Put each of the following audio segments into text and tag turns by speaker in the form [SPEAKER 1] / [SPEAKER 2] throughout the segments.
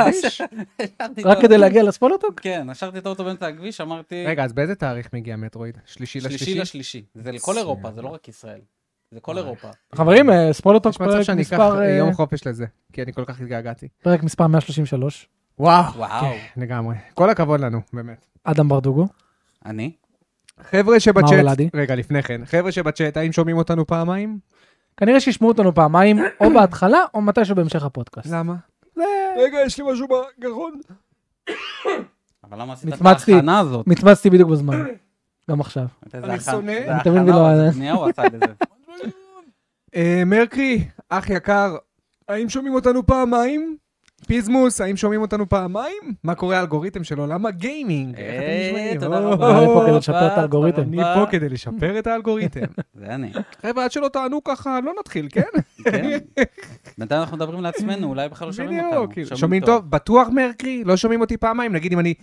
[SPEAKER 1] רק כדי להגיע לספולוטוק?
[SPEAKER 2] כן, השארתי את האוטו באמצע הכביש, אמרתי...
[SPEAKER 3] רגע, אז באיזה תאריך מגיע מטרואיד? שלישי
[SPEAKER 2] שלישי
[SPEAKER 3] לשלישי?
[SPEAKER 2] לשלישי. זה לכל אירופה, זה לא רק ישראל. זה כל אירופה.
[SPEAKER 3] כן.
[SPEAKER 1] חברים, אה, ספולוטוק
[SPEAKER 3] יש מצב
[SPEAKER 1] פרק
[SPEAKER 3] שאני אקח
[SPEAKER 1] מספר, אה,
[SPEAKER 3] יום חופש לזה, כי אני כל כך התגעגעתי.
[SPEAKER 1] פרק מספר 133,
[SPEAKER 3] וואו.
[SPEAKER 2] וואו.
[SPEAKER 3] כן, לגמרי. כל הכבוד לנו, באמת.
[SPEAKER 1] אדם ברדוגו.
[SPEAKER 2] אני?
[SPEAKER 3] חבר'ה
[SPEAKER 1] מה
[SPEAKER 3] שבצ'אט,
[SPEAKER 1] הולדי?
[SPEAKER 3] רגע, לפני כן, חבר'ה שבצ'אט, האם שומעים אותנו פעמיים?
[SPEAKER 1] כנראה שישמעו אותנו פעמיים, או בהתחלה, או מתישהו בהמשך הפודקאסט.
[SPEAKER 3] למה? רגע, יש לי משהו בגרון.
[SPEAKER 2] אבל למה עשית את
[SPEAKER 1] נצמצתי.
[SPEAKER 2] ההכנה הזאת?
[SPEAKER 1] מצמצתי בדיוק בזמן, גם עכשיו.
[SPEAKER 2] אני
[SPEAKER 3] אני שונא.
[SPEAKER 1] אני תמיד לא-
[SPEAKER 2] הוא עשה את זה.
[SPEAKER 3] אה, מרקרי, אח יקר, האם שומעים אותנו פעמיים? פיזמוס, האם שומעים אותנו פעמיים? מה קורה האלגוריתם של עולם הגיימינג? איך אתם
[SPEAKER 2] אה,
[SPEAKER 3] נשמעים?
[SPEAKER 2] תודה
[SPEAKER 3] או,
[SPEAKER 2] רבה.
[SPEAKER 1] אני פה כדי לשפר את האלגוריתם.
[SPEAKER 3] אני פה כדי לשפר את האלגוריתם.
[SPEAKER 2] זה אני.
[SPEAKER 3] חבר'ה, עד שלא תענו ככה, לא נתחיל, כן?
[SPEAKER 2] כן. בינתיים אנחנו מדברים לעצמנו, אולי בכלל לא שומעים אותנו.
[SPEAKER 3] בדיוק, כאילו, שומעים טוב? בטוח מרקרי? לא שומעים אותי פעמיים? נגיד אם אני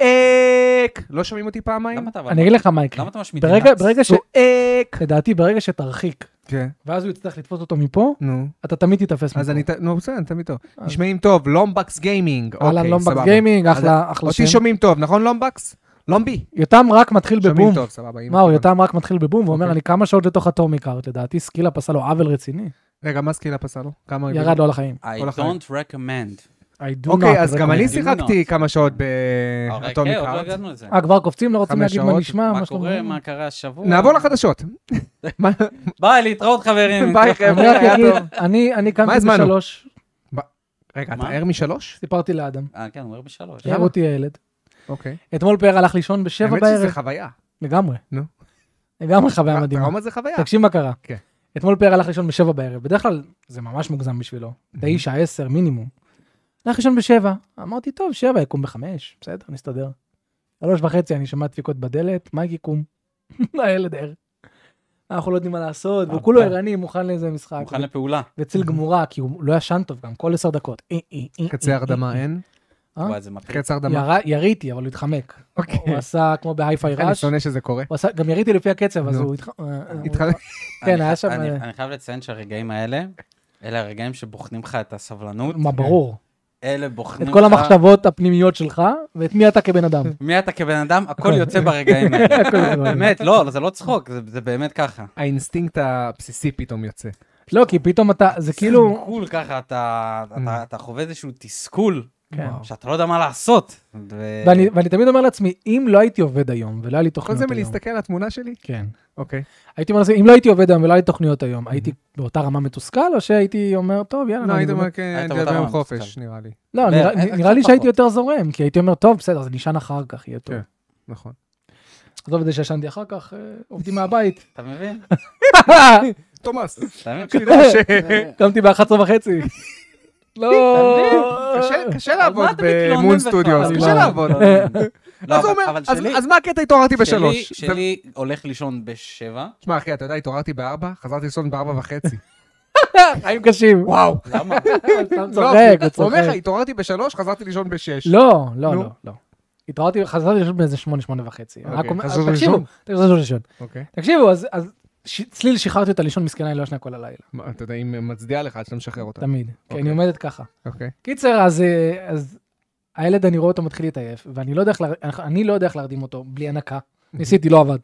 [SPEAKER 3] צועק, לא שומעים אותי פעמיים?
[SPEAKER 2] למה אתה אבל-
[SPEAKER 1] אני אגיד לך מה יקרה.
[SPEAKER 2] למה אתה משמיט?
[SPEAKER 1] ברגע ברגע ש...
[SPEAKER 3] צועק.
[SPEAKER 1] לדעתי, ברגע שתרחיק,
[SPEAKER 3] כן,
[SPEAKER 1] ואז הוא יצטרך לתפוס אותו מפה,
[SPEAKER 3] נו.
[SPEAKER 1] אתה תמיד תיתפס מפה.
[SPEAKER 3] אז אני, ת- נו בסדר, אני תמיד טוב.
[SPEAKER 1] אז-
[SPEAKER 3] נשמעים טוב, לומבקס גיימינג.
[SPEAKER 1] אהלן,
[SPEAKER 3] אוקיי,
[SPEAKER 1] לומבקס
[SPEAKER 3] סבבה.
[SPEAKER 1] גיימינג,
[SPEAKER 3] אז
[SPEAKER 1] אחלה אחלה שם.
[SPEAKER 3] אותי שומעים טוב, נכון לומבקס? לומבי.
[SPEAKER 1] יותם רק מתחיל
[SPEAKER 3] שומעים
[SPEAKER 1] בבום.
[SPEAKER 3] טוב, סבבה. אם-
[SPEAKER 1] מה, הוא
[SPEAKER 3] אם-
[SPEAKER 1] יותם רק מתחיל בבום, הוא אומר,
[SPEAKER 3] אוקיי.
[SPEAKER 1] אני כמה שעות לתוך הטומיק ארט, לדעתי סקילה עשה לו עוול רציני.
[SPEAKER 3] רגע, מה סקילה פסל לו? כמה... הוא
[SPEAKER 1] ירד
[SPEAKER 3] הביא?
[SPEAKER 1] לו על החיים.
[SPEAKER 2] I
[SPEAKER 3] כל החיים.
[SPEAKER 2] don't recommend.
[SPEAKER 1] I do not
[SPEAKER 3] אוקיי, אז גם
[SPEAKER 1] recommend.
[SPEAKER 3] אני
[SPEAKER 2] recommend.
[SPEAKER 3] שיחקתי כמה שעות באטומיק
[SPEAKER 2] אוקיי, עוד לא
[SPEAKER 3] הארט.
[SPEAKER 2] הגענו לזה.
[SPEAKER 1] אה, כבר קופצים, לא רוצים
[SPEAKER 3] חמש
[SPEAKER 1] להגיד מה
[SPEAKER 3] שעות.
[SPEAKER 1] נשמע,
[SPEAKER 2] מה
[SPEAKER 1] מה שלום.
[SPEAKER 2] קורה, מה קרה השבוע.
[SPEAKER 3] נעבור לחדשות. מה-
[SPEAKER 2] ביי, להתראות חברים.
[SPEAKER 3] אה, ביי, חבר'ה.
[SPEAKER 1] כן, אני רק
[SPEAKER 2] אוקיי,
[SPEAKER 3] היה
[SPEAKER 1] אגיד,
[SPEAKER 3] טוב.
[SPEAKER 1] אני- אני קמתי
[SPEAKER 3] הזמנו?
[SPEAKER 1] בשלוש,
[SPEAKER 3] רגע, אתה
[SPEAKER 2] מה?
[SPEAKER 3] ער משלוש?
[SPEAKER 1] סיפרתי לאדם,
[SPEAKER 2] אה, כן, הוא אומר בשלוש.
[SPEAKER 3] למה?
[SPEAKER 1] העיר אותי הילד.
[SPEAKER 3] אוקיי.
[SPEAKER 1] אתמול פאר הלך לישון בשבע
[SPEAKER 3] האמת שזה
[SPEAKER 1] בערב,
[SPEAKER 3] חוויה.
[SPEAKER 1] לגמרי.
[SPEAKER 3] נו.
[SPEAKER 1] לגמרי חוויה מדהימה.
[SPEAKER 3] טראומה זה חוויה.
[SPEAKER 1] תקשיב מה קרה.
[SPEAKER 3] כן.
[SPEAKER 1] אתמול פאר הלך לישון בשבע בערב, בדרך כלל זה ממש מוגזם בשבילו,
[SPEAKER 3] Mhm.
[SPEAKER 1] תשע, עשר מינימום. הלך לישון בשבע, אמרתי, טוב, שבע יקום בחמש, בסדר, נסתדר. שלוש וחצי, אני שומע דפיקות בדלת, מייק יקום. הילד ער. אנחנו לא יודעים מה לעשות, והוא
[SPEAKER 2] אה,
[SPEAKER 1] כולו
[SPEAKER 2] אה.
[SPEAKER 1] ערני, מוכן לאיזה משחק.
[SPEAKER 2] מוכן לפעולה.
[SPEAKER 1] בצל גמורה, כי הוא לא ישן טוב גם, כל עשר דקות. אה, אה, אה,
[SPEAKER 3] חצי
[SPEAKER 1] אה,
[SPEAKER 3] הרדמה
[SPEAKER 1] אה, אה.
[SPEAKER 3] אין?
[SPEAKER 1] אה?
[SPEAKER 2] וואי, זה מטריד.
[SPEAKER 3] חצי הרדמה.
[SPEAKER 1] ירה- יריתי, אבל הוא התחמק.
[SPEAKER 3] אוקיי.
[SPEAKER 1] הוא עשה כמו בהייפיי
[SPEAKER 3] כן, אני
[SPEAKER 1] ראש.
[SPEAKER 3] שונא שזה קורה.
[SPEAKER 1] הוא עשה- גם יריתי לפי הקצב, אז
[SPEAKER 3] נו.
[SPEAKER 1] הוא התח- אה, הוא
[SPEAKER 3] התחלק.
[SPEAKER 1] כן,
[SPEAKER 2] אני-
[SPEAKER 1] היה שם-
[SPEAKER 2] אני
[SPEAKER 3] אה,
[SPEAKER 2] אני חייב לציין שהרגעים האלה, אלה הרגעים שבוחנים לך את הסבלנות.
[SPEAKER 1] אה,
[SPEAKER 3] כן.
[SPEAKER 1] מה ברור.
[SPEAKER 2] אלה בוחנים
[SPEAKER 1] את
[SPEAKER 2] לך...
[SPEAKER 1] כל המחשבות הפנימיות שלך, ואת מי אתה כבן אדם.
[SPEAKER 2] מי אתה כבן אדם,
[SPEAKER 3] כן.
[SPEAKER 2] הכל יוצא ברגעים האלה.
[SPEAKER 1] הכל יוצא ברגעים.
[SPEAKER 2] באמת, לא, זה לא צחוק, זה- זה באמת ככה.
[SPEAKER 3] האינסטינקט הבסיסי פתאום יוצא.
[SPEAKER 1] לא, כי פתאום אתה,
[SPEAKER 3] כן.
[SPEAKER 1] זה כאילו...
[SPEAKER 2] תסכול ככה, אתה- אתה- אתה חווה איזשהו תסכול,
[SPEAKER 1] כן.
[SPEAKER 3] Mm. וואו.
[SPEAKER 2] שאתה לא יודע מה לעשות. ו-
[SPEAKER 1] ואני ואני תמיד אומר לעצמי, אם לא הייתי עובד היום, ולא היה לי
[SPEAKER 3] כל
[SPEAKER 1] תוכניות
[SPEAKER 3] זה
[SPEAKER 1] היום.
[SPEAKER 3] מלהסתכל על התמונה שלי?
[SPEAKER 1] כן.
[SPEAKER 3] אוקיי.
[SPEAKER 1] הייתי אומר לעצמי, אם לא הייתי עובד היום ולא היה לי תוכניות היום, הייתי באותה רמה מתוסכל, או שהייתי אומר, טוב, יאללה.
[SPEAKER 3] לא,
[SPEAKER 1] אני
[SPEAKER 3] היית
[SPEAKER 1] באמת-"
[SPEAKER 3] אומר, כן,
[SPEAKER 2] היית
[SPEAKER 3] אני אדבר
[SPEAKER 2] בטעם,
[SPEAKER 3] עם חופש,
[SPEAKER 2] בסדר.
[SPEAKER 3] נראה לי.
[SPEAKER 1] לא,
[SPEAKER 2] ב-
[SPEAKER 1] נראה-
[SPEAKER 2] אה, קצת
[SPEAKER 1] נראה לי שהייתי
[SPEAKER 2] פחות.
[SPEAKER 1] יותר זורם, כי הייתי אומר, טוב, בסדר, זה נשען אחר כך, יהיה טוב.
[SPEAKER 3] כן. נכון.
[SPEAKER 1] עזוב את זה שישנתי אחר כך, אה, עובדים מהבית.
[SPEAKER 2] אתה מבין?
[SPEAKER 3] תומאס,
[SPEAKER 2] אתה מבין?
[SPEAKER 3] אה,
[SPEAKER 1] קמתי ב-11 וחצי. לא. אה,
[SPEAKER 3] קשה- קשה
[SPEAKER 2] על מה
[SPEAKER 3] לעבוד
[SPEAKER 2] אתה מתלונן
[SPEAKER 3] במון
[SPEAKER 2] בכלל?
[SPEAKER 3] סטודיוס, כאילו.
[SPEAKER 1] אני
[SPEAKER 3] קשה
[SPEAKER 1] לא-
[SPEAKER 3] לעבוד.
[SPEAKER 2] לא,
[SPEAKER 3] אז הוא
[SPEAKER 2] אבל-
[SPEAKER 3] אומר,
[SPEAKER 2] אבל
[SPEAKER 3] אז-
[SPEAKER 2] שלי...
[SPEAKER 3] אז מה הקטע התעוררתי
[SPEAKER 2] שלי-
[SPEAKER 3] בשלוש? זה-
[SPEAKER 2] שלי הולך לישון בשבע,
[SPEAKER 3] תשמע, אחי, אתה יודע, התעוררתי בארבע, חזרתי לישון בארבע וחצי. לא,
[SPEAKER 1] חיים קשים. אה,
[SPEAKER 3] וואו.
[SPEAKER 2] למה?
[SPEAKER 1] סתם
[SPEAKER 3] לא,
[SPEAKER 1] צוחק, הוא
[SPEAKER 3] הוא אומר
[SPEAKER 1] צוחק.
[SPEAKER 3] לך, התעוררתי בשלוש, חזרתי לישון בשש.
[SPEAKER 1] לא, לא,
[SPEAKER 3] נו.
[SPEAKER 1] לא, לא. התעוררתי, חזרתי לישון באיזה שמונה, שמונה וחצי.
[SPEAKER 3] אוקיי,
[SPEAKER 1] רק אומר-
[SPEAKER 3] חזרת
[SPEAKER 1] תקשיבו,
[SPEAKER 3] לישון?
[SPEAKER 1] תחזרו לישון.
[SPEAKER 3] אוקיי.
[SPEAKER 1] תקשיבו, אז- אז ש- צליל שחררתי אותה לישון, מסכנה, היא לא ישנה כל הלילה.
[SPEAKER 3] מה, אתה יודע, היא מצדיעה לך עד שאתה משחרר אותה.
[SPEAKER 1] תמיד. כי אני
[SPEAKER 3] אוקיי.
[SPEAKER 1] עומדת ככה.
[SPEAKER 3] אוקיי.
[SPEAKER 1] קיצר, אז, אה, אז הילד, אני רואה אותו מתחיל להתעייף, ואני לא יודע איך, לה- אני- אני לא יודע איך להרדים אותו, בלי הנקה. ניסיתי, לא עבד.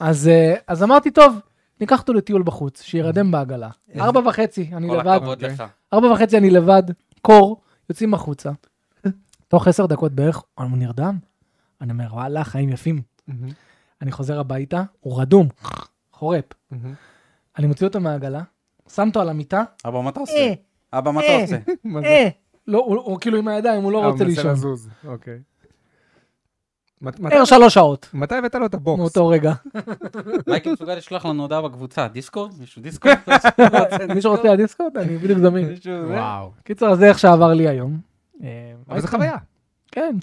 [SPEAKER 1] אז, אה, אז אמרתי, טוב, ניקח אותו לטיול בחוץ, שירדם בעגלה. ארבע וחצי, אני
[SPEAKER 2] כל
[SPEAKER 1] לבד.
[SPEAKER 2] הכבוד
[SPEAKER 3] אוקיי.
[SPEAKER 2] לך.
[SPEAKER 1] ארבע וחצי אני לבד, קור, יוצאים החוצה. תוך עשר דקות בערך, הוא נרדם. אני אומר, וואלה, חיים יפים.
[SPEAKER 3] מהמם,
[SPEAKER 1] אני חוזר הביתה, הוא רדום, חורפ.
[SPEAKER 3] מהמם.
[SPEAKER 1] אני מוציא אותו מהעגלה, שם אותו על המיטה,
[SPEAKER 2] אבא, מה אתה
[SPEAKER 1] אה,
[SPEAKER 2] עושה? אבא, מה
[SPEAKER 1] אה.
[SPEAKER 2] אתה עושה?
[SPEAKER 3] מה זה?
[SPEAKER 1] אה, לא, הוא הוא כאילו עם הידיים, הוא
[SPEAKER 3] אה,
[SPEAKER 1] לא
[SPEAKER 3] הוא
[SPEAKER 1] רוצה
[SPEAKER 3] מנסה
[SPEAKER 1] לישון.
[SPEAKER 3] לזוז, אוקיי. מת- מתי-
[SPEAKER 2] אה,
[SPEAKER 1] ער שלוש שעות,
[SPEAKER 3] מתי הבאת לו את הבוקס?
[SPEAKER 1] מאותו רגע.
[SPEAKER 2] מייקי מסוגל לשלוח לנו הודעה בקבוצה, דיסקורד? מישהו דיסקורד?
[SPEAKER 3] לא,
[SPEAKER 1] מי שרוצה להדיסקוט, אני בדיוק זמין.
[SPEAKER 2] מישהו זה?
[SPEAKER 3] וואו.
[SPEAKER 1] קיצר, אז זה איך שעבר לי היום. אה,
[SPEAKER 3] אבל זה חוויה,
[SPEAKER 1] כן,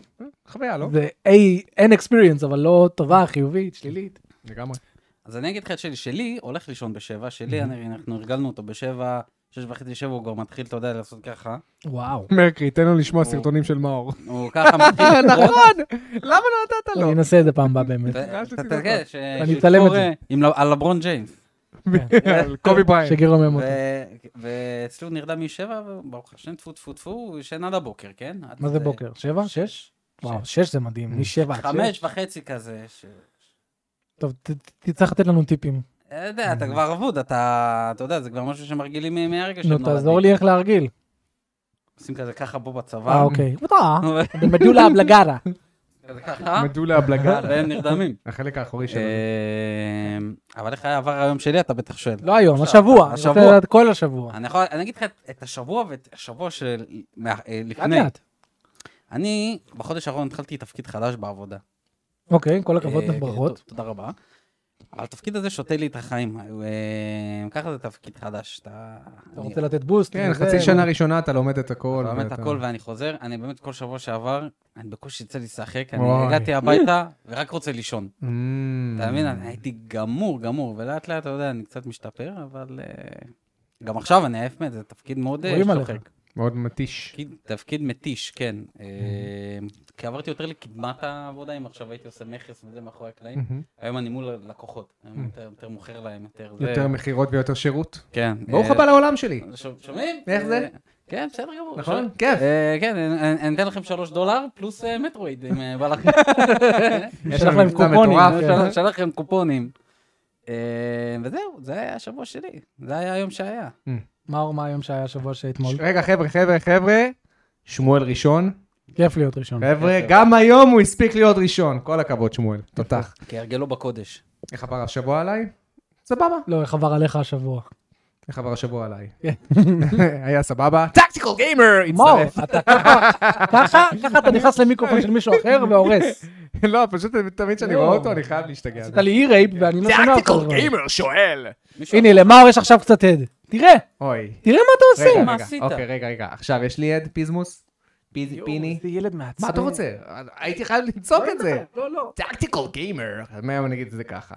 [SPEAKER 3] חוויה, לא?
[SPEAKER 1] זה A- אין experience, אבל לא טובה, חיובית, שלילית.
[SPEAKER 3] לגמרי.
[SPEAKER 2] אז אני אגיד לך את שלי, שלי הולך לישון בשבע, שלי, אני- אנחנו הרגלנו אותו בשבע, שש וחצי, שבע, הוא כבר מתחיל, אתה יודע, לעשות ככה.
[SPEAKER 1] וואו.
[SPEAKER 3] מרקרי, תן לו לשמוע
[SPEAKER 2] הוא-
[SPEAKER 3] סרטונים של מאור.
[SPEAKER 2] הוא ככה מתחיל
[SPEAKER 1] נכון.
[SPEAKER 2] לקרוא.
[SPEAKER 3] למה לא נתת
[SPEAKER 2] אה,
[SPEAKER 1] אני אנסה את זה פעם הבאה באמת.
[SPEAKER 2] אתה-
[SPEAKER 3] יש לי
[SPEAKER 2] אתה תראה, ש-
[SPEAKER 1] אני אצלם את זה.
[SPEAKER 2] עם ל- על לברון ג'יימס.
[SPEAKER 3] על קובי בריינט.
[SPEAKER 1] שגר רומם אותו.
[SPEAKER 2] ו- ואצלי הוא נרדם משבע, וברוך השם, טפו טפו טפו, הוא ישן עד הבוקר, כן? עד
[SPEAKER 1] מה
[SPEAKER 3] אה,
[SPEAKER 1] זה בוקר? שבע? שש? וואו, שש זה מדהים, משבע עד שש.
[SPEAKER 2] חמש וחצי כזה. ש-
[SPEAKER 1] טוב, ת- ת- תצטרך לתת לנו טיפים.
[SPEAKER 2] אתה יודע, אתה כבר אבוד, אתה אתה יודע, זה כבר משהו שמרגילים מ- מהרגע שהם
[SPEAKER 1] Mm-hmm. נו, תעזור לי איך להרגיל.
[SPEAKER 2] עושים כזה ככה בו
[SPEAKER 1] אה,
[SPEAKER 2] בצבא.
[SPEAKER 1] אוקיי. אותה. במדולה הבלגרה.
[SPEAKER 2] כזה ככה,
[SPEAKER 3] מדולה הבלגה.
[SPEAKER 2] והם נרדמים.
[SPEAKER 3] החלק האחורי שלו.
[SPEAKER 2] אה, אמ, אבל איך היה עבר היום שלי, אתה בטח שואל.
[SPEAKER 1] לא היום,
[SPEAKER 2] עכשיו,
[SPEAKER 1] השבוע. אני
[SPEAKER 2] השבוע.
[SPEAKER 1] רוצה לדעת כל
[SPEAKER 3] אה.
[SPEAKER 1] השבוע.
[SPEAKER 2] אני יכול, אני אגיד לך את- את השבוע ואת השבוע של מה- אה,
[SPEAKER 1] לאט
[SPEAKER 2] לפני.
[SPEAKER 1] לאט.
[SPEAKER 2] אני בחודש האחרון התחלתי תפקיד חדש בעבודה.
[SPEAKER 1] אוקיי, כל הכבוד
[SPEAKER 2] אה,
[SPEAKER 1] לברכות.
[SPEAKER 2] ת- תודה רבה. אבל התפקיד הזה שותה לי את החיים. אה, ככה זה תפקיד חדש. אתה
[SPEAKER 1] אתה
[SPEAKER 2] אני-
[SPEAKER 1] רוצה לתת בוסט?
[SPEAKER 3] כן,
[SPEAKER 1] וזה,
[SPEAKER 3] חצי שנה ראשונה אתה לומד את הכל.
[SPEAKER 2] לא- אתה לומד את
[SPEAKER 3] ואתה-
[SPEAKER 2] הכל ואני חוזר, אני באמת כל שבוע שעבר, אני בקושי יצא לי לשחק, אני
[SPEAKER 3] וואי.
[SPEAKER 2] הגעתי הביתה ורק רוצה לישון.
[SPEAKER 3] Mm.
[SPEAKER 2] אתה מבין? אני הייתי גמור, גמור, ולאט לאט, אתה יודע, אני קצת משתפר, אבל... אה, גם עכשיו אני עייף מת, זה תפקיד מאוד אה,
[SPEAKER 1] רואים עליך.
[SPEAKER 2] שוחק.
[SPEAKER 3] מאוד מתיש.
[SPEAKER 2] תפקיד- תפקיד מתיש, כן. אה, כי עברתי יותר לקדמת העבודה, אם עכשיו הייתי עושה מכס וזה מאחורי הקלעים.
[SPEAKER 3] מהמם.
[SPEAKER 2] היום אני מול הלקוחות, היום יותר- יותר מוכר להם, יותר זה.
[SPEAKER 3] יותר מכירות ויותר שירות.
[SPEAKER 2] כן.
[SPEAKER 3] ברוך
[SPEAKER 2] אה,
[SPEAKER 3] הבא לעולם שלי.
[SPEAKER 2] שומ- שומעים?
[SPEAKER 3] איך זה?
[SPEAKER 2] אה, כן, בסדר גמור.
[SPEAKER 3] נכון?
[SPEAKER 2] שומעים?
[SPEAKER 3] כיף.
[SPEAKER 2] אה, כן, אני- אני- אני אתן לכם שלוש דולר פלוס אה, מטרואיד, אם אה, בא לכם.
[SPEAKER 1] יש לכם
[SPEAKER 3] מבצע
[SPEAKER 1] קופונים.
[SPEAKER 3] מטורף,
[SPEAKER 1] כן.
[SPEAKER 2] שלח- שלח לכם קופונים. אה, וזהו, זה היה השבוע שלי, זה היה היום שהיה.
[SPEAKER 1] מאור, מה היום שהיה השבוע שאתמול?
[SPEAKER 3] רגע, חבר'ה, חבר'ה, חבר'ה. שמואל ראשון.
[SPEAKER 1] כיף להיות ראשון.
[SPEAKER 3] חבר'ה,
[SPEAKER 2] כן,
[SPEAKER 3] גם היום הוא הספיק להיות ראשון. כל הכבוד, שמואל. תותח.
[SPEAKER 2] כהרגלו בקודש.
[SPEAKER 3] איך עבר השבוע עליי? סבבה.
[SPEAKER 1] לא, איך עבר עליך השבוע?
[SPEAKER 3] איך עבר השבוע עליי?
[SPEAKER 1] כן.
[SPEAKER 3] היה סבבה. טקטיקל גיימר!
[SPEAKER 1] מאור, אתה ככה, ככה, ככה אתה נכנס למיקרופון של מישהו אחר והורס.
[SPEAKER 3] לא, פשוט תמיד כשאני
[SPEAKER 2] לא.
[SPEAKER 3] רואה אותו, אני חייב להשתגע.
[SPEAKER 1] עשית לי אי-רייפ ואני לא שומע אותך.
[SPEAKER 3] טקטיקל גיימר שואל.
[SPEAKER 2] מישהו-
[SPEAKER 1] הנה, למאור יש עכשיו קצת הד. תראה,
[SPEAKER 3] אוי.
[SPEAKER 1] תראה מה אתה
[SPEAKER 3] רגע,
[SPEAKER 1] עושה.
[SPEAKER 2] מה
[SPEAKER 3] רגע,
[SPEAKER 2] עשית?
[SPEAKER 3] אוקיי, רגע, רגע. עכשיו יש לי עד פיזמוס? פיז- פיני?
[SPEAKER 1] זה ילד מעצבן.
[SPEAKER 3] מה אתה רוצה? הייתי חייב לצעוק את זה.
[SPEAKER 1] לא, לא.
[SPEAKER 3] טקטיקל גיימר. מהיום אני אגיד את זה ככה.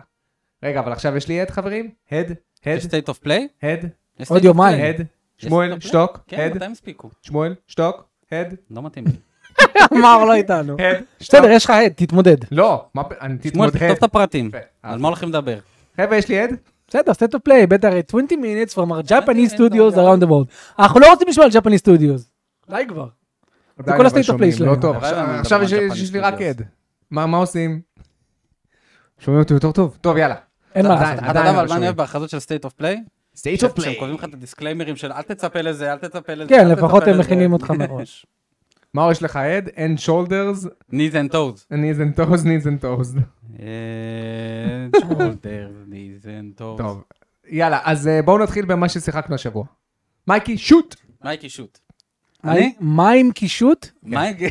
[SPEAKER 3] רגע, אבל עכשיו יש לי הד, חברים? הד, הד,
[SPEAKER 2] יש state of play?
[SPEAKER 3] הד,
[SPEAKER 2] יש
[SPEAKER 1] עוד
[SPEAKER 2] state of
[SPEAKER 1] יומיים.
[SPEAKER 2] play?
[SPEAKER 3] הד, שמואל,
[SPEAKER 2] יש-
[SPEAKER 3] שתוק,
[SPEAKER 2] כן,
[SPEAKER 3] הד,
[SPEAKER 2] מתי הם הספיקו?
[SPEAKER 3] שמואל, שתוק, הד,
[SPEAKER 2] לא מתאים לי.
[SPEAKER 1] מאור לא איתנו.
[SPEAKER 3] הד,
[SPEAKER 1] בסדר, יש לך הד, תתמודד.
[SPEAKER 3] לא, מה, פ- אני
[SPEAKER 2] שמואל,
[SPEAKER 3] תתמודד.
[SPEAKER 2] תכתוב את הפרטים.
[SPEAKER 3] יפה.
[SPEAKER 2] על מה הולכים לדבר?
[SPEAKER 3] חבר'ה, יש לי הד?
[SPEAKER 1] בסדר, סטטו פליי, בטח 20 minutes from our Japanese studios around the world. אנחנו לא רוצים לשמוע על Japanese studios. די כבר.
[SPEAKER 3] עדיין,
[SPEAKER 1] כל
[SPEAKER 3] אבל
[SPEAKER 1] ה-state of play
[SPEAKER 3] שומעים, לא
[SPEAKER 1] שלהם.
[SPEAKER 3] טוב,
[SPEAKER 2] הלוואי
[SPEAKER 3] עכשיו-
[SPEAKER 2] ואני מדבר
[SPEAKER 3] עכשיו
[SPEAKER 2] על
[SPEAKER 3] יש-
[SPEAKER 2] Japanese
[SPEAKER 3] יש לי רק
[SPEAKER 2] studios.
[SPEAKER 3] הד. מה מה עושים? שומעים אותי יותר טוב? טוב, יאללה.
[SPEAKER 1] אין מה
[SPEAKER 2] אתה-
[SPEAKER 1] לעשות.
[SPEAKER 2] אתה
[SPEAKER 3] עדיין
[SPEAKER 2] יודע אבל
[SPEAKER 3] לא
[SPEAKER 2] מה אני
[SPEAKER 3] שומעים.
[SPEAKER 2] אוהב בהכרזות של state of play?
[SPEAKER 3] סטייט
[SPEAKER 2] שהם קובעים לך את הדיסקליימרים של אל תצפה לזה, אל תצפה לזה.
[SPEAKER 1] כן,
[SPEAKER 2] אל
[SPEAKER 1] לפחות
[SPEAKER 2] תצפה
[SPEAKER 1] הם
[SPEAKER 2] לזה."
[SPEAKER 1] מכינים אותך מראש.
[SPEAKER 3] מה יש לך הד? אין שולדרס,
[SPEAKER 2] Knees and toes.
[SPEAKER 3] knees and toes, knees and toes.
[SPEAKER 2] And shoulders, knees and toes.
[SPEAKER 3] טוב, יאללה, אז אה, בואו נתחיל במה ששיחקנו השבוע. מייקי, שוט!
[SPEAKER 2] מייקי שוט.
[SPEAKER 1] מה עם-
[SPEAKER 2] אני?
[SPEAKER 1] מה עם קישוט?
[SPEAKER 2] מייקי.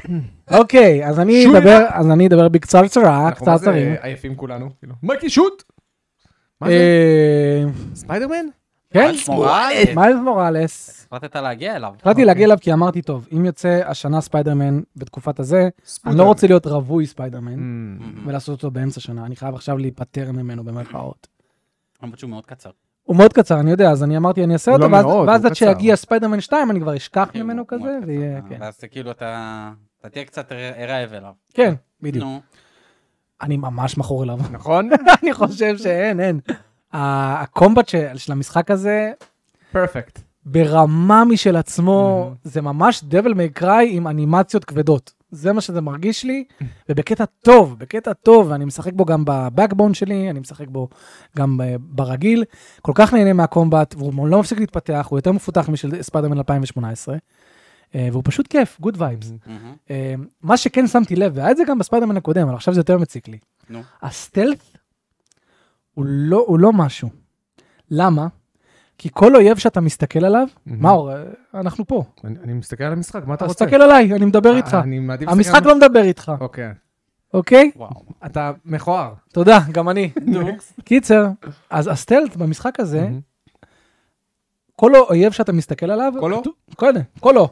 [SPEAKER 1] אוקיי, אז אני
[SPEAKER 3] שוט.
[SPEAKER 1] אדבר, אז אני אדבר בקצרצרה,
[SPEAKER 3] אנחנו מה זה
[SPEAKER 1] קצרצרים.
[SPEAKER 3] עייפים כולנו, כאילו. מייקי, שוט! מה זה?
[SPEAKER 1] אה,
[SPEAKER 3] ספיידרמן?
[SPEAKER 1] כן,
[SPEAKER 2] מורלס.
[SPEAKER 1] מיילס מוראלס.
[SPEAKER 2] החלטת להגיע אליו.
[SPEAKER 3] אוקיי.
[SPEAKER 1] החלטתי להגיע אליו כי אמרתי, טוב, אם יוצא השנה ספיידרמן בתקופת הזה, אני לא רוצה להיות רווי ספיידרמן
[SPEAKER 3] Mm,
[SPEAKER 1] ולעשות אותו באמצע שנה, אני חייב עכשיו להיפטר ממנו במרכאות.
[SPEAKER 2] למרות שהוא מאוד קצר.
[SPEAKER 1] הוא מאוד קצר, אני יודע, אז אני אמרתי, אני אעשה
[SPEAKER 3] הוא
[SPEAKER 1] אותו,
[SPEAKER 3] לא
[SPEAKER 1] ואז-
[SPEAKER 3] מאוד,
[SPEAKER 1] ואז
[SPEAKER 3] הוא
[SPEAKER 1] עד שיגיע
[SPEAKER 3] קצר.
[SPEAKER 1] ספיידרמן 2, אני כבר אשכח
[SPEAKER 2] כן,
[SPEAKER 1] ממנו
[SPEAKER 2] הוא
[SPEAKER 1] כזה,
[SPEAKER 2] מאוד קצר.
[SPEAKER 1] ויהיה,
[SPEAKER 2] אה,
[SPEAKER 1] כן.
[SPEAKER 2] ואז אתה כאילו אתה... אתה תהיה קצת ער- רעב אליו.
[SPEAKER 1] כן, בדיוק.
[SPEAKER 2] נו,
[SPEAKER 1] אני ממש מכור אליו.
[SPEAKER 3] נכון?
[SPEAKER 1] אני חושב שאין, אין. ה- הקומבט של- של המשחק הזה,
[SPEAKER 3] פרפקט.
[SPEAKER 1] ברמה משל עצמו, זה ממש דבל מיי קראי עם אנימציות כבדות. זה מה שזה מרגיש לי, ובקטע טוב, בקטע טוב, ואני משחק בו גם בבקבון שלי, אני משחק בו גם ב- ברגיל. כל כך נהנה מהקומבט, והוא לא מפסיק להתפתח, הוא יותר מפותח משל ספיידרמן 2018, אה, והוא פשוט כיף, גוד וייבס.
[SPEAKER 2] מהמם.
[SPEAKER 1] אה, מה שכן שמתי לב, והיה את זה גם בספיידרמן הקודם, אבל עכשיו זה יותר מציק לי.
[SPEAKER 2] נו.
[SPEAKER 1] הסטלף הוא לא, הוא לא משהו. למה? כי כל אויב שאתה מסתכל עליו, מאור, אה, אנחנו פה.
[SPEAKER 3] אני אני מסתכל על המשחק, מה אתה
[SPEAKER 1] אתה
[SPEAKER 3] רוצה? אה,
[SPEAKER 1] מסתכל עליי, אני מדבר איתך.
[SPEAKER 3] אני מעדיף
[SPEAKER 1] המשחק לא מדבר איתך,
[SPEAKER 3] אוקיי.
[SPEAKER 1] אוקיי?
[SPEAKER 2] וואו.
[SPEAKER 3] אתה מכוער.
[SPEAKER 1] תודה, גם אני.
[SPEAKER 2] נו.
[SPEAKER 1] קיצר, אז הסטלט במשחק הזה,
[SPEAKER 3] מהמם.
[SPEAKER 1] כל אויב שאתה מסתכל עליו,
[SPEAKER 3] כל אור?
[SPEAKER 1] כתוב- כל- כל אור.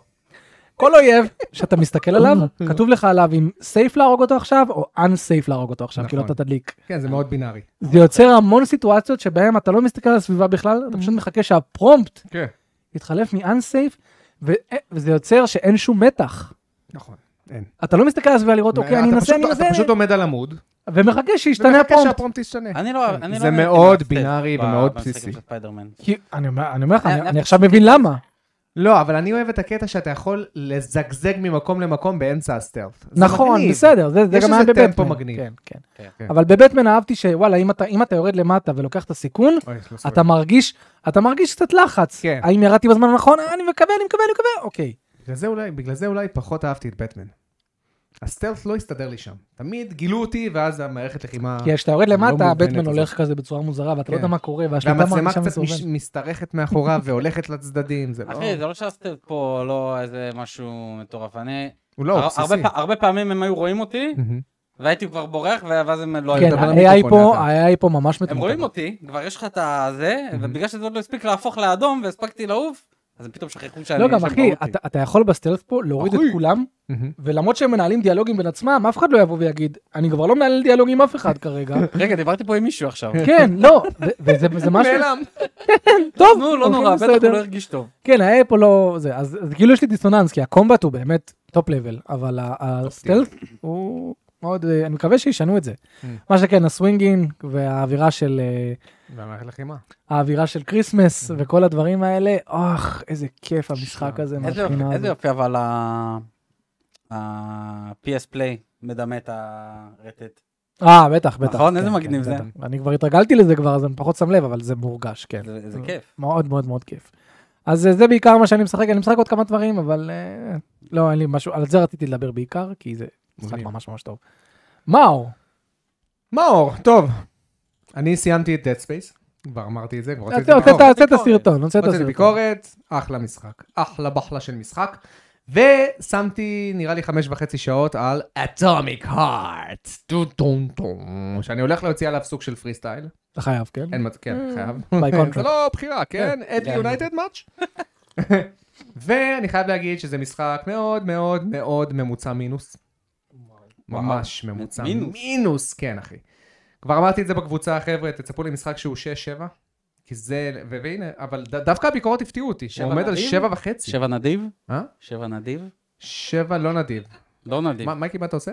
[SPEAKER 1] כל אויב שאתה מסתכל עליו, כתוב לך עליו אם safe להרוג אותו עכשיו, או unsafe להרוג אותו עכשיו, כאילו
[SPEAKER 3] נכון.
[SPEAKER 1] אתה תדליק.
[SPEAKER 3] כן, זה מאוד בינארי.
[SPEAKER 1] זה יוצר המון סיטואציות שבהן אתה לא מסתכל על הסביבה בכלל, אתה פשוט מחכה שהפרומפט
[SPEAKER 3] כן.
[SPEAKER 1] יתחלף מ-unsafe, ו- אה, וזה יוצר שאין שום מתח.
[SPEAKER 3] נכון. אין.
[SPEAKER 1] אתה לא מסתכל על הסביבה לראות, אוקיי, אני
[SPEAKER 3] אתה
[SPEAKER 1] אנסה,
[SPEAKER 3] פשוט- לא-
[SPEAKER 1] אני אנסה,
[SPEAKER 3] אתה פשוט עומד על עמוד,
[SPEAKER 1] ומחכה שישתנה
[SPEAKER 3] ומחכה
[SPEAKER 1] הפרומפט.
[SPEAKER 3] שהפרומפט ישתנה.
[SPEAKER 2] אני לא... אני לא
[SPEAKER 3] כן. זה
[SPEAKER 2] נהניתי
[SPEAKER 3] מאוד
[SPEAKER 2] מהסטייט
[SPEAKER 3] בינארי
[SPEAKER 2] ב-
[SPEAKER 3] ומאוד
[SPEAKER 2] במשחקים
[SPEAKER 3] בסיסי.
[SPEAKER 2] של ספיידרמן.
[SPEAKER 1] כי אני אומר אני אומר לך,
[SPEAKER 2] אה,
[SPEAKER 1] אני
[SPEAKER 2] אה,
[SPEAKER 1] אני עכשיו מבין למה.
[SPEAKER 3] לא, אבל אני אוהב את הקטע שאתה יכול לזגזג ממקום למקום באמצע הסטלט. זה
[SPEAKER 1] נכון,
[SPEAKER 3] מגניב.
[SPEAKER 1] בסדר, זה זה
[SPEAKER 3] יש
[SPEAKER 1] גם היה
[SPEAKER 3] איזה
[SPEAKER 1] בבטמן.
[SPEAKER 3] טמפו מגניב.
[SPEAKER 1] כן, כן.
[SPEAKER 2] כן.
[SPEAKER 1] אבל בבטמן אהבתי שוואלה, אם אתה- אם אתה יורד למטה ולוקח את הסיכון,
[SPEAKER 3] אוי, לא סובל.
[SPEAKER 1] אתה מרגיש, אתה מרגיש קצת לחץ.
[SPEAKER 3] כן.
[SPEAKER 1] האם ירדתי בזמן הנכון? אה, אני מקווה, אני מקווה, אני מקווה, אוקיי.
[SPEAKER 3] בגלל זה אולי- בגלל זה אולי פחות אהבתי את בטמן. הסטלט לא הסתדר לי שם. תמיד גילו אותי, ואז המערכת לחימה...
[SPEAKER 1] כי כשאתה יורד
[SPEAKER 3] לא
[SPEAKER 1] למטה,
[SPEAKER 3] מובנת
[SPEAKER 1] הבטמן
[SPEAKER 3] הזאת.
[SPEAKER 1] הולך כזה בצורה מוזרה, ואתה לא יודע
[SPEAKER 3] כן.
[SPEAKER 1] מה קורה, והשליטה
[SPEAKER 3] והמצלמה
[SPEAKER 1] מרגישה
[SPEAKER 3] קצת
[SPEAKER 1] מסורבנת.
[SPEAKER 3] מש- משתרכת מאחוריו והולכת לצדדים, זה לא...
[SPEAKER 2] אחי, זה לא שעשית פה לא איזה משהו מטורף. אני...
[SPEAKER 3] הוא לא, הוא
[SPEAKER 2] הר-
[SPEAKER 3] בסיסי.
[SPEAKER 2] הרבה פע- הרבה פעמים הם היו רואים אותי,
[SPEAKER 3] מהמם.
[SPEAKER 2] והייתי כבר בורח, ואז הם לא היו...
[SPEAKER 1] כן,
[SPEAKER 3] מדבר על
[SPEAKER 1] ה-AI
[SPEAKER 3] מיקרופון,
[SPEAKER 1] פה,
[SPEAKER 3] אתה.
[SPEAKER 1] ה-AI פה ממש
[SPEAKER 2] הם
[SPEAKER 1] מטומטם.
[SPEAKER 2] רואים אותי, כבר יש לך את הזה, ובגלל שזה עוד לא הספיק להפוך לאדום והספקתי לעוף, אז הם פתאום שכחו שאני...
[SPEAKER 1] לא, גם
[SPEAKER 2] שהם
[SPEAKER 1] אחי,
[SPEAKER 2] ראו אותי.
[SPEAKER 1] אתה- אתה יכול בסטלף פה להוריד את
[SPEAKER 3] אחי.
[SPEAKER 1] כולם,
[SPEAKER 3] מהמם.
[SPEAKER 1] ולמרות שהם מנהלים דיאלוגים בין עצמם, אף אחד לא יבוא ויגיד, אני כבר לא מנהל דיאלוג עם אף אחד כרגע.
[SPEAKER 2] רגע, דיברתי פה עם מישהו עכשיו.
[SPEAKER 1] כן, לא, ו- וזה וזה משהו,
[SPEAKER 3] נעלם.
[SPEAKER 1] טוב,
[SPEAKER 2] נו, לא
[SPEAKER 1] הולכים
[SPEAKER 2] נורא, בטח הוא
[SPEAKER 1] בסדר.
[SPEAKER 2] לא הרגיש טוב.
[SPEAKER 1] כן, ה-AI פה לא, זה, אז אז כאילו יש לי דיסוננס, כי הקומבט הוא באמת טופ לבל, אבל ה- הסטלף
[SPEAKER 2] כן.
[SPEAKER 1] הוא מאוד, אה, אני מקווה שישנו את זה.
[SPEAKER 3] Mm.
[SPEAKER 1] מה שכן, הסווינגינג והאווירה של... אה,
[SPEAKER 3] והמערכת לחימה.
[SPEAKER 1] האווירה של
[SPEAKER 2] Mm.
[SPEAKER 1] כריסמס וכל הדברים האלה, אוח, איזה כיף המשחק הזה
[SPEAKER 2] איזה
[SPEAKER 1] מהבחינה
[SPEAKER 2] יופי- איזה
[SPEAKER 1] הזאת.
[SPEAKER 2] יופי, אבל ה-PS Play מדמה את הרטט.
[SPEAKER 1] אה, בטח, בטח.
[SPEAKER 2] נכון? איזה
[SPEAKER 1] כן,
[SPEAKER 2] מגניב
[SPEAKER 1] כן,
[SPEAKER 2] זה.
[SPEAKER 1] בטח. אני כבר התרגלתי לזה כבר, אז אני פחות שם לב, אבל זה מורגש, כן.
[SPEAKER 2] זה זה כיף.
[SPEAKER 1] מאוד מאוד מאוד כיף. אז אה, זה בעיקר מה שאני משחק, אני משחק עוד כמה דברים, אבל אה, לא, אין לי משהו, על זה רציתי לדבר בעיקר, כי זה משחק
[SPEAKER 3] מגניב.
[SPEAKER 1] ממש ממש טוב. מאור,
[SPEAKER 3] מאור, טוב. אני סיימתי את Dead Space, כבר אמרתי את זה, כבר
[SPEAKER 1] הוצאת- הוצאת
[SPEAKER 3] ביקורת.
[SPEAKER 1] הוצאת סרטון, הוצאת
[SPEAKER 3] הוצאתי
[SPEAKER 1] סרטון.
[SPEAKER 3] ביקורת, אחלה משחק. אחלה בחלה של משחק. ושמתי, נראה לי, חמש וחצי שעות על אטומיק הארט. טו טום טום. שאני הולך להוציא עליו סוג של פרי סטייל.
[SPEAKER 1] אתה חייב, כן?
[SPEAKER 3] אין מצב, כן, חייב.
[SPEAKER 1] By contract.
[SPEAKER 3] זה לא בחירה, כן? את
[SPEAKER 2] כן.
[SPEAKER 3] יונייטד מאץ'. ואני חייב להגיד שזה משחק מאוד מאוד מאוד ממוצע מינוס. ממש ממוצע
[SPEAKER 2] מינוס?
[SPEAKER 3] מינוס, כן, אחי. כבר אמרתי את זה בקבוצה, חבר'ה, תצפו למשחק שהוא 6-7. כי זה, ו- והנה, אבל ד- דווקא הביקורות הפתיעו אותי,
[SPEAKER 2] שבע
[SPEAKER 3] הוא עומד על
[SPEAKER 2] נדיב?
[SPEAKER 3] 7.5.
[SPEAKER 2] שבע נדיב?
[SPEAKER 3] אה?
[SPEAKER 2] שבע נדיב?
[SPEAKER 3] 7 לא נדיב.
[SPEAKER 2] לא נדיב.
[SPEAKER 3] מה, מייקי, מה אתה עושה?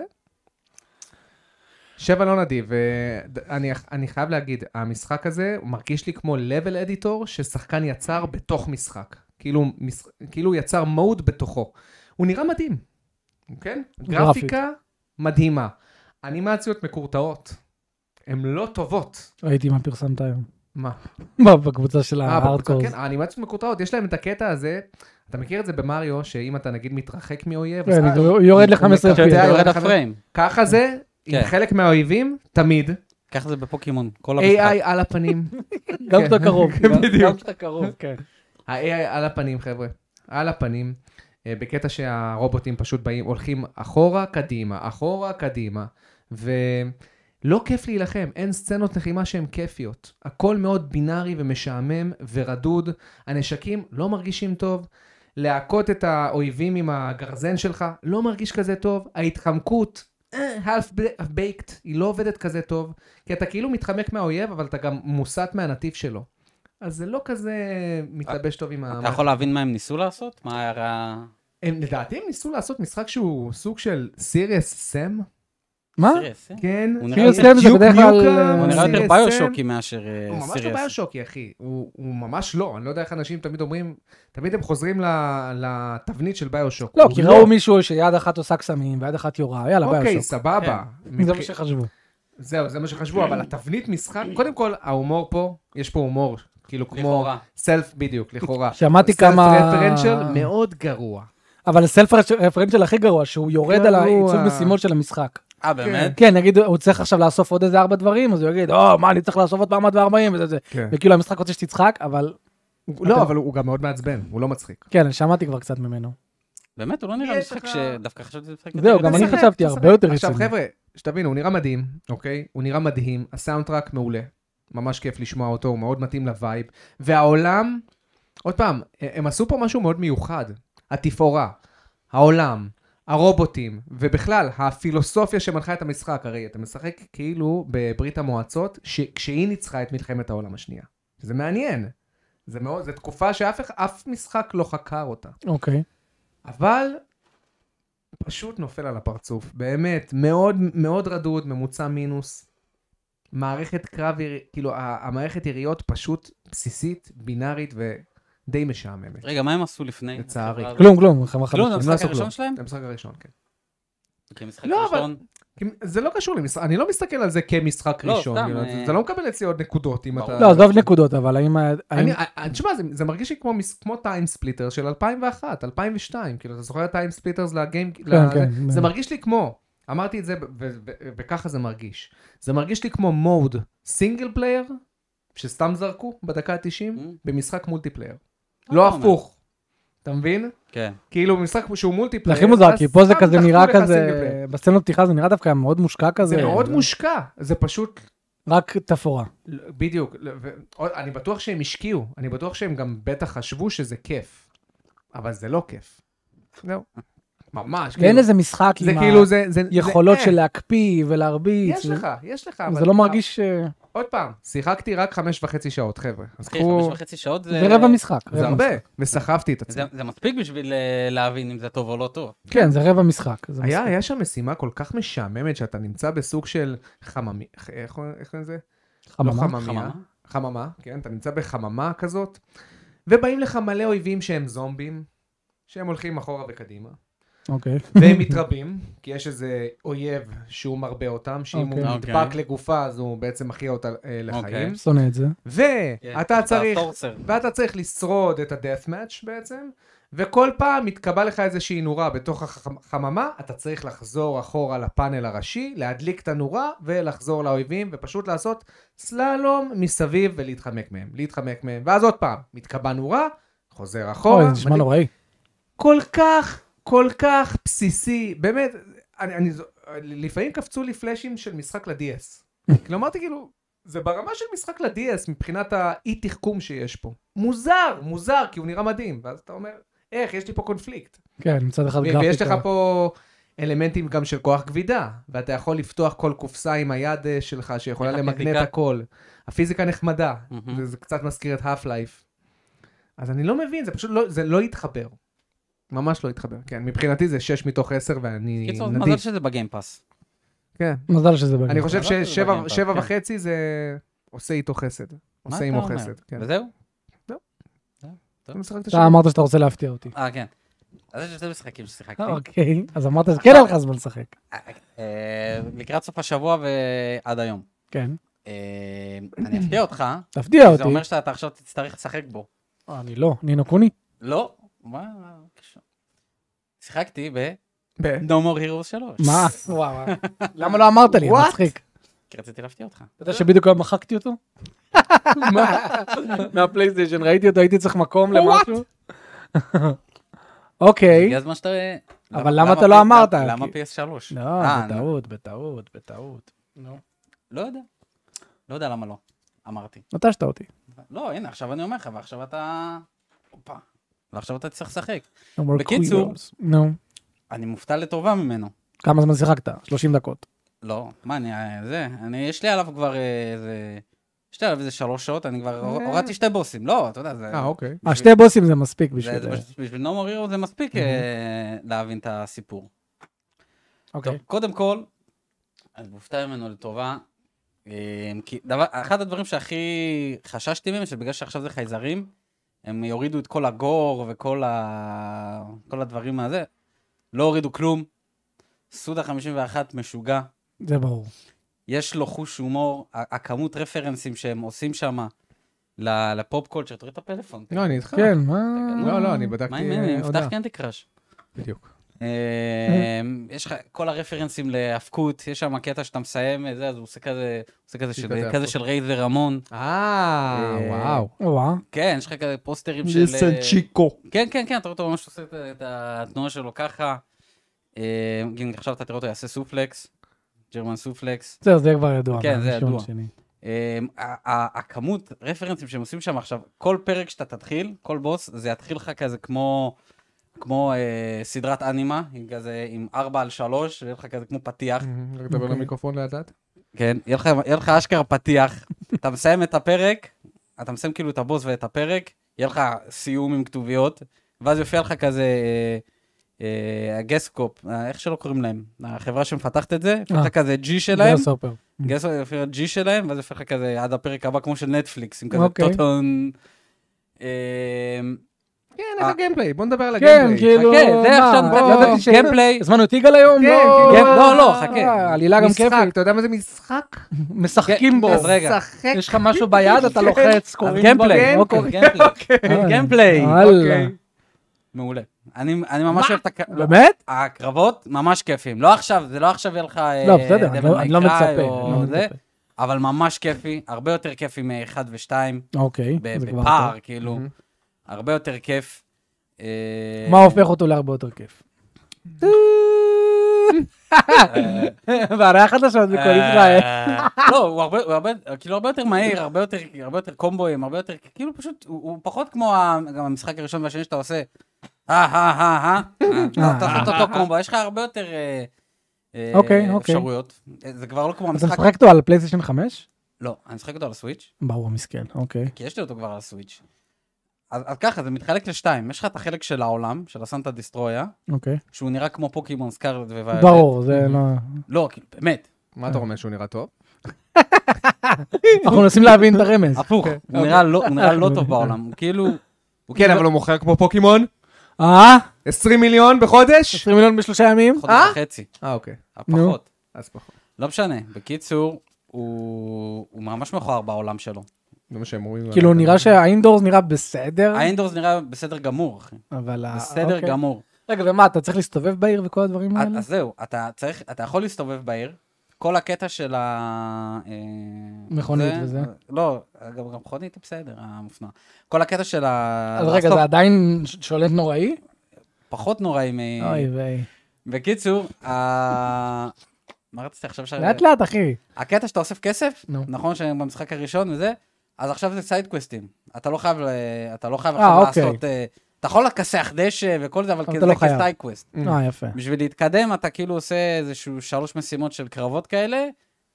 [SPEAKER 3] שבע לא נדיב, ואני אני חייב להגיד, המשחק הזה הוא מרגיש לי כמו level editor ששחקן יצר בתוך משחק. כאילו, מש... כאילו הוא יצר מוד בתוכו. הוא נראה מדהים, כן?
[SPEAKER 1] גרפית.
[SPEAKER 3] גרפיקה מדהימה. אנימציות מקורטעות. הן לא טובות.
[SPEAKER 1] ראיתי מה פרסמת היום.
[SPEAKER 3] מה?
[SPEAKER 1] בקבוצה של
[SPEAKER 3] אה, בקבוצה,
[SPEAKER 1] ההארדקורס.
[SPEAKER 3] כן, האנימציות מקורטעות, יש להם את הקטע הזה, אתה מכיר את זה במריו, שאם אתה נגיד מתרחק מאויב, אז-
[SPEAKER 1] כן,
[SPEAKER 3] אה,
[SPEAKER 1] הוא יורד
[SPEAKER 3] הוא
[SPEAKER 1] ל-15
[SPEAKER 3] מקבל-
[SPEAKER 2] אתה
[SPEAKER 1] FPS.
[SPEAKER 2] יודע, יורד
[SPEAKER 3] יורד
[SPEAKER 2] הפריים.
[SPEAKER 3] ככה זה עם
[SPEAKER 2] כן.
[SPEAKER 3] חלק מהאויבים, תמיד.
[SPEAKER 2] ככה זה בפוקימון, כל המשחק.
[SPEAKER 3] AI על הפנים.
[SPEAKER 1] גם כשאתה קרוב.
[SPEAKER 3] כן,
[SPEAKER 1] גם-
[SPEAKER 3] בדיוק. אה,
[SPEAKER 1] גם כשאתה קרוב, כן.
[SPEAKER 3] ה-AI על הפנים, חבר'ה. על הפנים. אה, בקטע שהרובוטים פשוט באים, הולכים אחורה, קדימה, אחורה, קדימה. ולא כיף להילחם, אין סצנות לחימה שהן כיפיות. הכל מאוד בינארי ומשעמם ורדוד. הנשקים לא מרגישים טוב. להכות את האויבים עם הגרזן שלך, לא מרגיש כזה טוב. ההתחמקות, אה, half-baked, היא לא עובדת כזה טוב. כי אתה כאילו מתחמק מהאויב, אבל אתה גם מוסט מהנתיב שלו. אז זה לא כזה מתלבש טוב עם ה...
[SPEAKER 2] אתה יכול להבין מה הם ניסו לעשות? מה היה...
[SPEAKER 3] הם לדעתי הם ניסו לעשות משחק שהוא סוג של סיריוס סם.
[SPEAKER 1] מה?
[SPEAKER 2] סיריוס, אה?
[SPEAKER 3] כן.
[SPEAKER 2] הוא נראה
[SPEAKER 1] סיריוס
[SPEAKER 2] יותר-
[SPEAKER 1] סם זה
[SPEAKER 3] דיוק
[SPEAKER 1] בדרך כלל... אה,
[SPEAKER 3] ניוקה,
[SPEAKER 2] הוא נראה יותר
[SPEAKER 3] סיריוס
[SPEAKER 2] ביושוקי מאשר אה,
[SPEAKER 3] הוא ממש לא
[SPEAKER 2] סיריוס.
[SPEAKER 3] ביושוקי, אחי. הוא הוא ממש לא. אני לא יודע איך אנשים תמיד אומרים, תמיד הם חוזרים ל- לתבנית של ביושוק.
[SPEAKER 1] לא,
[SPEAKER 3] הוא
[SPEAKER 1] כי ראו מישהו שיד אחת עושה קסמים ויד אחת יורה, יאללה,
[SPEAKER 3] אה, אוקיי,
[SPEAKER 1] ביושוק. כן.
[SPEAKER 3] סבבה.
[SPEAKER 1] זה
[SPEAKER 3] מבח-
[SPEAKER 1] מה שחשבו.
[SPEAKER 3] זהו, זה מה שחשבו, אבל התבנית משחק, קודם כל, ההומור פה, יש פה הומור, כאילו כמו...
[SPEAKER 2] לכאורה.
[SPEAKER 3] סלף, בדיוק, לכאורה.
[SPEAKER 1] שמעתי כמה-
[SPEAKER 3] סלף מאוד גרוע.
[SPEAKER 1] אבל הסלף רפרנצ'ל הכי גרוע, שהוא יורד על
[SPEAKER 3] גרוע.
[SPEAKER 1] העיצוב משימות של המשחק.
[SPEAKER 2] אה, באמת?
[SPEAKER 1] כן, נגיד הוא צריך עכשיו לאסוף עוד איזה ארבע דברים, אז הוא יגיד, או, מה, אני צריך לאסוף עוד 440 וזה זה.
[SPEAKER 3] כן.
[SPEAKER 1] וכאילו המשחק רוצה שתצחק, אבל
[SPEAKER 3] לא, אבל הוא גם מאוד מעצבן, הוא לא מצחיק.
[SPEAKER 1] כן, אני שמעתי כבר קצת ממנו.
[SPEAKER 2] באמת, הוא לא נראה
[SPEAKER 3] יש
[SPEAKER 2] משחק
[SPEAKER 3] לך-
[SPEAKER 2] ש... דווקא חשבתי שזה משחק...
[SPEAKER 1] זהו,
[SPEAKER 2] יותר
[SPEAKER 1] לא, גם אני
[SPEAKER 2] רציני.
[SPEAKER 3] תשחק,
[SPEAKER 1] חשבתי
[SPEAKER 3] תשחק.
[SPEAKER 1] הרבה יותר
[SPEAKER 3] עכשיו
[SPEAKER 1] רציני.
[SPEAKER 3] חבר'ה, שתבינו, הוא נראה מדהים, אוקיי? הוא נראה מדהים, הסאונדטראק מעולה, ממש כיף לשמוע אותו, הוא מאוד מתאים לווייב, והעולם, עוד פעם, הם עשו פה משהו מאוד מיוחד, התפאורה, העולם, הרובוטים, ובכלל, הפילוסופיה שמנחה את המשחק, הרי אתה משחק כאילו בברית המועצות, ש- כשהיא ניצחה את מלחמת העולם השנייה. זה מעניין. זה מאוד, זו אוקיי. תקופה שאף אף משחק לא חקר אותה.
[SPEAKER 1] אוקיי.
[SPEAKER 3] אבל פשוט נופל על הפרצוף. באמת, מאוד מאוד רדוד, ממוצע מינוס. מערכת קרב, יר- כאילו, ה- המערכת יריות פשוט בסיסית, בינארית ודי משעממת.
[SPEAKER 2] רגע, מה הם עשו לפני?
[SPEAKER 3] לצערי.
[SPEAKER 2] החברה
[SPEAKER 1] כלום, כלום, חבל
[SPEAKER 2] הזאת? כלום,
[SPEAKER 1] חבל.
[SPEAKER 3] הם
[SPEAKER 2] זה
[SPEAKER 3] לא
[SPEAKER 2] המשחק
[SPEAKER 3] עשו
[SPEAKER 2] הראשון
[SPEAKER 3] כלום.
[SPEAKER 2] שלהם?
[SPEAKER 3] זה המשחק הראשון, כן.
[SPEAKER 2] כי המשחק
[SPEAKER 3] לא, אבל-
[SPEAKER 2] הראשון...
[SPEAKER 3] כי זה לא קשור למשחק, אני לא מסתכל על זה כמשחק
[SPEAKER 2] לא,
[SPEAKER 3] ראשון.
[SPEAKER 2] סתם,
[SPEAKER 3] כאילו,
[SPEAKER 2] אה,
[SPEAKER 3] אתה לא מקבל אצלי עוד נקודות אם
[SPEAKER 2] ברור.
[SPEAKER 3] אתה...
[SPEAKER 1] לא, עזוב נקודות, אבל האם... ה- האם-
[SPEAKER 3] אני, אה, תשמע, זה, זה מרגיש לי כמו, מס- כמו טיים ספליטר של 2001, 2002, כאילו, אתה זוכר את טיים ספליטרס לגיים,
[SPEAKER 1] כן, כן.
[SPEAKER 3] לא, זה מרגיש לי כמו, אמרתי את זה, ב- ו- ו- וככה זה מרגיש, זה מרגיש לי כמו מוד סינגל פלייר, שסתם זרקו בדקה ה-90,
[SPEAKER 2] Mm.
[SPEAKER 3] במשחק מולטיפלייר.
[SPEAKER 2] אה,
[SPEAKER 3] לא
[SPEAKER 2] אתה אומר.
[SPEAKER 3] הפוך, אתה מבין?
[SPEAKER 2] כן.
[SPEAKER 3] כאילו, משחק שהוא
[SPEAKER 1] זה
[SPEAKER 3] מולטיפלייר,
[SPEAKER 1] הכי מוזר,
[SPEAKER 3] אז
[SPEAKER 1] כי פה זה
[SPEAKER 3] אה, סתם
[SPEAKER 1] כזה
[SPEAKER 3] דחפו
[SPEAKER 1] נראה
[SPEAKER 3] לך סינגל פלייר.
[SPEAKER 1] כזה, בסצנות פתיחה זה נראה דווקא מאוד מושקע כזה.
[SPEAKER 3] זה מאוד מושקע, זה פשוט
[SPEAKER 1] רק תפאורה.
[SPEAKER 3] לא, בדיוק, לא, ו- עוד- אני בטוח שהם השקיעו, אני בטוח שהם גם בטח חשבו שזה כיף, אבל זה לא כיף. זהו. ממש,
[SPEAKER 1] אין
[SPEAKER 3] כאילו,
[SPEAKER 1] איזה משחק
[SPEAKER 3] זה
[SPEAKER 1] עם
[SPEAKER 3] כאילו, זה, זה,
[SPEAKER 1] היכולות
[SPEAKER 3] זה- אה.
[SPEAKER 1] של להקפיא ולהרביץ.
[SPEAKER 3] יש לך, יש לך.
[SPEAKER 1] זה
[SPEAKER 3] אבל-
[SPEAKER 1] לא מרגיש... אה,
[SPEAKER 3] עוד פעם, שיחקתי רק חמש וחצי שעות, חבר'ה. אז
[SPEAKER 2] אחי, חמש
[SPEAKER 3] קחו...
[SPEAKER 2] וחצי שעות זה...
[SPEAKER 1] זה רבע משחק. רבע
[SPEAKER 3] זה הרבה,
[SPEAKER 1] משחק.
[SPEAKER 3] וסחבתי את עצמי.
[SPEAKER 2] זה- זה מספיק בשביל אה, להבין אם זה טוב או לא טוב.
[SPEAKER 1] כן, זה רבע משחק. זה
[SPEAKER 3] היה,
[SPEAKER 1] משחק.
[SPEAKER 3] היה שם משימה כל כך משעממת, שאתה נמצא בסוג של חממי... איך- איך קוראים לזה? לא
[SPEAKER 1] חממה.
[SPEAKER 3] חממיה.
[SPEAKER 2] חממה?
[SPEAKER 3] חממה, כן, אתה נמצא בחממה כזאת, ובאים לך מלא אויבים שהם זומבים, שהם הולכים אחורה וקדימה,
[SPEAKER 1] אוקיי.
[SPEAKER 3] והם מתרבים, כי יש איזה אויב שהוא מרבה אותם, שאם הוא
[SPEAKER 1] אוקיי.
[SPEAKER 3] נדבק
[SPEAKER 2] אוקיי.
[SPEAKER 3] לגופה אז הוא בעצם מכריע אותה אה, לחיים,
[SPEAKER 1] שונא את זה.
[SPEAKER 3] ואתה צריך,
[SPEAKER 2] כן, סורסר.
[SPEAKER 3] ואתה צריך לשרוד את ה-death match בעצם, וכל פעם מתקבע לך איזושהי נורה בתוך החממה, אתה צריך לחזור אחורה לפאנל הראשי, להדליק את הנורה ולחזור לאויבים, ופשוט לעשות סללום מסביב ולהתחמק מהם, להתחמק מהם, ואז עוד פעם, מתקבע נורה, חוזר אחורה,
[SPEAKER 1] אוי, זה נשמע
[SPEAKER 3] מדליק-
[SPEAKER 1] נוראי.
[SPEAKER 3] כל כך, כל כך בסיסי, באמת, אני, אני, זו- לפעמים קפצו לי פלאשים של משחק ל-DS. כאילו אמרתי כאילו, זה ברמה של משחק ל-DS מבחינת האי תחכום שיש פה. מוזר, מוזר, כי הוא נראה מדהים, ואז אתה אומר, איך, יש לי פה קונפליקט.
[SPEAKER 1] כן, מצד אחד
[SPEAKER 3] ו-
[SPEAKER 1] גרפיקה.
[SPEAKER 3] ויש לך פה אלמנטים גם של כוח כבידה, ואתה יכול לפתוח כל קופסה עם היד אה, שלך שיכולה
[SPEAKER 2] איך
[SPEAKER 3] למגנט
[SPEAKER 2] הפיזיקה?
[SPEAKER 3] הכל. הפיזיקה נחמדה,
[SPEAKER 2] מהמם.
[SPEAKER 3] זה, זה קצת מזכיר את האף לייף. אז אני לא מבין, זה פשוט לא, זה לא התחבר. ממש לא התחבר, כן, מבחינתי זה 6 מתוך 10 ואני
[SPEAKER 2] קיצור, מזל
[SPEAKER 3] נדיב.
[SPEAKER 2] שזה בגיימפאס.
[SPEAKER 3] כן.
[SPEAKER 1] מזל שזה בגלל.
[SPEAKER 3] אני חושב
[SPEAKER 2] מזל שזה בגיימפאס,
[SPEAKER 3] ש-7
[SPEAKER 2] כן.
[SPEAKER 3] וחצי זה עושה איתו חסד.
[SPEAKER 2] מה
[SPEAKER 3] עושה
[SPEAKER 2] אתה
[SPEAKER 3] עימו
[SPEAKER 2] אומר?
[SPEAKER 3] חסד. כן.
[SPEAKER 2] וזהו?
[SPEAKER 3] זה משחק
[SPEAKER 1] אתה
[SPEAKER 3] תשע.
[SPEAKER 1] אמרת שאתה רוצה להפתיע אותי.
[SPEAKER 2] אה, כן. אז יש יותר משחקים ששיחקתי.
[SPEAKER 3] אה,
[SPEAKER 1] אוקיי, אז אמרת שכן היה לך זמן לשחק.
[SPEAKER 2] אה, לקראת סוף השבוע ועד היום.
[SPEAKER 1] כן,
[SPEAKER 2] אה, אני אפתיע אותך,
[SPEAKER 1] תפתיע
[SPEAKER 2] זה
[SPEAKER 1] אותי.
[SPEAKER 2] אומר שאתה עכשיו תצטרך לשחק בו.
[SPEAKER 1] אה, אני לא, נינו קוני.
[SPEAKER 2] לא? מה? מה הקשר? שיחקתי ב-
[SPEAKER 3] ב-
[SPEAKER 2] No More Heroes 3.
[SPEAKER 1] מה? וואו, וואו. למה לא אמרת לי?
[SPEAKER 3] What?
[SPEAKER 1] מצחיק.
[SPEAKER 2] כי רציתי להפתיע אותך.
[SPEAKER 1] אתה יודע שבדיוק היום מחקתי אותו? מהפלייסטיישן, ראיתי אותו, הייתי צריך מקום למשהו. אוקיי.
[SPEAKER 2] הגיע הזמן שאתה...
[SPEAKER 1] אבל למה אתה לא
[SPEAKER 2] PS-
[SPEAKER 1] אמרת?
[SPEAKER 2] למה
[SPEAKER 1] כי-
[SPEAKER 2] PS3?
[SPEAKER 1] לא,
[SPEAKER 2] אה, אני-
[SPEAKER 1] בטעות, בטעות, בטעות.
[SPEAKER 2] לא יודע. לא יודע למה לא. אמרתי.
[SPEAKER 1] נטשת אותי.
[SPEAKER 2] לא, הנה, עכשיו אני אומר לך, ועכשיו אתה... הופה. ועכשיו אתה תצטרך לשחק.
[SPEAKER 1] No more
[SPEAKER 2] בקיצור-
[SPEAKER 1] queers. נו.
[SPEAKER 2] אני מופתע לטובה ממנו.
[SPEAKER 1] כמה זמן שיחקת? 30 דקות. אה,
[SPEAKER 2] לא, מה אני... אה, זה, אני, יש לי עליו כבר אה, איזה... יש לי עליו איזה שלוש שעות, אני כבר הור- הורדתי שתי בוסים. לא, אתה יודע, זה...
[SPEAKER 3] אה, אוקיי.
[SPEAKER 1] אה, שתי בוסים זה מספיק בשביל...
[SPEAKER 2] זה-
[SPEAKER 3] אה,
[SPEAKER 2] זה פשוט- בשביל נומו רירו זה מספיק אה, להבין את הסיפור. טוב,
[SPEAKER 1] אוקיי.
[SPEAKER 2] קודם כל, אני מופתע ממנו לטובה. אה, כי דבר, אחד הדברים שהכי חששתי מהם, שבגלל שעכשיו זה חייזרים, הם יורידו את כל הגור וכל ה... כל הדברים מהזה. לא הורידו כלום. סודה 51 משוגע.
[SPEAKER 1] זה ברור.
[SPEAKER 2] יש לו חוש הומור. ה- הכמות רפרנסים שהם עושים שם לפופ קולצ'ר, תוריד את הפלאפון.
[SPEAKER 3] לא, אני איתך.
[SPEAKER 1] כן, מה...
[SPEAKER 3] לא, לא, אני בדקתי.
[SPEAKER 2] מה עם אני
[SPEAKER 3] אה, הודעה.
[SPEAKER 2] מפתח קנדי קראש.
[SPEAKER 3] בדיוק.
[SPEAKER 2] אמ, יש לך כל הרפרנסים להאבקות, יש שם קטע שאתה מסיים, אה, זה, אז הוא עושה כזה, עושה כזה
[SPEAKER 3] עשית
[SPEAKER 2] של-
[SPEAKER 3] את זה
[SPEAKER 2] כזה
[SPEAKER 3] הפוך.
[SPEAKER 2] של רייזר המון.
[SPEAKER 3] אה,
[SPEAKER 2] אה,
[SPEAKER 3] וואו.
[SPEAKER 1] וואו.
[SPEAKER 2] כן, יש לך כזה פוסטרים של... אה, כן, כן, כן, אתה רואה אותו ממש עושה את ה- את התנועה שלו ככה. אמ, גם עכשיו אתה תראה אותו יעשה סופלקס, ג'רמן סופלקס.
[SPEAKER 1] זהו, זה כבר ידוע.
[SPEAKER 2] כן, זה
[SPEAKER 1] מהראשון
[SPEAKER 2] ידוע.
[SPEAKER 1] שני.
[SPEAKER 2] אמ, ה- ה- הכמות רפרנסים שהם עושים שם עכשיו, כל פרק שאתה תתחיל, כל בוס, זה יתחיל לך כזה כמו... כמו אה, סדרת אנימה, עם כזה, עם 4 על 3, ויהיה לך כזה כמו פתיח.
[SPEAKER 3] מהמם, רק לדבר
[SPEAKER 1] אוקיי.
[SPEAKER 3] למיקרופון לאט לאט.
[SPEAKER 2] כן, יהיה לך- יהיה לך אשכרה פתיח, אתה מסיים את הפרק, אתה מסיים כאילו את הבוס ואת הפרק, יהיה לך סיום עם כתוביות, ואז יופיע לך כזה אה, הגסקופ, אה, איך שלא קוראים להם, החברה שמפתחת את
[SPEAKER 1] אה.
[SPEAKER 2] זה, הפכה כזה G שלהם,
[SPEAKER 1] זה הסופר.
[SPEAKER 2] גסקופ זה לפי ה-G שלהם, ואז הפך כזה עד הפרק הבא כמו של נטפליקס, עם כזה
[SPEAKER 1] אוקיי.
[SPEAKER 2] טוטון. אה,
[SPEAKER 3] כן, איך הגיימפליי? בוא נדבר על
[SPEAKER 1] כן,
[SPEAKER 3] הגיימפליי.
[SPEAKER 1] כאילו,
[SPEAKER 2] חכה, זה
[SPEAKER 1] מה,
[SPEAKER 2] עכשיו,
[SPEAKER 1] לא
[SPEAKER 2] בוא,
[SPEAKER 1] ידעתי ש-
[SPEAKER 2] גיימפליי.
[SPEAKER 1] הזמנו את יגאל היום?
[SPEAKER 3] כן,
[SPEAKER 1] לא,
[SPEAKER 3] כן,
[SPEAKER 2] לא, לא, חכה.
[SPEAKER 1] אה, עלילה גם
[SPEAKER 3] משחק,
[SPEAKER 1] כיפית.
[SPEAKER 3] אתה יודע מה זה משחק?
[SPEAKER 1] משחקים
[SPEAKER 2] כן,
[SPEAKER 1] בו.
[SPEAKER 2] אז רגע.
[SPEAKER 3] משחק.
[SPEAKER 1] יש לך משהו ביד, אתה
[SPEAKER 3] כן.
[SPEAKER 1] לוחץ,
[SPEAKER 2] אז
[SPEAKER 1] קוראים
[SPEAKER 2] גיימפליי,
[SPEAKER 1] דברים, אוקיי. אה,
[SPEAKER 2] גיימפליי, גיימפליי.
[SPEAKER 1] וואלה.
[SPEAKER 3] אוקיי.
[SPEAKER 2] מעולה. אני אני ממש אוהב את הק-
[SPEAKER 1] באמת?
[SPEAKER 2] הקרבות ממש כיפים. לא עכשיו, זה לא עכשיו יהיה לך... אה,
[SPEAKER 1] לא, בסדר, אני
[SPEAKER 2] Devil
[SPEAKER 1] לא-
[SPEAKER 2] May
[SPEAKER 1] אני לא
[SPEAKER 2] Cry
[SPEAKER 1] מצפה.
[SPEAKER 2] או
[SPEAKER 1] אני לא
[SPEAKER 2] זה,
[SPEAKER 1] מצפה.
[SPEAKER 2] אבל ממש כיפי, הרבה יותר כיפי מ-1 ו-2,
[SPEAKER 1] אוקיי, זה כבר טוב.
[SPEAKER 2] בפער, כאילו,
[SPEAKER 3] מהמם.
[SPEAKER 2] הרבה יותר כיף. אה,
[SPEAKER 1] מה הופך אותו להרבה יותר כיף?
[SPEAKER 2] אה,
[SPEAKER 1] והרי החדשות בכל ישראל. לא.
[SPEAKER 2] אה, לא, הוא הרבה- הוא הרבה- כאילו, הרבה יותר מהיר, הרבה יותר הרבה יותר קומבואים, הרבה יותר, כאילו פשוט, הוא- הוא פחות כמו ה- גם המשחק הראשון והשני שאתה עושה, אה, אה, אה, אה, אה, אתה עושה את אותו קומבו, יש לך הרבה יותר אה, אה,
[SPEAKER 1] אוקיי, אוקיי.
[SPEAKER 2] אפשרויות. אה, זה כבר לא כמו
[SPEAKER 1] אתה
[SPEAKER 2] המשחק,
[SPEAKER 1] משחק אותו על פלייסטיישן 5?
[SPEAKER 2] לא, אני משחק אותו על הסוויץ',
[SPEAKER 1] ברור, מסכן, אוקיי.
[SPEAKER 2] כי יש לי אותו כבר על הסוויץ'. אז אז ככה, זה מתחלק לשתיים, יש לך את החלק של העולם, של הסנטה דיסטרויה,
[SPEAKER 1] אוקיי.
[SPEAKER 2] שהוא נראה כמו פוקימון סקארלט וויולט.
[SPEAKER 1] ברור, זה לא...
[SPEAKER 2] לא, כאילו, באמת,
[SPEAKER 3] מה אתה אומר שהוא נראה טוב?
[SPEAKER 1] אנחנו מנסים להבין את הרמז.
[SPEAKER 2] הפוך,
[SPEAKER 1] אוקיי.
[SPEAKER 2] הוא נראה לא- הוא נראה לא טוב בעולם, הוא כאילו... הוא
[SPEAKER 3] כן,
[SPEAKER 2] כאילו-
[SPEAKER 3] אבל הוא מוכר כמו פוקימון?
[SPEAKER 1] אה?
[SPEAKER 3] 20 מיליון בחודש?
[SPEAKER 1] 20 מיליון בשלושה ימים?
[SPEAKER 2] חודש
[SPEAKER 3] אה?
[SPEAKER 2] וחצי,
[SPEAKER 3] אה, אוקיי.
[SPEAKER 1] נו.
[SPEAKER 2] פחות.
[SPEAKER 3] אז פחות.
[SPEAKER 2] לא משנה. בקיצור, הוא הוא ממש מכוער בעולם שלו.
[SPEAKER 3] זה מה שהם אומרים.
[SPEAKER 1] כאילו, נראה שהאינדורס נראה בסדר,
[SPEAKER 2] האינדורס נראה בסדר גמור, אחי.
[SPEAKER 1] אבל... ה-
[SPEAKER 2] אה, בסדר
[SPEAKER 1] אה. אוקיי. לא?
[SPEAKER 2] גמור. אה,
[SPEAKER 1] רגע, ומה, אתה צריך להסתובב בעיר וכל הדברים
[SPEAKER 2] אז-
[SPEAKER 1] האלה?
[SPEAKER 2] אז זהו, אתה צריך, אתה יכול להסתובב בעיר. כל הקטע של ה... אה,
[SPEAKER 1] מכונית
[SPEAKER 2] זה-
[SPEAKER 1] וזה.
[SPEAKER 2] לא, גם גם מכונית היא בסדר, המופנע. כל הקטע של ה...
[SPEAKER 1] אז רגע, זה
[SPEAKER 2] אה, לעשות אה.
[SPEAKER 1] עדיין ש- שולט נוראי?
[SPEAKER 2] פחות נוראי מ...
[SPEAKER 1] אוי ויי.
[SPEAKER 2] בקיצור, ה... מה רציתי עכשיו ש...
[SPEAKER 1] לאט לאט, אחי.
[SPEAKER 2] הקטע שאתה אוסף כסף,
[SPEAKER 1] נו.
[SPEAKER 2] נכון שבמשחק הראשון וזה, אז עכשיו זה סיידקווסטים. אתה לא חייב, ל- אתה לא חייב
[SPEAKER 1] אה,
[SPEAKER 2] עכשיו
[SPEAKER 1] אוקיי.
[SPEAKER 2] לעשות, אה, אתה יכול לכסח דשא וכל זה, אבל
[SPEAKER 1] אבל
[SPEAKER 2] כזה
[SPEAKER 1] אתה לא חייב.
[SPEAKER 2] כסיידקווסט.
[SPEAKER 1] אה, יפה.
[SPEAKER 2] בשביל להתקדם, אתה כאילו עושה איזשהו שלוש משימות של קרבות כאלה,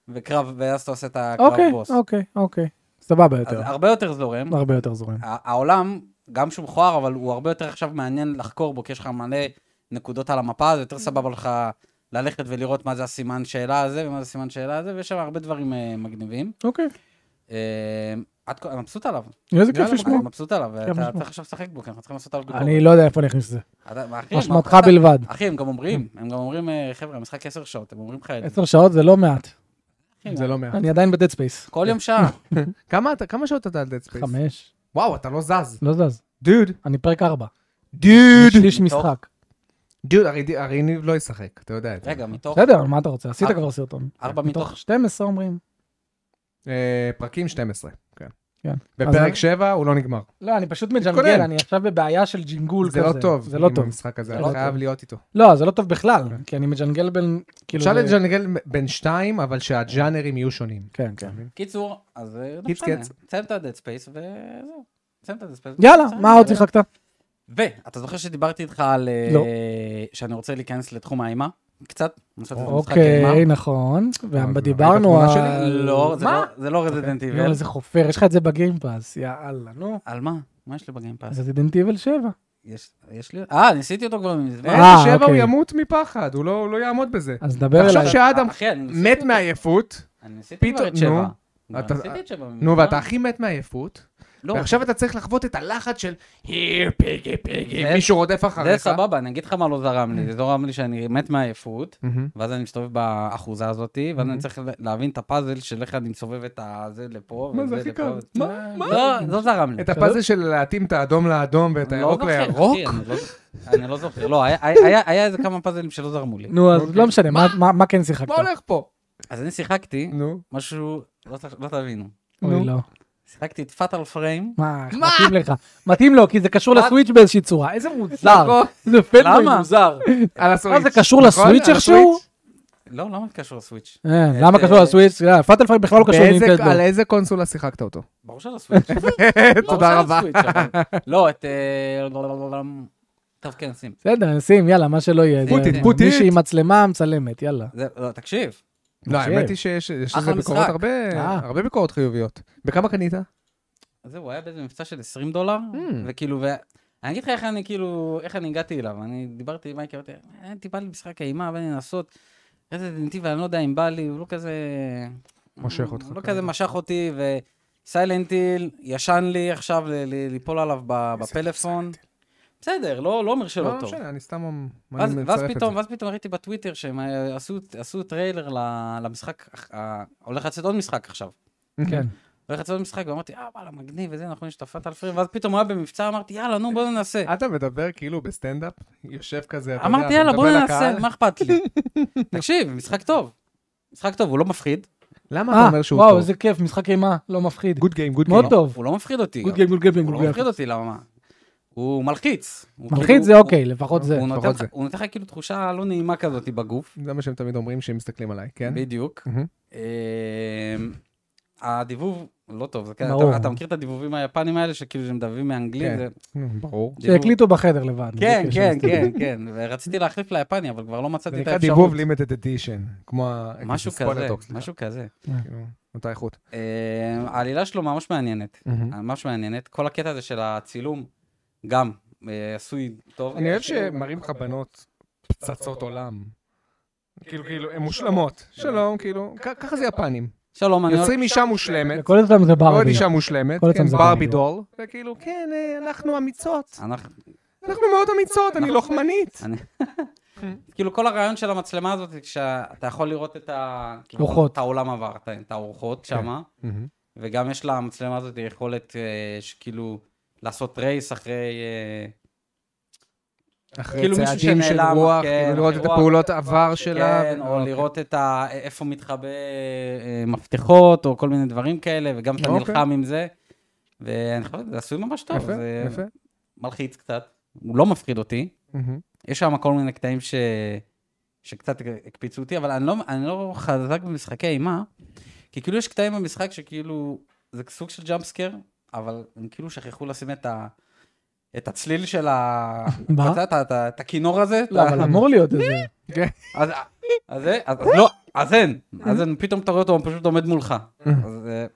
[SPEAKER 2] וקרב, ואז אתה עושה את הקרב
[SPEAKER 1] אוקיי,
[SPEAKER 2] בוס.
[SPEAKER 1] אוקיי, אוקיי. סבבה
[SPEAKER 2] אז
[SPEAKER 1] יותר. לא.
[SPEAKER 2] הרבה יותר זורם.
[SPEAKER 1] הרבה יותר זורם.
[SPEAKER 2] ה- העולם, גם שהוא מכוער, אבל הוא הרבה יותר עכשיו מעניין לחקור בו, כי יש לך מלא נקודות על המפה, זה יותר סבבה לך ללכת ולראות מה זה הסימן שאלה הזה, ומה זה הסימן שאלה הזה, ויש שם הרבה דברים אה, מגניבים.
[SPEAKER 1] אוקיי.
[SPEAKER 2] אה, את כ- מבסוט עליו,
[SPEAKER 1] איזה כיף
[SPEAKER 3] יאללה,
[SPEAKER 1] לשמוע.
[SPEAKER 2] אני מבסוט עליו,
[SPEAKER 1] לשמוע.
[SPEAKER 2] ואתה צריך עכשיו לשחק בו, כי אנחנו צריכים לעשות עליו ביקורת.
[SPEAKER 1] אני לא יודע איפה אני אכניס את זה.
[SPEAKER 2] אתה- מה, אחי,
[SPEAKER 1] אשמתך
[SPEAKER 2] כן, מה- אתה-
[SPEAKER 1] בלבד.
[SPEAKER 2] אחי, הם גם אומרים, הם גם אומרים, אה, חבר'ה, המשחק 10 שעות, הם אומרים לך את זה.
[SPEAKER 1] עשר שעות זה לא מעט.
[SPEAKER 3] זה לא מעט.
[SPEAKER 1] אני עדיין בדד ספייס.
[SPEAKER 2] כל יום שעה.
[SPEAKER 3] כמה אתה- כמה שעות אתה על דד ספייס?
[SPEAKER 1] חמש.
[SPEAKER 3] וואו, אתה לא זז.
[SPEAKER 1] לא זז.
[SPEAKER 3] דוד.
[SPEAKER 1] אני פרק ארבע.
[SPEAKER 2] אה,
[SPEAKER 3] דוד.
[SPEAKER 1] שליש
[SPEAKER 2] מתוך-
[SPEAKER 1] משחק.
[SPEAKER 3] דוד, הרי- הרי ניב לא ישחק, אתה יודע את זה.
[SPEAKER 2] רגע, מתוך
[SPEAKER 1] בסדר, אבל מה אתה רוצה? עשית
[SPEAKER 2] ארבע-
[SPEAKER 1] כבר סרטון.
[SPEAKER 2] ארבע אה. מתוך-
[SPEAKER 1] 12 אומרים.
[SPEAKER 3] אה, פרקים 12, כן.
[SPEAKER 1] כן.
[SPEAKER 3] בפרק
[SPEAKER 1] אז-
[SPEAKER 3] 7 הוא לא נגמר.
[SPEAKER 1] לא, אני פשוט
[SPEAKER 3] מתכונן.
[SPEAKER 1] מג'נגל, אני עכשיו בבעיה של ג'ינגול
[SPEAKER 3] זה
[SPEAKER 1] כזה.
[SPEAKER 3] לא טוב.
[SPEAKER 1] זה לא טוב.
[SPEAKER 3] עם המשחק הזה,
[SPEAKER 1] זה
[SPEAKER 3] אני
[SPEAKER 1] לא
[SPEAKER 3] חייב
[SPEAKER 1] טוב.
[SPEAKER 3] להיות איתו.
[SPEAKER 1] לא, זה לא טוב בכלל, כי אני מג'נגל בין... כאילו
[SPEAKER 3] אפשר
[SPEAKER 1] זה-
[SPEAKER 3] לג'נגל בין שתיים, אבל שהג'אנרים יהיו שונים.
[SPEAKER 1] כן, כן.
[SPEAKER 2] קיצור, אז אה, לא
[SPEAKER 3] קיץ,
[SPEAKER 2] משנה,
[SPEAKER 3] קץ.
[SPEAKER 2] תסיים את ה-dead space וזהו. תסיים את ה-dead space.
[SPEAKER 1] יאללה,
[SPEAKER 2] תסיים.
[SPEAKER 1] מה עוד שיחקת?
[SPEAKER 2] ואתה זוכר שדיברתי איתך על... אה,
[SPEAKER 1] לא.
[SPEAKER 2] שאני רוצה להיכנס לתחום האימה? קצת? לעשות איזה משחק
[SPEAKER 1] אוקיי,
[SPEAKER 2] אימה?
[SPEAKER 1] נכון.
[SPEAKER 3] אבל
[SPEAKER 1] ודיברנו
[SPEAKER 3] התמונה
[SPEAKER 1] על...
[SPEAKER 2] לא, זה
[SPEAKER 1] מה? אוקיי,
[SPEAKER 2] לא- זה לא רזידנט
[SPEAKER 1] יואו,
[SPEAKER 2] איבל.
[SPEAKER 1] איזה חופר, יש לך את זה בגיימפאס, יאללה, נו.
[SPEAKER 2] על מה? מה יש לי בגיימפאס?
[SPEAKER 1] רזידנט איבל 7.
[SPEAKER 2] יש יש לי... אה, ניסיתי אותו כבר מזמן.
[SPEAKER 1] אה,
[SPEAKER 3] איזה שבע הוא
[SPEAKER 1] אוקיי.
[SPEAKER 3] ימות מפחד, הוא לא הוא לא יעמוד בזה.
[SPEAKER 1] אז דבר
[SPEAKER 3] תחשוב
[SPEAKER 1] אליי.
[SPEAKER 3] שאדם
[SPEAKER 2] אחי, אני ניסיתי
[SPEAKER 3] מת
[SPEAKER 2] אותו.
[SPEAKER 3] מעייפות,
[SPEAKER 2] אני ניסיתי כבר
[SPEAKER 3] פתאום-
[SPEAKER 2] את שבע.
[SPEAKER 3] נו.
[SPEAKER 2] כבר
[SPEAKER 3] אתה-
[SPEAKER 2] ניסיתי את שבע.
[SPEAKER 3] נו,
[SPEAKER 2] מזמן.
[SPEAKER 3] ואתה הכי מת מעייפות,
[SPEAKER 2] לא,
[SPEAKER 3] ועכשיו אתה צריך לחוות את הלחץ של היר פיגי פיגי,
[SPEAKER 2] זה-
[SPEAKER 3] מישהו רודף
[SPEAKER 2] זה
[SPEAKER 3] אחריך.
[SPEAKER 2] סבבה, אני אגיד לך מה לא זרם לי. זה זרם לי שאני מת מעייפות,
[SPEAKER 3] מהמם.
[SPEAKER 2] ואז אני מסתובב באחוזה הזאת, ואז אני צריך להבין את הפאזל של איך אני מסובב את הזה לפה,
[SPEAKER 3] מה, זה
[SPEAKER 2] וזה לפה.
[SPEAKER 3] הכי קל. מה? מה?
[SPEAKER 2] לא, לא זרם לי.
[SPEAKER 3] את הפאזל של להתאים את האדום לאדום ואת
[SPEAKER 2] אני לא
[SPEAKER 3] הירוק
[SPEAKER 2] זוכר, אחי,
[SPEAKER 3] לירוק?
[SPEAKER 2] אני לא זוכר. אני לא זוכר, לא, היה- היה- היה- היה איזה כמה פאזלים שלא זרמו לי. אוקיי.
[SPEAKER 1] נו,
[SPEAKER 3] אוקיי.
[SPEAKER 1] אז לא משנה, מה- מה- מה כן שיחקת?
[SPEAKER 3] מה הולך פה?
[SPEAKER 2] אז אני שיחקתי
[SPEAKER 3] נו.
[SPEAKER 2] משהו, לא ת- לא תבינו.
[SPEAKER 1] אוי, לא.
[SPEAKER 2] שיחקתי את פאטל פריים.
[SPEAKER 1] מה, איך מתאים לך? מתאים לו, כי זה קשור
[SPEAKER 2] מה?
[SPEAKER 1] לסוויץ' באיזושהי צורה. איזה מוזר.
[SPEAKER 2] לא,
[SPEAKER 3] נכון.
[SPEAKER 1] איזה פנדוי
[SPEAKER 2] למה?
[SPEAKER 1] מוזר.
[SPEAKER 3] על
[SPEAKER 1] מה
[SPEAKER 3] הסוויץ'.
[SPEAKER 1] אה, זה קשור
[SPEAKER 3] נכון?
[SPEAKER 1] לסוויץ'
[SPEAKER 3] על
[SPEAKER 1] איכשהו?
[SPEAKER 3] הסוויץ'?
[SPEAKER 2] לא, למה זה קשור לסוויץ'?
[SPEAKER 1] אה, למה קשור לסוויץ'? פאטל פייב בכלל לא קשור
[SPEAKER 3] באיזה-
[SPEAKER 1] לנינטנדו.
[SPEAKER 3] על איזה קונסולה שיחקת אותו?
[SPEAKER 1] לא,
[SPEAKER 2] ברור שזה סוויץ'. ברור
[SPEAKER 3] תודה
[SPEAKER 2] שזה
[SPEAKER 3] רבה.
[SPEAKER 2] סוויץ', אבל- לא, את... אה, לא, לא, לא, לא, טוב, כן, שים.
[SPEAKER 1] בסדר, נשים, יאללה, מה שלא יהיה. זה-
[SPEAKER 3] פוטית, פוטית.
[SPEAKER 1] מישהי עם מצלמה מצלמת, יאללה.
[SPEAKER 2] זה- לא, תקשיב,
[SPEAKER 3] לא,
[SPEAKER 1] מחשב.
[SPEAKER 3] האמת היא שיש יש
[SPEAKER 2] אחלה
[SPEAKER 3] לזה ביקורות
[SPEAKER 2] משחק.
[SPEAKER 3] הרבה,
[SPEAKER 1] כן. אה.
[SPEAKER 3] הרבה ביקורות חיוביות. בכמה קנית? Hmm.
[SPEAKER 2] אז זהו, הוא היה באיזה מבצע של 20 דולר, וכאילו, אני אגיד לך איך אני כאילו, איך אני הגעתי אליו. אני דיברתי עם מייקי, אמרתי, "אה, טיפה לי משחק אימה, בא לי לנסות. רזדנט איבל, אני לא יודע אם בא לי, הוא לא כזה...
[SPEAKER 3] מושך
[SPEAKER 2] הוא
[SPEAKER 3] אותך
[SPEAKER 2] לא
[SPEAKER 3] כרגע.
[SPEAKER 2] כזה משך אותי, וסיילנט היל ישן לי עכשיו ל- ל- ליפול עליו ב- בפלאפון. בסדר, לא לא אומר שלא
[SPEAKER 3] לא, לא
[SPEAKER 2] טוב.
[SPEAKER 3] משנה, אני סתם...
[SPEAKER 2] ואז,
[SPEAKER 3] אני מצרף
[SPEAKER 2] ואז
[SPEAKER 3] את זה.
[SPEAKER 2] פתאום, ואז פתאום ראיתי בטוויטר שהם אה, עשו, עשו טריילר ל- למשחק, אה, הולך לצאת עוד משחק עכשיו.
[SPEAKER 1] כן.
[SPEAKER 2] הולך לצאת עוד משחק, ואמרתי, אה, וואלה, מגניב, וזה, נכון, יש את הפאט אלפרים, ואז פתאום הוא היה במבצע, אמרתי, יאללה, נו, בוא ננסה.
[SPEAKER 3] אתה מדבר כאילו בסטנדאפ, יושב כזה, אתה
[SPEAKER 2] אמרתי,
[SPEAKER 3] יודע,
[SPEAKER 2] יאללה,
[SPEAKER 3] מדבר
[SPEAKER 2] בוא
[SPEAKER 3] לקהל."
[SPEAKER 2] ננסה, מה אכפת לי? תקשיב, משחק טוב. משחק טוב, הוא לא מפחיד,
[SPEAKER 3] למה אתה
[SPEAKER 1] אה,
[SPEAKER 3] אומר שהוא
[SPEAKER 1] וואו,
[SPEAKER 3] טוב?
[SPEAKER 1] איזה כיף, משחק אימה, לא מפחיד.
[SPEAKER 3] גוד גיים, גוד
[SPEAKER 1] מאוד טוב.
[SPEAKER 2] הוא לא מפחיד אותי.
[SPEAKER 1] גוד
[SPEAKER 2] גם.
[SPEAKER 1] גיים, גוד גיים, גוד
[SPEAKER 2] הוא לא
[SPEAKER 1] גיים.
[SPEAKER 2] מפחיד אותי, למה? הוא מלחיץ. הוא
[SPEAKER 1] מלחיץ
[SPEAKER 2] כאילו-
[SPEAKER 1] זה אוקיי, לפחות
[SPEAKER 2] הוא-
[SPEAKER 1] זה.
[SPEAKER 2] הוא נותן
[SPEAKER 3] לפחות
[SPEAKER 2] לך-
[SPEAKER 3] זה.
[SPEAKER 2] הוא נותן לך כאילו תחושה לא נעימה כזאת בגוף.
[SPEAKER 3] זה מה שהם תמיד אומרים כשהם מסתכלים עליי, כן?
[SPEAKER 2] בדיוק.
[SPEAKER 3] מהמם.
[SPEAKER 2] אמ, הדיבוב לא טוב, זה כזה-
[SPEAKER 1] ברור.
[SPEAKER 2] אתה- אתה מכיר את הדיבובים היפנים האלה שכאילו שהם מדברים מאנגלית?
[SPEAKER 3] כן.
[SPEAKER 2] זה-
[SPEAKER 3] נו, ברור.
[SPEAKER 2] דיבוב-
[SPEAKER 1] שהקליטו בחדר לבד.
[SPEAKER 2] כן,
[SPEAKER 1] זה
[SPEAKER 2] כן,
[SPEAKER 1] כאילו
[SPEAKER 2] כן, כן, ורציתי להחליף ליפני, אבל כבר לא
[SPEAKER 3] זה
[SPEAKER 2] מצאתי את
[SPEAKER 3] נקרא
[SPEAKER 2] האפשרות.
[SPEAKER 3] דיבוב לימטד אדישן, כמו ה...
[SPEAKER 2] משהו
[SPEAKER 3] ספוילר
[SPEAKER 2] כזה,
[SPEAKER 3] טוק, סליחה.
[SPEAKER 2] משהו כזה.
[SPEAKER 3] כאילו, אותה איכות.
[SPEAKER 2] אמ, העלילה שלו ממש מעניינת, אה, ממש מעניינת. כל הקטע הזה של הצילום, גם אה, עשוי טוב.
[SPEAKER 3] אני אוהב שמראים לך בנות פצצות עולם. כאילו, כאילו, הן מושלמות. שלום, כאילו, כ- ככה זה יפנים.
[SPEAKER 2] שלום, אני...
[SPEAKER 3] יוצרים אישה מושלמת,
[SPEAKER 1] כל הזמן זה
[SPEAKER 3] עוד
[SPEAKER 1] ברבי.
[SPEAKER 3] אישה מושלמת,
[SPEAKER 1] כל
[SPEAKER 3] כן,
[SPEAKER 1] הזמן זה
[SPEAKER 3] ברבי
[SPEAKER 1] ברבי.
[SPEAKER 3] דול, וכאילו, כן, אה, אנחנו אמיצות.
[SPEAKER 2] אנחנו...
[SPEAKER 3] אנחנו מאוד אמיצות, אני לוחמנית.
[SPEAKER 2] אני- כאילו כל הרעיון של המצלמה הזאת, זה כשאתה יכול לראות את ה...
[SPEAKER 1] רוחות.
[SPEAKER 2] את העולם עבר, את- את
[SPEAKER 3] כן.
[SPEAKER 2] האורחות שמה,
[SPEAKER 3] מהמם.
[SPEAKER 2] וגם יש למצלמה הזאת יכולת אה, שכאילו לעשות רייס אחרי... אה,
[SPEAKER 3] אחרי
[SPEAKER 2] כאילו מישהו
[SPEAKER 3] צעדים של
[SPEAKER 2] שנעלם,
[SPEAKER 3] רוח,
[SPEAKER 2] כן,
[SPEAKER 3] כאילו לראות את
[SPEAKER 2] אירוע.
[SPEAKER 3] הפעולות עבר שלה.
[SPEAKER 2] כן,
[SPEAKER 3] ו-
[SPEAKER 2] או
[SPEAKER 3] אוקיי.
[SPEAKER 2] לראות את ה... איפה מתחבא אה, מפתחות, או כל מיני דברים כאלה, וגם אתה
[SPEAKER 3] אוקיי.
[SPEAKER 2] נלחם עם זה. ואני חושב, זה עשוי ממש טוב,
[SPEAKER 3] יפה,
[SPEAKER 2] זה
[SPEAKER 3] יפה.
[SPEAKER 2] מלחיץ קצת, הוא לא מפחיד אותי.
[SPEAKER 3] מהמם.
[SPEAKER 2] יש שם כל מיני קטעים ש... שקצת הקפיצו אותי, אבל אני לא, אני לא חזק במשחקי אימה, כי כאילו יש קטעים במשחק שכאילו, זה סוג של ג'אמפסקר, אבל הם כאילו שכחו לשים את, ה... את הצליל של ה...
[SPEAKER 1] מה?
[SPEAKER 2] אתה יודע, את, ה- את הכינור הזה.
[SPEAKER 1] לא,
[SPEAKER 2] את ה-
[SPEAKER 1] אבל אמור להיות איזה...
[SPEAKER 3] כן.
[SPEAKER 2] אז, אז, זה- אז, אז לא, אז אין, אז אין, פתאום אתה רואה אותו, הוא פשוט עומד מולך. אז אה,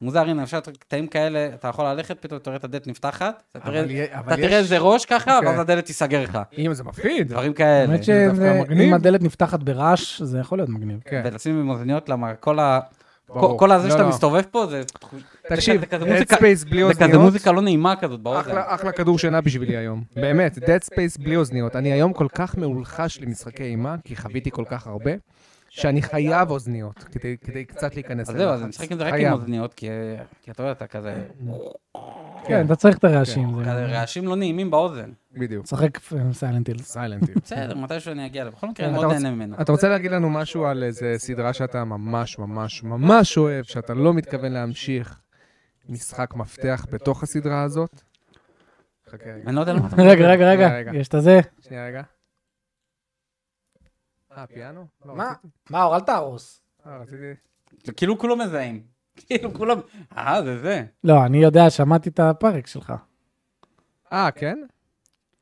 [SPEAKER 2] מוזר, הנה, אפשר את הקטעים כאלה, אתה יכול ללכת, פתאום אתה רואה את הדלת נפתחת, אתה
[SPEAKER 3] אבל
[SPEAKER 2] תראה-
[SPEAKER 3] יה- אבל
[SPEAKER 2] אתה תראה
[SPEAKER 3] יש-
[SPEAKER 2] איזה ראש ככה,
[SPEAKER 3] אוקיי.
[SPEAKER 2] ואז הדלת תיסגר לך.
[SPEAKER 3] אם זה מפחיד.
[SPEAKER 2] דברים כאלה.
[SPEAKER 1] האמת
[SPEAKER 3] דווקא מגניב.
[SPEAKER 1] שאם אה, הדלת נפתחת ברעש, זה יכול להיות מגניב.
[SPEAKER 3] כן.
[SPEAKER 2] ולשים עם אוזניות, למה כל ה...
[SPEAKER 3] ברור.
[SPEAKER 2] כל הזה
[SPEAKER 3] לא,
[SPEAKER 2] שאתה
[SPEAKER 3] לא.
[SPEAKER 2] מסתובב פה, זה תחוש-
[SPEAKER 3] תקשיב,
[SPEAKER 2] זה כזה
[SPEAKER 3] Dead
[SPEAKER 2] מוזיקה-
[SPEAKER 3] Space בלי
[SPEAKER 2] זה כזה
[SPEAKER 3] אוזניות,
[SPEAKER 2] מוזיקה לא נעימה כזאת באוזן.
[SPEAKER 3] אחלה אחלה כדור שינה בשבילי היום. באמת, Dead Space בלי אוזניות. אני היום כל כך מאולחש למשחקי אימה, כי חוויתי כל כך הרבה, שאני חייב אוזניות, כדי- כדי קצת להיכנס
[SPEAKER 2] אז זהו, אז
[SPEAKER 3] ללחץ.
[SPEAKER 2] אני משחק עם זה רק עם
[SPEAKER 3] חייב.
[SPEAKER 2] אוזניות, כי כי אתה יודע, אתה כזה...
[SPEAKER 1] כן, אתה צריך את הרעשים. זה-
[SPEAKER 2] כזה רעשים לא נעימים באוזן.
[SPEAKER 3] בדיוק.
[SPEAKER 1] משחק סיילנט היל.
[SPEAKER 3] סיילנטיל.
[SPEAKER 2] בסדר, מתישהו אני אגיע אליו. בכל מקרה,
[SPEAKER 3] כן,
[SPEAKER 2] אני
[SPEAKER 3] אתה
[SPEAKER 2] מאוד
[SPEAKER 3] רוצה-
[SPEAKER 2] נהנה ממנו.
[SPEAKER 3] אתה רוצה להגיד לנו משהו על איזה סדרה שאתה ממש ממש ממש אוהב, שאתה לא מתכוון להמשיך משחק מפתח בתוך הסדרה הזאת? חכה רגע.
[SPEAKER 2] אני לא יודע למה אתה...
[SPEAKER 1] רגע, רגע,
[SPEAKER 3] רגע.
[SPEAKER 1] רגע, יש את הזה.
[SPEAKER 3] שנייה רגע. אה, פיאנו? לא,
[SPEAKER 1] מה?
[SPEAKER 3] רציתי-
[SPEAKER 1] מה, אור, אל תהרוס.
[SPEAKER 3] אה, רציתי...
[SPEAKER 2] זה כאילו כולם מזהים. כאילו כולם... אה, זה זה.
[SPEAKER 1] לא, אני יודע, שמעתי את הפרק שלך.
[SPEAKER 3] אה, כן?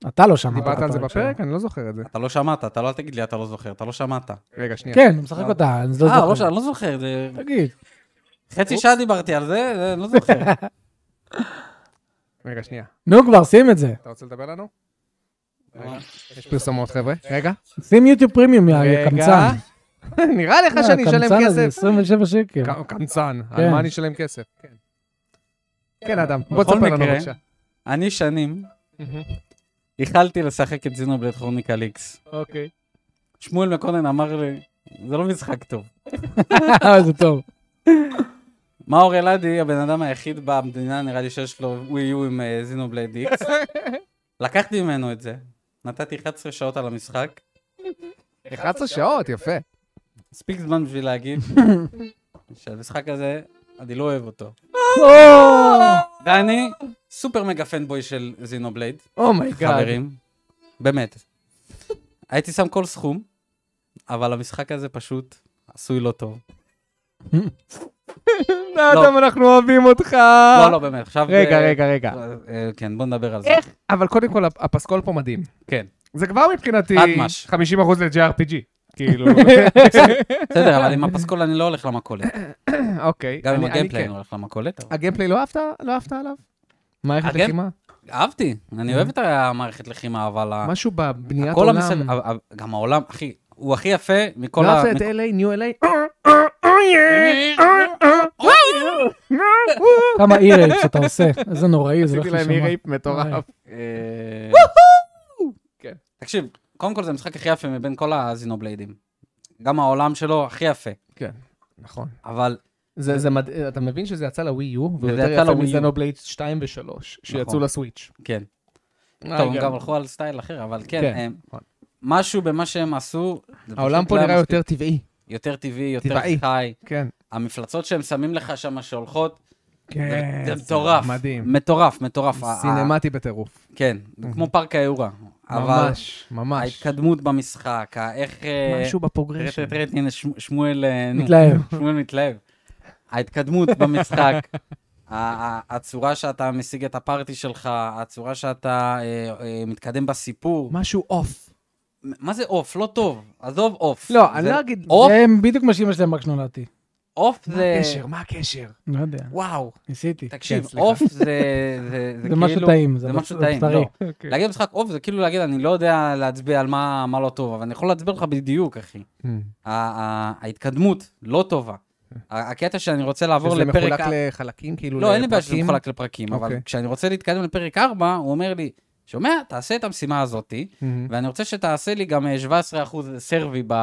[SPEAKER 1] אתה לא שמעת את הפרק
[SPEAKER 3] דיברת על זה
[SPEAKER 1] שלו.
[SPEAKER 3] בפרק? אני לא זוכר את זה.
[SPEAKER 2] אתה לא שמעת, אתה לא אל תגיד לי, אתה לא זוכר, אתה לא שמעת. אה,
[SPEAKER 3] רגע, שנייה. אה,
[SPEAKER 1] כן, הוא משחק אותה, אני לא
[SPEAKER 2] לא,
[SPEAKER 1] זוכר.
[SPEAKER 2] ש- אני לא זוכר, זה...
[SPEAKER 1] תגיד.
[SPEAKER 2] חצי שעה דיברתי על זה, זה- אני לא זוכר.
[SPEAKER 3] רגע, שנייה.
[SPEAKER 1] נו, כבר, שים את זה.
[SPEAKER 3] אתה רוצה לדבר לנו? רגע, יש פרסומות, חבר'ה. רגע.
[SPEAKER 1] שים יוטיוב פרימיום, יא
[SPEAKER 3] רגע.
[SPEAKER 1] יא אה, קמצן.
[SPEAKER 3] נראה לך שאני אשלם
[SPEAKER 1] הקמצן הזה,
[SPEAKER 3] כסף?
[SPEAKER 1] 27 שקל.
[SPEAKER 3] ק- קמצן. על
[SPEAKER 1] כן.
[SPEAKER 3] מה אני אשלם כסף? כן. כן, אדם. בוא
[SPEAKER 2] בכל
[SPEAKER 3] תספר לנו
[SPEAKER 2] מקרה-
[SPEAKER 3] בבקשה.
[SPEAKER 2] אני שנים איחלתי לשחק את זינובלד כרוניקל איקס.
[SPEAKER 3] אוקיי.
[SPEAKER 2] שמואל מקונן אמר לי, זה לא משחק טוב.
[SPEAKER 1] אה, זה טוב.
[SPEAKER 2] מאור אלעדי, הבן אדם היחיד במדינה, נראה לי שיש לו ווי יו עם אה, זינובלייד איקס. לקחתי ממנו את זה, נתתי 11 שעות על המשחק,
[SPEAKER 3] 11 שעות, יפה.
[SPEAKER 2] מספיק זמן בשביל להגיד שהמשחק הזה, אני לא אוהב אותו. ואני סופר מגה פנבוי של זינובלייד,
[SPEAKER 3] Oh אומייגאד.
[SPEAKER 2] חברים. באמת. הייתי שם כל סכום, אבל המשחק הזה פשוט עשוי לא טוב.
[SPEAKER 3] אדם, לא אנחנו אוהבים אותך.
[SPEAKER 2] לא, לא, באמת, עכשיו...
[SPEAKER 3] רגע,
[SPEAKER 2] אה,
[SPEAKER 3] רגע, רגע.
[SPEAKER 2] אה, כן, בוא נדבר על זה.
[SPEAKER 3] איך? אבל קודם כל, הפ- הפסקול פה מדהים.
[SPEAKER 2] כן.
[SPEAKER 3] זה כבר מבחינתי
[SPEAKER 2] עד מש.
[SPEAKER 3] 50% ל-JRPG. כאילו,
[SPEAKER 2] בסדר, אבל עם הפסקול אני לא הולך למכולת.
[SPEAKER 3] אוקיי.
[SPEAKER 2] גם עם
[SPEAKER 3] אני- אני
[SPEAKER 2] הגיימפליי
[SPEAKER 3] כן.
[SPEAKER 2] אני הולך למכולת. אבל-
[SPEAKER 3] הגיימפליי לא אהבת? לא אהבת עליו? מערכת
[SPEAKER 2] הגיימפ-
[SPEAKER 3] לחימה?
[SPEAKER 2] אהבתי, אני אוהב את המערכת לחימה, אבל... ה-
[SPEAKER 3] משהו בבניית
[SPEAKER 2] כל
[SPEAKER 3] אה. עולם.
[SPEAKER 2] המסביב, ה- ה- גם העולם, אחי, הוא הכי יפה מכל
[SPEAKER 3] לא
[SPEAKER 2] ה...
[SPEAKER 3] אהבת את LA, ניו LA? אה,
[SPEAKER 1] כמה אי-רייפס אתה עושה, איזה נוראי, זה לא
[SPEAKER 3] עשיתי
[SPEAKER 1] הולך
[SPEAKER 3] להם אי
[SPEAKER 1] לשמה.
[SPEAKER 3] רייפ מטורף.
[SPEAKER 2] אה,
[SPEAKER 3] כן.
[SPEAKER 2] תקשיב, קודם כל זה המשחק הכי יפה מבין כל הזינובליידים. גם העולם שלו הכי יפה,
[SPEAKER 3] נכון.
[SPEAKER 2] אבל
[SPEAKER 3] זה, זה מד... אתה מבין שזה יצא לווי יו, והוא
[SPEAKER 2] וזה
[SPEAKER 3] יותר
[SPEAKER 2] יצא
[SPEAKER 3] יפה
[SPEAKER 2] לווי יו.
[SPEAKER 3] מזנובלייד 2 ו-3, שיצאו
[SPEAKER 2] נכון.
[SPEAKER 3] לסוויץ'.
[SPEAKER 2] כן. טוב,
[SPEAKER 3] אה, כן.
[SPEAKER 2] הם גם נכון. הלכו על סטייל אחר, אבל כן,
[SPEAKER 3] כן,
[SPEAKER 2] הם-
[SPEAKER 3] נכון.
[SPEAKER 2] משהו במה שהם עשו, זה
[SPEAKER 3] העולם
[SPEAKER 2] פשוט
[SPEAKER 3] פה
[SPEAKER 2] לא היה
[SPEAKER 3] נראה
[SPEAKER 2] מספיק.
[SPEAKER 3] יותר טבעי.
[SPEAKER 2] יותר טבעי, יותר
[SPEAKER 3] טבעי.
[SPEAKER 2] חי.
[SPEAKER 3] כן.
[SPEAKER 2] המפלצות שהם שמים לך שם שהולכות,
[SPEAKER 1] כן.
[SPEAKER 2] זה מטורף.
[SPEAKER 3] מדהים.
[SPEAKER 2] מטורף, מטורף. ה- ה-
[SPEAKER 3] סינמטי בטירוף.
[SPEAKER 2] כן, זה כמו פארק האיורה. אבל
[SPEAKER 3] ממש, ממש.
[SPEAKER 2] ההתקדמות במשחק, ה- איך... אה,
[SPEAKER 3] משהו בפרוגרשן.
[SPEAKER 2] רט, רט, רט, הנה שמ- שמואל... אה, נו,
[SPEAKER 1] מתלהב.
[SPEAKER 2] שמואל מתלהב. ההתקדמות במשחק, ה- ה- הצורה שאתה משיג את הפארטי שלך, הצורה שאתה אה, אה, מתקדם בסיפור.
[SPEAKER 3] משהו אוף.
[SPEAKER 2] מה זה עוף? לא טוב. עזוב עוף.
[SPEAKER 3] לא, אני
[SPEAKER 2] זה-
[SPEAKER 3] לא אגיד...
[SPEAKER 2] עוף?
[SPEAKER 1] זה בדיוק מה שאימא שלהם רק שנולדתי.
[SPEAKER 2] עוף
[SPEAKER 3] מה
[SPEAKER 2] זה...
[SPEAKER 3] הקשר? מה הקשר?
[SPEAKER 1] לא יודע,
[SPEAKER 3] וואו.
[SPEAKER 1] ניסיתי.
[SPEAKER 2] תקשיב,
[SPEAKER 3] כן, סליחה.
[SPEAKER 2] עוף זה זה-
[SPEAKER 1] זה
[SPEAKER 2] כאילו...
[SPEAKER 1] משהו טעים, זה
[SPEAKER 2] זה
[SPEAKER 1] לא-
[SPEAKER 2] משהו
[SPEAKER 1] זה
[SPEAKER 2] טעים,
[SPEAKER 1] טרי.
[SPEAKER 2] לא. להגיד משחק עוף זה כאילו להגיד, אני לא יודע להצביע על מה מה לא טוב, אבל אני יכול להצביע לך בדיוק, אחי.
[SPEAKER 3] Hmm.
[SPEAKER 2] ה- ה- ההתקדמות לא טובה. ה- הקטע שאני רוצה לעבור
[SPEAKER 3] שזה
[SPEAKER 2] לפרק...
[SPEAKER 3] מחולק
[SPEAKER 2] ה-
[SPEAKER 3] לחלקים, כאילו
[SPEAKER 2] לא, אין לי בעיה שזה
[SPEAKER 3] לפרקים?
[SPEAKER 2] מחולק לפרקים, אבל
[SPEAKER 3] אוקיי.
[SPEAKER 2] כשאני רוצה להתקדם לפרק 4, הוא אומר לי, שומע, תעשה את המשימה הזאתי,
[SPEAKER 3] מהמם.
[SPEAKER 2] ואני רוצה שתעשה לי גם אה, 17% סרבי ב...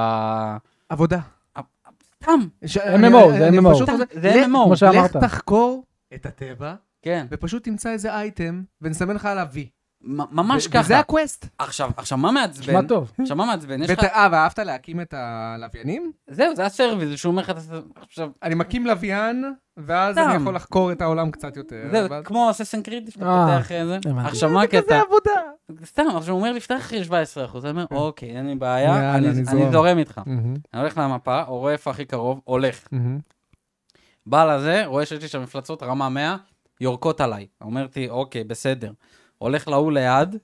[SPEAKER 3] עבודה.
[SPEAKER 2] סתם,
[SPEAKER 3] ש-
[SPEAKER 1] MMO, זה
[SPEAKER 3] אני
[SPEAKER 1] MMO.
[SPEAKER 3] פשוט רוצה-
[SPEAKER 2] זה
[SPEAKER 3] לך-
[SPEAKER 2] MMO.
[SPEAKER 1] כמו שאמרת.
[SPEAKER 3] לך תחקור את הטבע,
[SPEAKER 2] כן,
[SPEAKER 3] ופשוט תמצא איזה אייטם, ונסמן לך עליו וי.
[SPEAKER 2] מ- ממש
[SPEAKER 3] ו-
[SPEAKER 2] ככה.
[SPEAKER 3] וזה הקווסט.
[SPEAKER 2] עכשיו, עכשיו, מה מעצבן?
[SPEAKER 1] נשמע טוב.
[SPEAKER 3] נכון?
[SPEAKER 2] עכשיו, מה מעצבן? יש לך...
[SPEAKER 3] בת- אה, ואהבת להקים את הלוויינים?
[SPEAKER 2] זהו, זה הסרוויז שהוא אומר לך... "אתה- עכשיו,
[SPEAKER 3] אני מקים לוויין, ואז אני
[SPEAKER 2] סתם.
[SPEAKER 3] יכול לחקור את העולם קצת יותר.
[SPEAKER 2] זהו,
[SPEAKER 3] אה, אבל-
[SPEAKER 2] כמו אססן קריד, שאתה
[SPEAKER 1] אה,
[SPEAKER 2] פותח אה, זה.
[SPEAKER 1] הבנתי.
[SPEAKER 2] עכשיו, מה
[SPEAKER 3] כזה
[SPEAKER 2] הקטע?
[SPEAKER 3] עבודה.
[SPEAKER 2] סתם, עכשיו הוא אומר לי, פתח 17 אחוז. אני אומר, אוקיי, אין לי בעיה,
[SPEAKER 3] יאללה,
[SPEAKER 2] אני
[SPEAKER 3] אני
[SPEAKER 2] אני
[SPEAKER 3] זורם."
[SPEAKER 2] זורם איתך. אני הולך למפה, רואה איפה הכי קרוב, הולך. בא לזה, רואה שיש לי שם מפלצות רמה 100, יורקות עליי. אומרתי, אוקיי, בסדר. הולך להוא ליד,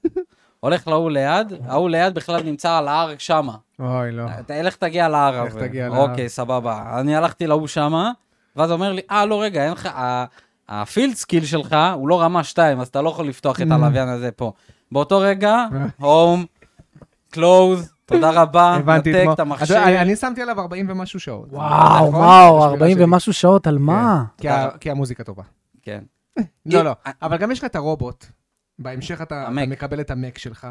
[SPEAKER 2] הולך להוא ליד, ההוא ליד בכלל נמצא על ההר שמה.
[SPEAKER 3] אוי, לא.
[SPEAKER 2] אתה- לך תגיע להר
[SPEAKER 3] לך
[SPEAKER 2] הזה.
[SPEAKER 3] תגיע להר.
[SPEAKER 2] אוקיי, סבבה. אני הלכתי להוא שמה, ואז אומר לי, אה, לא, רגע, אין לך... ה- הפילד סקיל שלך הוא לא רמה 2, אז אתה לא יכול לפתוח
[SPEAKER 3] Mm.
[SPEAKER 2] את הלוויין הזה פה. באותו רגע, הום, קלוז, תודה רבה,
[SPEAKER 3] הבנתי
[SPEAKER 2] נתק
[SPEAKER 3] את מה.
[SPEAKER 2] את המכשיר.
[SPEAKER 3] אתה יודע, אני- אני שמתי עליו 40 ומשהו שעות.
[SPEAKER 1] וואו,
[SPEAKER 3] נכון?
[SPEAKER 1] וואו,
[SPEAKER 3] בשביל
[SPEAKER 1] 40
[SPEAKER 3] השני.
[SPEAKER 1] ומשהו שעות, על מה?
[SPEAKER 3] כן, כי
[SPEAKER 2] אה,
[SPEAKER 3] ה- כי המוזיקה טובה.
[SPEAKER 2] כן.
[SPEAKER 3] לא, לא.
[SPEAKER 2] אה,
[SPEAKER 3] אבל גם יש לך את הרובוט. בהמשך אתה
[SPEAKER 2] המק.
[SPEAKER 3] אתה מקבל את המק שלך.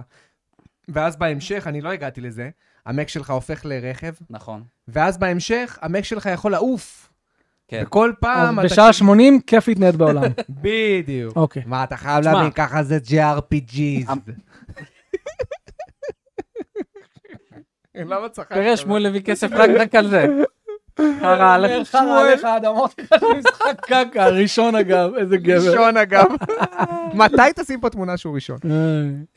[SPEAKER 3] ואז בהמשך, אני לא הגעתי לזה, המק שלך הופך לרכב,
[SPEAKER 2] נכון,
[SPEAKER 3] ואז בהמשך, המק שלך יכול לעוף.
[SPEAKER 2] כן.
[SPEAKER 3] וכל
[SPEAKER 1] אז
[SPEAKER 3] פעם אתה...
[SPEAKER 1] בשעה 80 כיף להתנייד בעולם.
[SPEAKER 3] בדיוק.
[SPEAKER 1] אוקיי.
[SPEAKER 3] מה, אתה חייב
[SPEAKER 2] תשמע.
[SPEAKER 3] להבין, ככה זה JRPG.
[SPEAKER 2] אמ-
[SPEAKER 3] אה, למה צחקת?
[SPEAKER 2] תראה, שמואל הביא כסף רק רק על זה. חרא עליך,
[SPEAKER 1] חרא
[SPEAKER 2] שמואל.
[SPEAKER 1] עליך, עד אמרתי לך שזה משחק קקה, הראשון אגב, איזה גבר.
[SPEAKER 3] ראשון אגב. מתי תשים פה תמונה שהוא ראשון?
[SPEAKER 1] אה,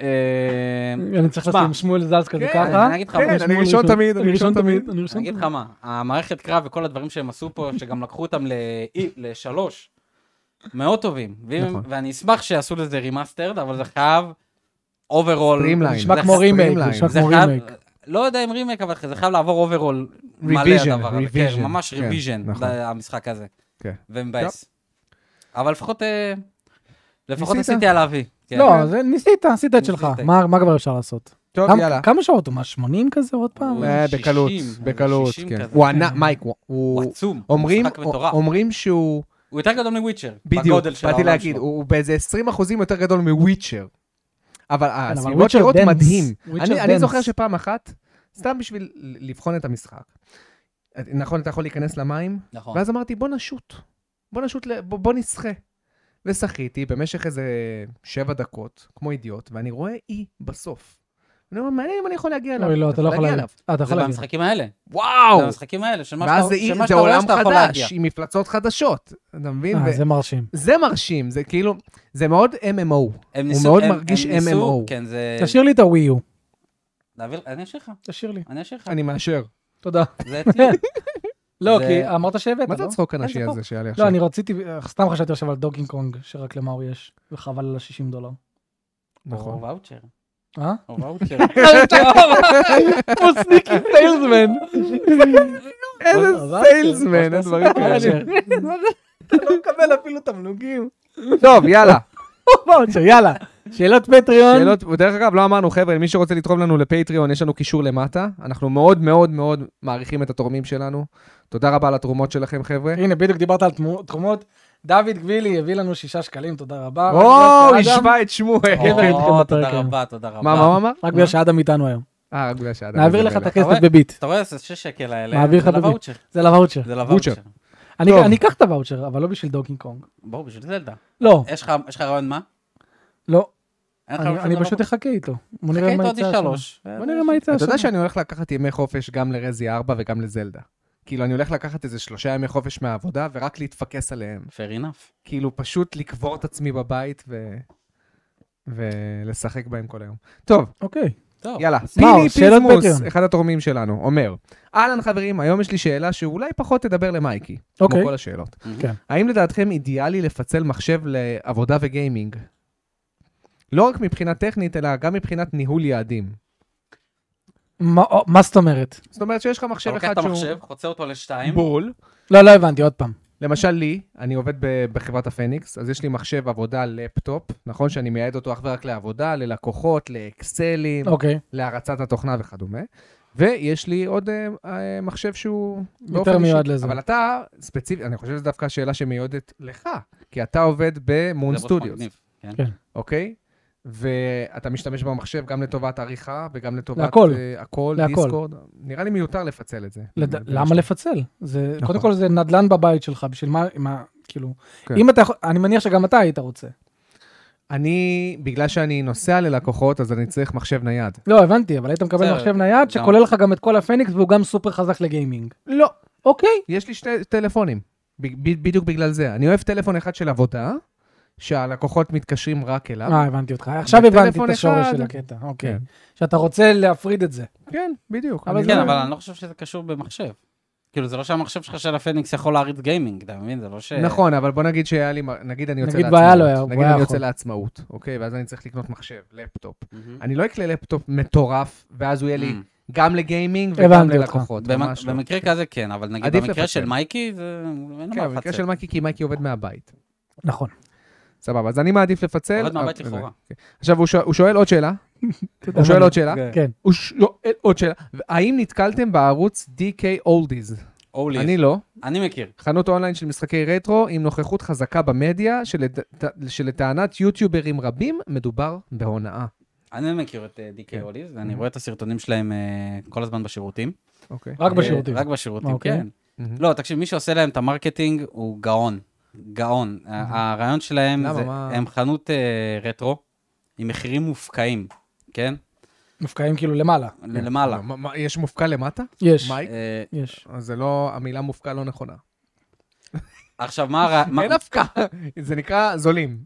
[SPEAKER 2] אה,
[SPEAKER 1] אני צריך
[SPEAKER 2] שמע.
[SPEAKER 1] לשים שמואל זלץ כזה
[SPEAKER 3] כן,
[SPEAKER 1] ככה.
[SPEAKER 2] אני אגיד לך,
[SPEAKER 3] כן,
[SPEAKER 2] אני
[SPEAKER 3] אני
[SPEAKER 1] שמואל
[SPEAKER 3] ראשון תמיד, אני ראשון תמיד.
[SPEAKER 1] אני ראשון
[SPEAKER 2] אגיד לך
[SPEAKER 1] תמיד.
[SPEAKER 2] מה, המערכת קרב וכל הדברים שהם עשו פה, שגם לקחו אותם לאי- לשלוש, מאוד טובים. ואם-
[SPEAKER 3] נכון.
[SPEAKER 2] ואני אשמח שיעשו לזה רימאסטרד, אבל זה חייב אוברול.
[SPEAKER 3] Streamline.
[SPEAKER 1] נשמע
[SPEAKER 2] זה-
[SPEAKER 1] כמו
[SPEAKER 3] זה
[SPEAKER 1] רימייק,
[SPEAKER 3] streamline.
[SPEAKER 1] נשמע
[SPEAKER 2] זה
[SPEAKER 1] כמו
[SPEAKER 2] חייב-
[SPEAKER 1] רימייק.
[SPEAKER 2] לא יודע אם רימייק, אבל זה חייב לעבור אוברול מלא
[SPEAKER 3] Revision,
[SPEAKER 2] הדבר הזה. כן,
[SPEAKER 3] revision.
[SPEAKER 2] ממש
[SPEAKER 3] כן,
[SPEAKER 2] ריוויז'ן,
[SPEAKER 3] נכון.
[SPEAKER 2] המשחק הזה.
[SPEAKER 3] כן.
[SPEAKER 2] ומבאס. אבל לפחות, אה, לפחות
[SPEAKER 3] ניסית?
[SPEAKER 2] עשיתי עליו אי. כן.
[SPEAKER 1] לא, זה- ניסית, עשית את שלך,
[SPEAKER 2] ניסית.
[SPEAKER 1] מה מה כבר אפשר לעשות?
[SPEAKER 3] טוב,
[SPEAKER 1] כמה-
[SPEAKER 3] יאללה.
[SPEAKER 1] כמה שעות הוא? מה, 80 כזה עוד פעם?
[SPEAKER 2] הוא
[SPEAKER 3] אה,
[SPEAKER 2] שישים,
[SPEAKER 3] בקלות,
[SPEAKER 2] הוא
[SPEAKER 3] בקלות,
[SPEAKER 2] שישים
[SPEAKER 3] כן.
[SPEAKER 2] כזה.
[SPEAKER 3] הוא ענק, מייק, הוא-
[SPEAKER 2] הוא
[SPEAKER 3] הוא...
[SPEAKER 2] עצום, הוא
[SPEAKER 3] אומרים-
[SPEAKER 2] משחק מטורף.
[SPEAKER 3] אומרים שהוא...
[SPEAKER 2] הוא יותר גדול מוויצ'ר,
[SPEAKER 3] בדיוק,
[SPEAKER 2] בגודל של
[SPEAKER 3] באתי
[SPEAKER 2] העולם
[SPEAKER 3] להגיד,
[SPEAKER 2] שלו.
[SPEAKER 3] הוא באיזה 20% יותר גדול מוויצ'ר. כן, אבל
[SPEAKER 1] אבל
[SPEAKER 3] הסביבות
[SPEAKER 1] וויצ'ר
[SPEAKER 3] נראות
[SPEAKER 1] דנס.
[SPEAKER 3] מדהים.
[SPEAKER 1] וויצ'ר
[SPEAKER 3] אני, אני
[SPEAKER 1] דנס.
[SPEAKER 3] זוכר שפעם אחת, סתם בשביל ל- לבחון את המשחק, נכון, אתה יכול להיכנס למים,
[SPEAKER 2] נכון.
[SPEAKER 3] ואז אמרתי, בוא נשוט. בוא נשוט, ל- בוא, בוא נסחה. ושחיתי במשך איזה שבע דקות, כמו אידיוט, ואני רואה אי בסוף. אני אומר, מעניין אם אני יכול להגיע אליו.
[SPEAKER 1] אוי, לא, אתה לא יכול להגיד. אה, אתה
[SPEAKER 2] זה
[SPEAKER 1] יכול להגיד.
[SPEAKER 2] במשחקים האלה.
[SPEAKER 3] וואו!
[SPEAKER 2] זה במשחקים האלה, שמה
[SPEAKER 3] ואז זה,
[SPEAKER 2] שאתה
[SPEAKER 3] אי,
[SPEAKER 2] שמה
[SPEAKER 3] זה
[SPEAKER 2] שאתה רואה
[SPEAKER 3] עולם
[SPEAKER 2] שאתה יכול להגיע.
[SPEAKER 3] חדש, עם מפלצות חדשות. אתה מבין?
[SPEAKER 1] אה,
[SPEAKER 3] ו-
[SPEAKER 1] זה מרשים.
[SPEAKER 3] זה מרשים, זה כאילו, זה מאוד MMO.
[SPEAKER 2] הם
[SPEAKER 3] הוא
[SPEAKER 2] ניסו-
[SPEAKER 3] מאוד
[SPEAKER 2] הם-
[SPEAKER 3] מרגיש
[SPEAKER 2] הם ניסו-
[SPEAKER 3] MMO.
[SPEAKER 2] כן, זה...
[SPEAKER 1] תשאיר לי את הווי יו.
[SPEAKER 2] להעביר- אני אשאיר לך,
[SPEAKER 1] תשאיר לי.
[SPEAKER 2] אני אשאיר לך.
[SPEAKER 3] אני מאשר.
[SPEAKER 1] תודה. כן.
[SPEAKER 2] זה אצלי.
[SPEAKER 1] לא,
[SPEAKER 2] זה-
[SPEAKER 1] כי אמרת שהבאת,
[SPEAKER 3] מה זה
[SPEAKER 1] לא?
[SPEAKER 3] הצחוק
[SPEAKER 2] אין, זה
[SPEAKER 3] הנשי
[SPEAKER 2] פה.
[SPEAKER 3] הזה שהיה לי
[SPEAKER 1] לא,
[SPEAKER 3] עכשיו?
[SPEAKER 1] אני רציתי, אה, סתם חשבתי עכשיו על דוגינג קונג, שרק למאור יש, וחבל על ה-60 דולר.
[SPEAKER 2] או
[SPEAKER 3] נכון.
[SPEAKER 2] ואוצ'ר.
[SPEAKER 1] אה?
[SPEAKER 2] או ואוצ'ר.
[SPEAKER 1] הוא סניקי סיילסמן.
[SPEAKER 3] איזה
[SPEAKER 1] אבל-
[SPEAKER 3] סיילסמן, אין דברים כאלה.
[SPEAKER 1] לא מקבל אפילו תמלוגים.
[SPEAKER 3] טוב, יאללה.
[SPEAKER 1] וואוצ'ר, יאללה. שאלות פטריון.
[SPEAKER 3] שאלות, ודרך אגב, לא אמרנו, חבר'ה, מי שרוצה לתרום לנו לפטריון, יש לנו קישור למטה. אנחנו מאוד מאוד מאוד מעריכים את התורמים שלנו. תודה רבה על התרומות שלכם, חבר'ה.
[SPEAKER 1] הנה, בדיוק דיברת על תמו- תרומות. דוד גבילי הביא לנו שישה שקלים, תודה רבה. רק
[SPEAKER 3] או,
[SPEAKER 1] בגלל שאדם-
[SPEAKER 3] השווה את שמואל.
[SPEAKER 1] גבר איתכם
[SPEAKER 2] או,
[SPEAKER 1] בפרק
[SPEAKER 2] תודה
[SPEAKER 1] היום.
[SPEAKER 2] רבה, תודה רבה.
[SPEAKER 3] אוקיי. מה, מה, מה, מה?
[SPEAKER 1] אה, רק בגלל שאדם איתנו היום.
[SPEAKER 3] אה, רק בגלל שאדם.
[SPEAKER 1] נעביר לך
[SPEAKER 3] מזבל.
[SPEAKER 1] את הכסף
[SPEAKER 2] רואה?
[SPEAKER 1] בביט.
[SPEAKER 2] אתה רואה, זה 6 שקל האלה.
[SPEAKER 1] מעביר לך
[SPEAKER 2] זה
[SPEAKER 1] בביט.
[SPEAKER 2] לוואוצ'ר.
[SPEAKER 1] זה לוואוצ'ר.
[SPEAKER 2] זה
[SPEAKER 3] וואוצ'ר.
[SPEAKER 2] לוואוצ'ר.
[SPEAKER 1] אני
[SPEAKER 3] טוב.
[SPEAKER 1] אני אקח את הוואוצ'ר, אבל לא בשביל דוקינג קונג.
[SPEAKER 2] בואו, בשביל זלדה.
[SPEAKER 1] לא,
[SPEAKER 2] יש לך יש לך רעיון מה?
[SPEAKER 1] לא.
[SPEAKER 2] אין לך
[SPEAKER 1] אני
[SPEAKER 2] רעיון
[SPEAKER 1] אני
[SPEAKER 2] מה?
[SPEAKER 1] פשוט אחכה איתו. בוא נראה
[SPEAKER 2] חכה
[SPEAKER 1] מה
[SPEAKER 2] איתו עוד
[SPEAKER 1] יצא שם.
[SPEAKER 2] שלוש.
[SPEAKER 1] בוא נראה מה יצא
[SPEAKER 3] אתה
[SPEAKER 1] שם.
[SPEAKER 3] יודע שאני הולך לקחת ימי חופש גם לרזי 4 וגם לזלדה. כאילו, אני הולך לקחת איזה שלושה ימי חופש מהעבודה ורק להתפקס עליהם.
[SPEAKER 2] Fair enough.
[SPEAKER 3] כאילו, פשוט לקבור את עצמי בבית ו... ולשחק בהם כל היום. טוב,
[SPEAKER 1] אוקיי.
[SPEAKER 2] טוב.
[SPEAKER 3] יאללה.
[SPEAKER 1] מה עוד?
[SPEAKER 3] פיני
[SPEAKER 1] שאלות
[SPEAKER 3] פיזמוס,
[SPEAKER 1] פטריון.
[SPEAKER 3] אחד התורמים שלנו, אומר, אהלן חברים, היום יש לי שאלה שאולי פחות תדבר למייקי, כמו
[SPEAKER 1] אוקיי.
[SPEAKER 3] כל השאלות.
[SPEAKER 1] כן.
[SPEAKER 3] האם לדעתכם אידיאלי לפצל מחשב לעבודה וגיימינג? לא רק מבחינה טכנית, אלא גם מבחינת ניהול יעדים.
[SPEAKER 1] מה- או, מה זאת אומרת?
[SPEAKER 3] זאת אומרת שיש לך מחשב
[SPEAKER 2] אתה לוקח
[SPEAKER 3] אחד
[SPEAKER 2] את
[SPEAKER 3] שהוא...
[SPEAKER 2] המחשב, חוצה אותו לשתיים.
[SPEAKER 3] בול.
[SPEAKER 1] לא, לא הבנתי, עוד פעם.
[SPEAKER 3] למשל לי, אני עובד ב- בחברת הפניקס, אז יש לי מחשב עבודה לפטופ, נכון שאני מייעד אותו אך ורק לעבודה, ללקוחות, לאקסלים,
[SPEAKER 1] אוקיי.
[SPEAKER 3] להרצת התוכנה וכדומה. ויש לי עוד אה, אה, מחשב שהוא... באופן
[SPEAKER 1] יותר
[SPEAKER 3] אישי.
[SPEAKER 1] מיועד לזה.
[SPEAKER 3] אבל אתה, ספציפית, אני חושב שזו דווקא שאלה שמיועדת לך, כי אתה עובד במון
[SPEAKER 2] זה בוס
[SPEAKER 3] סטודיוס,
[SPEAKER 2] מגניב, כן.
[SPEAKER 1] כן.
[SPEAKER 3] אוקיי? ואתה משתמש במחשב גם לטובת עריכה וגם לטובת...
[SPEAKER 1] להכל.
[SPEAKER 3] אה, הכל,
[SPEAKER 1] להכל.
[SPEAKER 3] דיסקורד. נראה לי מיותר לפצל את זה.
[SPEAKER 1] לד-
[SPEAKER 3] אני מבין
[SPEAKER 1] למה
[SPEAKER 3] שאתה-
[SPEAKER 1] לפצל? זה,
[SPEAKER 3] נכון.
[SPEAKER 1] קודם כל זה נדל"ן בבית שלך, בשביל מה, מה כאילו,
[SPEAKER 3] כן.
[SPEAKER 1] אם אתה יכול, אני מניח שגם אתה היית רוצה.
[SPEAKER 3] אני, בגלל שאני נוסע ללקוחות, אז אני צריך מחשב נייד.
[SPEAKER 1] לא, הבנתי, אבל היית מקבל
[SPEAKER 2] בסדר,
[SPEAKER 1] מחשב נייד שכולל לך גם את כל הפניקס והוא גם סופר חזק לגיימינג.
[SPEAKER 3] לא.
[SPEAKER 1] אוקיי.
[SPEAKER 3] יש לי שני טלפונים, ב- ב- בדיוק בגלל זה. אני אוהב טלפון אחד של עבודה, שהלקוחות מתקשרים רק אליו.
[SPEAKER 1] אה, הבנתי אותך. עכשיו הבנתי את
[SPEAKER 3] בטלפון
[SPEAKER 1] השורש
[SPEAKER 3] אחד.
[SPEAKER 1] של הקטע, אוקיי.
[SPEAKER 3] כן.
[SPEAKER 1] שאתה רוצה להפריד את זה.
[SPEAKER 3] כן, בדיוק.
[SPEAKER 1] אבל
[SPEAKER 3] אני
[SPEAKER 1] זה-
[SPEAKER 2] כן,
[SPEAKER 3] לא-
[SPEAKER 2] אבל אני לא חושב שזה קשור במחשב. כאילו, זה לא שהמחשב שלך של הפניקס יכול להריץ גיימינג, אתה מבין? זה לא ש...
[SPEAKER 3] נכון, אבל בוא נגיד שהיה לי, מ- נגיד אני יוצא
[SPEAKER 1] אה. נגיד
[SPEAKER 3] לעצמאות.
[SPEAKER 1] והיה לו, היה- הוא
[SPEAKER 3] נגיד
[SPEAKER 1] היה
[SPEAKER 3] אני יוצא
[SPEAKER 1] יכול.
[SPEAKER 3] לעצמאות, אוקיי? ואז אני צריך לקנות מחשב, לפטופ.
[SPEAKER 2] מהמם.
[SPEAKER 3] אני לא אקלה לפטופ מטורף, ואז הוא יהיה לי
[SPEAKER 2] Mm.
[SPEAKER 3] גם לגיימינג וגם
[SPEAKER 1] הבנתי אותך.
[SPEAKER 3] ללקוחות.
[SPEAKER 2] במ-
[SPEAKER 3] ממש לא.
[SPEAKER 2] במקרה כזה לא כן, אבל נגיד
[SPEAKER 3] עדיף
[SPEAKER 2] במקרה
[SPEAKER 3] לפצל.
[SPEAKER 2] של מייקי, זה... אין לו
[SPEAKER 3] כן,
[SPEAKER 2] מה
[SPEAKER 3] במקרה
[SPEAKER 2] לפצל.
[SPEAKER 3] של מייקי, כי מייקי עובד מהבית.
[SPEAKER 1] נכון.
[SPEAKER 3] סבבה, אז אני מעדיף לפצל.
[SPEAKER 2] עובד מהבית
[SPEAKER 3] אבל-
[SPEAKER 2] לכאורה.
[SPEAKER 3] עכשיו, הוא שואל- הוא שואל עוד שאלה. הוא שואל עוד שאלה.
[SPEAKER 2] כן.
[SPEAKER 1] כן.
[SPEAKER 3] הוא שואל עוד שאלה. האם נתקלתם בערוץ DK Oldies?
[SPEAKER 2] אולי,
[SPEAKER 3] אני לא.
[SPEAKER 2] אני מכיר.
[SPEAKER 3] חנות אונליין של משחקי רטרו עם נוכחות חזקה במדיה, שלט- שלטענת יוטיוברים רבים מדובר בהונאה.
[SPEAKER 2] אני מכיר את אה, דיקי
[SPEAKER 3] כן.
[SPEAKER 2] אוליז, ואני רואה את הסרטונים שלהם אה, כל הזמן בשירותים.
[SPEAKER 3] אוקיי.
[SPEAKER 1] רק
[SPEAKER 2] אה,
[SPEAKER 1] בשירותים.
[SPEAKER 2] רק בשירותים,
[SPEAKER 1] אוקיי.
[SPEAKER 2] כן.
[SPEAKER 3] מהמם.
[SPEAKER 2] לא, תקשיב, מי שעושה להם את המרקטינג הוא גאון. גאון. ה- הרעיון שלהם
[SPEAKER 3] למה?
[SPEAKER 2] זה,
[SPEAKER 3] מה?
[SPEAKER 2] הם חנות אה, רטרו, עם מחירים מופקעים, כן?
[SPEAKER 1] מופקעים כאילו למעלה.
[SPEAKER 3] כן,
[SPEAKER 2] למעלה.
[SPEAKER 3] מה- מה- יש מופקע למטה?
[SPEAKER 1] יש.
[SPEAKER 3] מייק?
[SPEAKER 2] אה,
[SPEAKER 1] יש.
[SPEAKER 3] אז זה לא, המילה מופקע לא נכונה.
[SPEAKER 2] עכשיו, מה הרע... מה-
[SPEAKER 3] אין הפקע, זה נקרא זולים.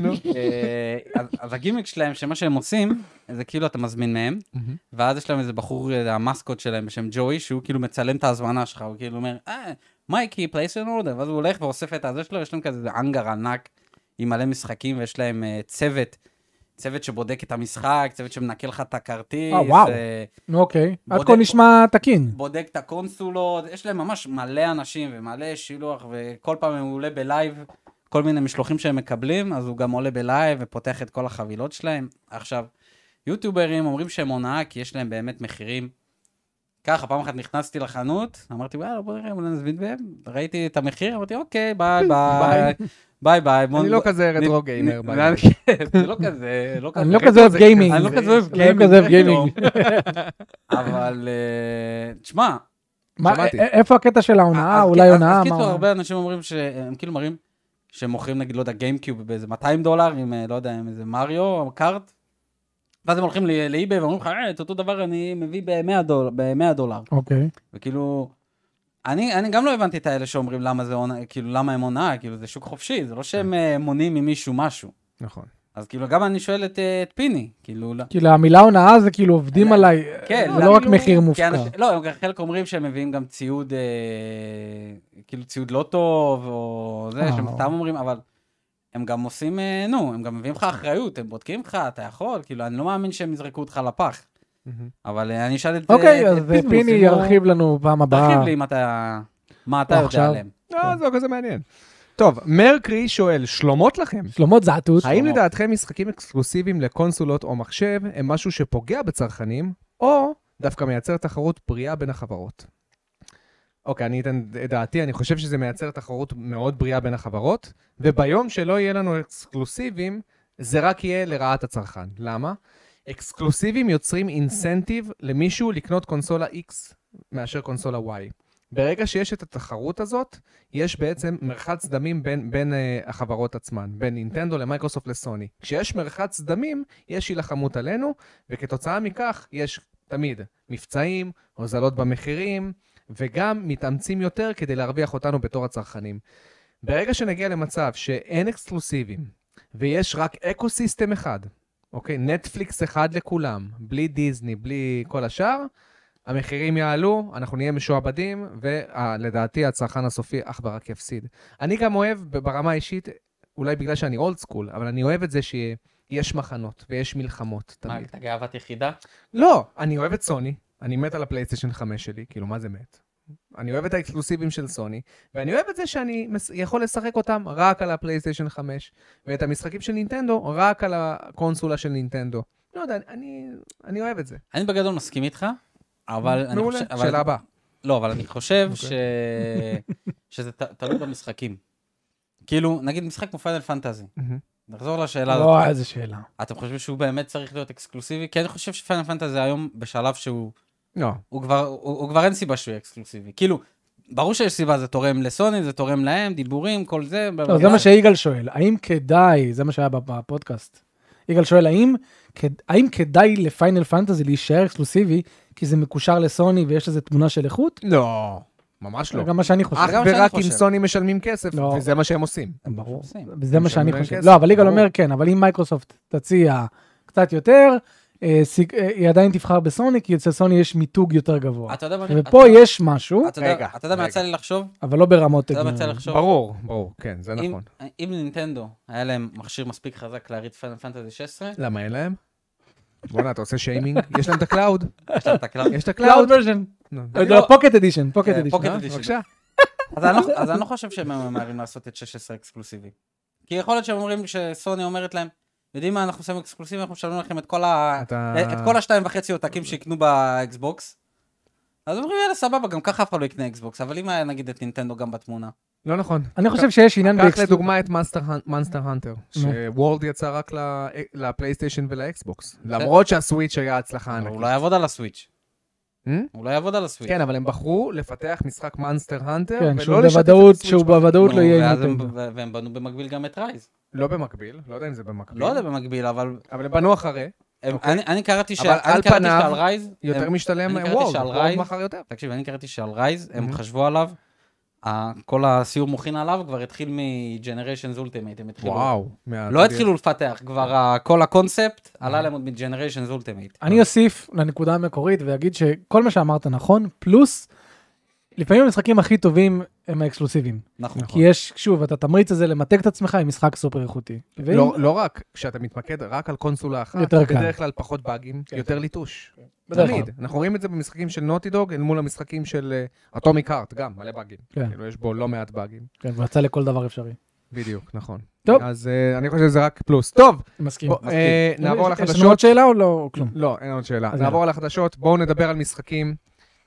[SPEAKER 3] נו.
[SPEAKER 1] כן.
[SPEAKER 2] אה, אז- אז הגימיק שלהם, שמה שהם עושים, זה כאילו אתה מזמין מהם,
[SPEAKER 3] מהמם.
[SPEAKER 2] ואז יש להם איזה בחור, אה, המסקוט שלהם בשם ג'וי, שהוא כאילו מצלם את ההזמנה שלך, הוא כאילו אומר, אה, מייקי, פלייס און אורדר, ואז הוא הולך ואוסף את הזה שלו, יש להם כזה אנגר ענק עם מלא משחקים, ויש להם אה, צוות, צוות שבודק את המשחק, צוות שמנקה לך את הכרטיס,
[SPEAKER 1] אה, וואו.
[SPEAKER 2] אה,
[SPEAKER 1] נו, אוקיי. עד
[SPEAKER 2] בודק-
[SPEAKER 1] כה נשמע תקין.
[SPEAKER 2] בודק את הקונסולות, יש להם ממש מלא אנשים ומלא שילוח, וכל פעם הוא עולה בלייב, כל מיני משלוחים שהם מקבלים, אז הוא גם עולה בלייב ופותח את כל החבילות שלהם. עכשיו, יוטיוברים אומרים שהם הונאה כי יש להם באמת מחירים. ככה, פעם אחת נכנסתי לחנות, אמרתי, וואלה, בוא נראה, אולי נזמין בהם, ראיתי את המחיר, אמרתי, אוקיי, ביי, ביי, ביי, ביי. בוא-
[SPEAKER 3] אני לא
[SPEAKER 2] בוא-
[SPEAKER 3] כזה
[SPEAKER 2] נ-
[SPEAKER 3] רטרו
[SPEAKER 2] נ-
[SPEAKER 3] גיימר.
[SPEAKER 2] נ-
[SPEAKER 3] בעיניי.
[SPEAKER 2] כן, זה לא כזה, לא
[SPEAKER 1] אני לא
[SPEAKER 2] כזה.
[SPEAKER 1] כזה אוהב גיימינג.
[SPEAKER 2] אני לא כזה אוהב
[SPEAKER 1] אני לא
[SPEAKER 2] גיימינג.
[SPEAKER 1] כזה אוהב גיימינג.
[SPEAKER 2] אבל, אה, תשמע,
[SPEAKER 1] מה,
[SPEAKER 3] שמעתי.
[SPEAKER 1] א- א- איפה הקטע של ההונאה?
[SPEAKER 2] אה, אז-
[SPEAKER 1] אולי
[SPEAKER 2] אז-
[SPEAKER 1] הונאה?
[SPEAKER 2] אז
[SPEAKER 1] מה-
[SPEAKER 2] קיצור, הרבה אנשים אומרים שהם כאילו מראים שהם מוכרים נגיד, לא יודע, גיימקיוב באיזה 200 דולר, עם אה, לא יודע, עם איזה מריו או קארט, ואז הם הולכים ל- לאיביי ואומרים לך, "אה, את אותו דבר אני מביא ב-100 דולר, ב-100 דולר.
[SPEAKER 1] אוקיי.
[SPEAKER 2] וכאילו, אני, אני גם לא הבנתי את האלה שאומרים למה זה הונאה, כאילו למה הם הונאה, כאילו זה שוק חופשי, זה לא
[SPEAKER 1] כן.
[SPEAKER 2] שהם אה, מונעים ממישהו משהו.
[SPEAKER 3] נכון.
[SPEAKER 2] אז כאילו, גם אני שואל את, אה, את פיני, כאילו, לא-
[SPEAKER 1] כאילו המילה הונאה זה כאילו עובדים עליי,
[SPEAKER 2] כן,
[SPEAKER 1] זה לא רק
[SPEAKER 2] כאילו,
[SPEAKER 1] מחיר
[SPEAKER 2] כי
[SPEAKER 1] מופקע.
[SPEAKER 2] אנשים- לא, הם גם חלק אומרים שהם מביאים גם ציוד, אה, כאילו ציוד לא טוב, או זה,
[SPEAKER 1] אה.
[SPEAKER 2] שהם סתם אומרים, אבל הם גם עושים, אה, נו, הם גם מביאים לך אחריות, הם בודקים לך, אתה יכול, כאילו, אני לא מאמין שהם יזרקו אותך לפח.
[SPEAKER 3] מהמם.
[SPEAKER 2] אבל אה, אני אשאל את
[SPEAKER 1] אוקיי,
[SPEAKER 2] את
[SPEAKER 1] אז
[SPEAKER 2] פיטבוס,
[SPEAKER 1] פיני
[SPEAKER 2] אם הוא-
[SPEAKER 1] ירחיב לנו פעם הבאה.
[SPEAKER 2] תרחיב לי אם אתה, מה אתה
[SPEAKER 1] או
[SPEAKER 2] יודע
[SPEAKER 1] עכשיו.
[SPEAKER 2] עליהם.
[SPEAKER 3] לא, זה לא כזה מעניין. טוב, מרקרי שואל, שלומות לכם?
[SPEAKER 1] שלומות זעתות.
[SPEAKER 3] האם
[SPEAKER 2] שלומות.
[SPEAKER 3] לדעתכם משחקים אקסקלוסיביים לקונסולות או מחשב הם משהו שפוגע בצרכנים, או דווקא מייצר תחרות בריאה בין החברות? אוקיי, אני אתן את דעתי, אני חושב שזה מייצר תחרות מאוד בריאה בין החברות, וביום שלא יהיה לנו אקסקלוסיבים, זה רק יהיה לרעת הצרכן. למה? אקסקלוסיבים יוצרים אינסנטיב למישהו לקנות קונסולה X מאשר קונסולה Y. ברגע שיש את התחרות הזאת, יש בעצם מרחץ דמים בין, בין uh, החברות עצמן, בין נינטנדו למייקרוסופט לסוני. כשיש מרחץ דמים, יש הילחמות עלינו, וכתוצאה מכך יש תמיד מבצעים, הוזלות במחירים, וגם מתאמצים יותר כדי להרוויח אותנו בתור הצרכנים. ברגע שנגיע למצב שאין אקסקלוסיבים, ויש רק אקו סיסטם אחד, אוקיי? נטפליקס אחד לכולם, בלי דיסני, בלי כל השאר, המחירים יעלו, אנחנו נהיה משועבדים, ולדעתי הצרכן הסופי אך ורק יפסיד. אני גם אוהב ב- ברמה האישית, אולי בגלל שאני אולד סקול, אבל אני אוהב את זה שיש מחנות ויש מלחמות
[SPEAKER 2] מה,
[SPEAKER 3] תמיד.
[SPEAKER 2] אתה גאוות יחידה?
[SPEAKER 3] לא, אני אוהב את סוני, אני מת על הפלייסטיישן 5 שלי, כאילו, מה זה מת? אני אוהב את האקסקלוסיבים של סוני, ואני אוהב את זה שאני מס- יכול לשחק אותם רק על הפלייסטיישן 5, ואת המשחקים של נינטנדו רק על הקונסולה של נינטנדו. לא יודע, אני, אני אוהב את זה.
[SPEAKER 2] אני בגדול מסכים איתך, אבל אני
[SPEAKER 3] מעולה.
[SPEAKER 2] חושב... אבל-
[SPEAKER 3] שאלה הבאה.
[SPEAKER 2] לא, אבל אני חושב
[SPEAKER 3] אוקיי.
[SPEAKER 2] ש... שזה ת- תלוי במשחקים. כאילו, נגיד משחק כמו פיינל פנטזי.
[SPEAKER 3] מהמם.
[SPEAKER 2] נחזור לשאלה הזאת.
[SPEAKER 1] לא, איזה שאלה.
[SPEAKER 2] אתם חושבים שהוא באמת צריך להיות אקסקלוסיבי? כי אני חושב שפיינל פנטזי היום בשלב שהוא...
[SPEAKER 3] לא,
[SPEAKER 2] הוא כבר, הוא, הוא כבר אין סיבה שהוא יהיה אקסקלוסיבי. כאילו, ברור שיש סיבה, זה תורם לסוני, זה תורם להם, דיבורים, כל זה.
[SPEAKER 1] לא, זה מה שיגאל שואל, האם כדאי, זה מה שהיה בפודקאסט. יגאל שואל, האם, כד- האם כדאי לפיינל פנטזי להישאר אקסקלוסיבי, כי זה מקושר לסוני ויש לזה תמונה של איכות?
[SPEAKER 3] לא, ממש לא.
[SPEAKER 1] זה גם מה שאני חושב.
[SPEAKER 3] אך
[SPEAKER 2] גם שאני
[SPEAKER 3] ורק אם
[SPEAKER 2] חושב.
[SPEAKER 3] סוני משלמים כסף,
[SPEAKER 1] לא.
[SPEAKER 3] וזה מה שהם עושים.
[SPEAKER 1] ברור.
[SPEAKER 2] עושים.
[SPEAKER 1] זה מה שאני
[SPEAKER 3] משלמים
[SPEAKER 1] חושב.
[SPEAKER 3] כסף,
[SPEAKER 1] לא, אבל יגאל
[SPEAKER 3] ברור.
[SPEAKER 1] אומר כן, אבל אם מייקרוסופט תציע קצת יותר, אה, סיג- אה, היא עדיין תבחר בסוני, כי אצל סוני יש מיתוג יותר גבוה.
[SPEAKER 2] אתה יודע מה... אני-
[SPEAKER 1] ופה
[SPEAKER 2] אתה- לא-
[SPEAKER 1] יש משהו,
[SPEAKER 2] אתה יודע-
[SPEAKER 3] רגע,
[SPEAKER 2] אתה יודע מה
[SPEAKER 3] רגע.
[SPEAKER 2] יצא לי לחשוב?
[SPEAKER 1] אבל לא ברמות...
[SPEAKER 2] אתה יודע מה יצא לי
[SPEAKER 1] הגיוניות.
[SPEAKER 2] לחשוב?
[SPEAKER 3] ברור, ברור, כן, זה
[SPEAKER 2] אם-
[SPEAKER 3] נכון.
[SPEAKER 2] אם לנינטנדו היה להם מכשיר מספיק חזק להריץ פיינל פנטזי 16,
[SPEAKER 3] למה אין להם? בואנה, אתה עושה שיימינג? יש להם את הקלאוד,
[SPEAKER 2] יש להם את הקלאס.
[SPEAKER 3] יש את
[SPEAKER 1] Cloud
[SPEAKER 3] הקלאוד.
[SPEAKER 1] version.
[SPEAKER 3] נו,
[SPEAKER 2] אני
[SPEAKER 1] לא,
[SPEAKER 2] לא-
[SPEAKER 1] פוקט אדישן, פוקט
[SPEAKER 2] אה,
[SPEAKER 1] אדישן.
[SPEAKER 2] Pocket
[SPEAKER 1] אה?
[SPEAKER 2] Edition.
[SPEAKER 1] בבקשה.
[SPEAKER 2] אז אני לא- אז אני לא חושב שהם ממהרים לעשות את 16 אקסקלוסיבי. כי יכול להיות שהם אומרים שסוני אומרת להם, יודעים מה, אנחנו עושים אקסקלוסיבי, אנחנו משלמים לכם את כל ה...
[SPEAKER 3] אתה-
[SPEAKER 2] את כל השתיים וחצי עותקים שיקנו באקסבוקס. אז אומרים, יאללה, סבבה, גם ככה אף אחד לא יקנה אקסבוקס, אבל אם היה נגיד את נינטנדו גם בתמונה.
[SPEAKER 3] לא נכון.
[SPEAKER 1] אני חושב שיש עניין
[SPEAKER 3] קח
[SPEAKER 2] לא-
[SPEAKER 1] באקסקלוסיבי.
[SPEAKER 3] לדוגמה את מאנסטר הנטר, שוולד יצא רק ל- אה, לפלייסטיישן
[SPEAKER 2] אה.
[SPEAKER 3] ולאקסבוקס. למרות שהסוויץ' היה הצלחה
[SPEAKER 2] אבל הוא
[SPEAKER 3] ענקית.
[SPEAKER 2] לא יעבוד על הסוויץ'.
[SPEAKER 3] Hmm?
[SPEAKER 2] הוא לא יעבוד על הסוויץ'.
[SPEAKER 3] כן, אבל הם בחרו לפתח משחק מאנסטר הנטר,
[SPEAKER 1] כן, שהוא
[SPEAKER 3] ולא לשתף את
[SPEAKER 1] בוודאות-
[SPEAKER 3] הסוויץ'.
[SPEAKER 1] שהוא
[SPEAKER 3] בחיים.
[SPEAKER 1] בוודאות לא
[SPEAKER 2] נו,
[SPEAKER 1] יהיה עם
[SPEAKER 2] ואז הם-
[SPEAKER 1] נינטנדו.
[SPEAKER 2] ו- והם בנו במקביל גם את רייז.
[SPEAKER 3] לא במקביל, לא יודע אם זה במקביל.
[SPEAKER 2] לא יודע במקביל, אבל
[SPEAKER 3] אבל הם בנו אחרי,
[SPEAKER 2] הם-
[SPEAKER 3] אוקיי.
[SPEAKER 2] אני אני קראתי ש-
[SPEAKER 3] אבל
[SPEAKER 2] אני
[SPEAKER 3] על
[SPEAKER 2] קראתי
[SPEAKER 3] פניו,
[SPEAKER 2] שעל רייז...
[SPEAKER 3] יותר
[SPEAKER 2] הם-
[SPEAKER 3] משתלם
[SPEAKER 2] אני קראתי
[SPEAKER 3] וולד,
[SPEAKER 2] שעל
[SPEAKER 3] וולד
[SPEAKER 2] רייז-
[SPEAKER 3] מכר יותר.
[SPEAKER 2] תקשיב, אני קראתי שעל רייז, הם
[SPEAKER 3] Mhm.
[SPEAKER 2] חשבו עליו, ה- כל הסיור מוכין עליו כבר התחיל מ-Generations Ultimate, הם התחילו...
[SPEAKER 3] וואו. מה-
[SPEAKER 2] כאילו- לא התחילו לפתח, כבר ה- כל הקונספט עלה להם עוד מ-Generations Ultimate.
[SPEAKER 3] לא.
[SPEAKER 1] אני אוסיף לנקודה המקורית ואגיד שכל מה שאמרת נכון, פלוס, לפעמים המשחקים הכי טובים הם האקסקלוסיביים.
[SPEAKER 2] נכון.
[SPEAKER 1] כי יש, שוב, את התמריץ הזה למתג את עצמך עם משחק סופר איכותי. ואם-
[SPEAKER 3] לא, לא רק, כשאתה מתמקד רק על קונסולה אחת,
[SPEAKER 1] יותר קל.
[SPEAKER 3] בדרך כלל פחות באגים, יותר ליטוש.
[SPEAKER 1] בדרך כלל.
[SPEAKER 3] תמיד. אנחנו רואים את זה במשחקים של נוטי דוג, אל מול המשחקים של אטומיק הארט, גם, מלא באגים.
[SPEAKER 1] כן.
[SPEAKER 3] כאילו, יש בו לא מעט באגים.
[SPEAKER 1] כן, הוא יצא לכל דבר אפשרי.
[SPEAKER 3] בדיוק, נכון.
[SPEAKER 1] טוב.
[SPEAKER 3] אז אה, אני חושב שזה רק פלוס. טוב,
[SPEAKER 1] מסכים.
[SPEAKER 3] בוא, אה, נעבור
[SPEAKER 1] יש לנו עוד
[SPEAKER 3] לחדשות.
[SPEAKER 1] שאלה או לא? או כלום.
[SPEAKER 3] לא, אין עוד שאלה.
[SPEAKER 1] אז
[SPEAKER 3] נעבור על החדשות, בואו נדבר על משחקים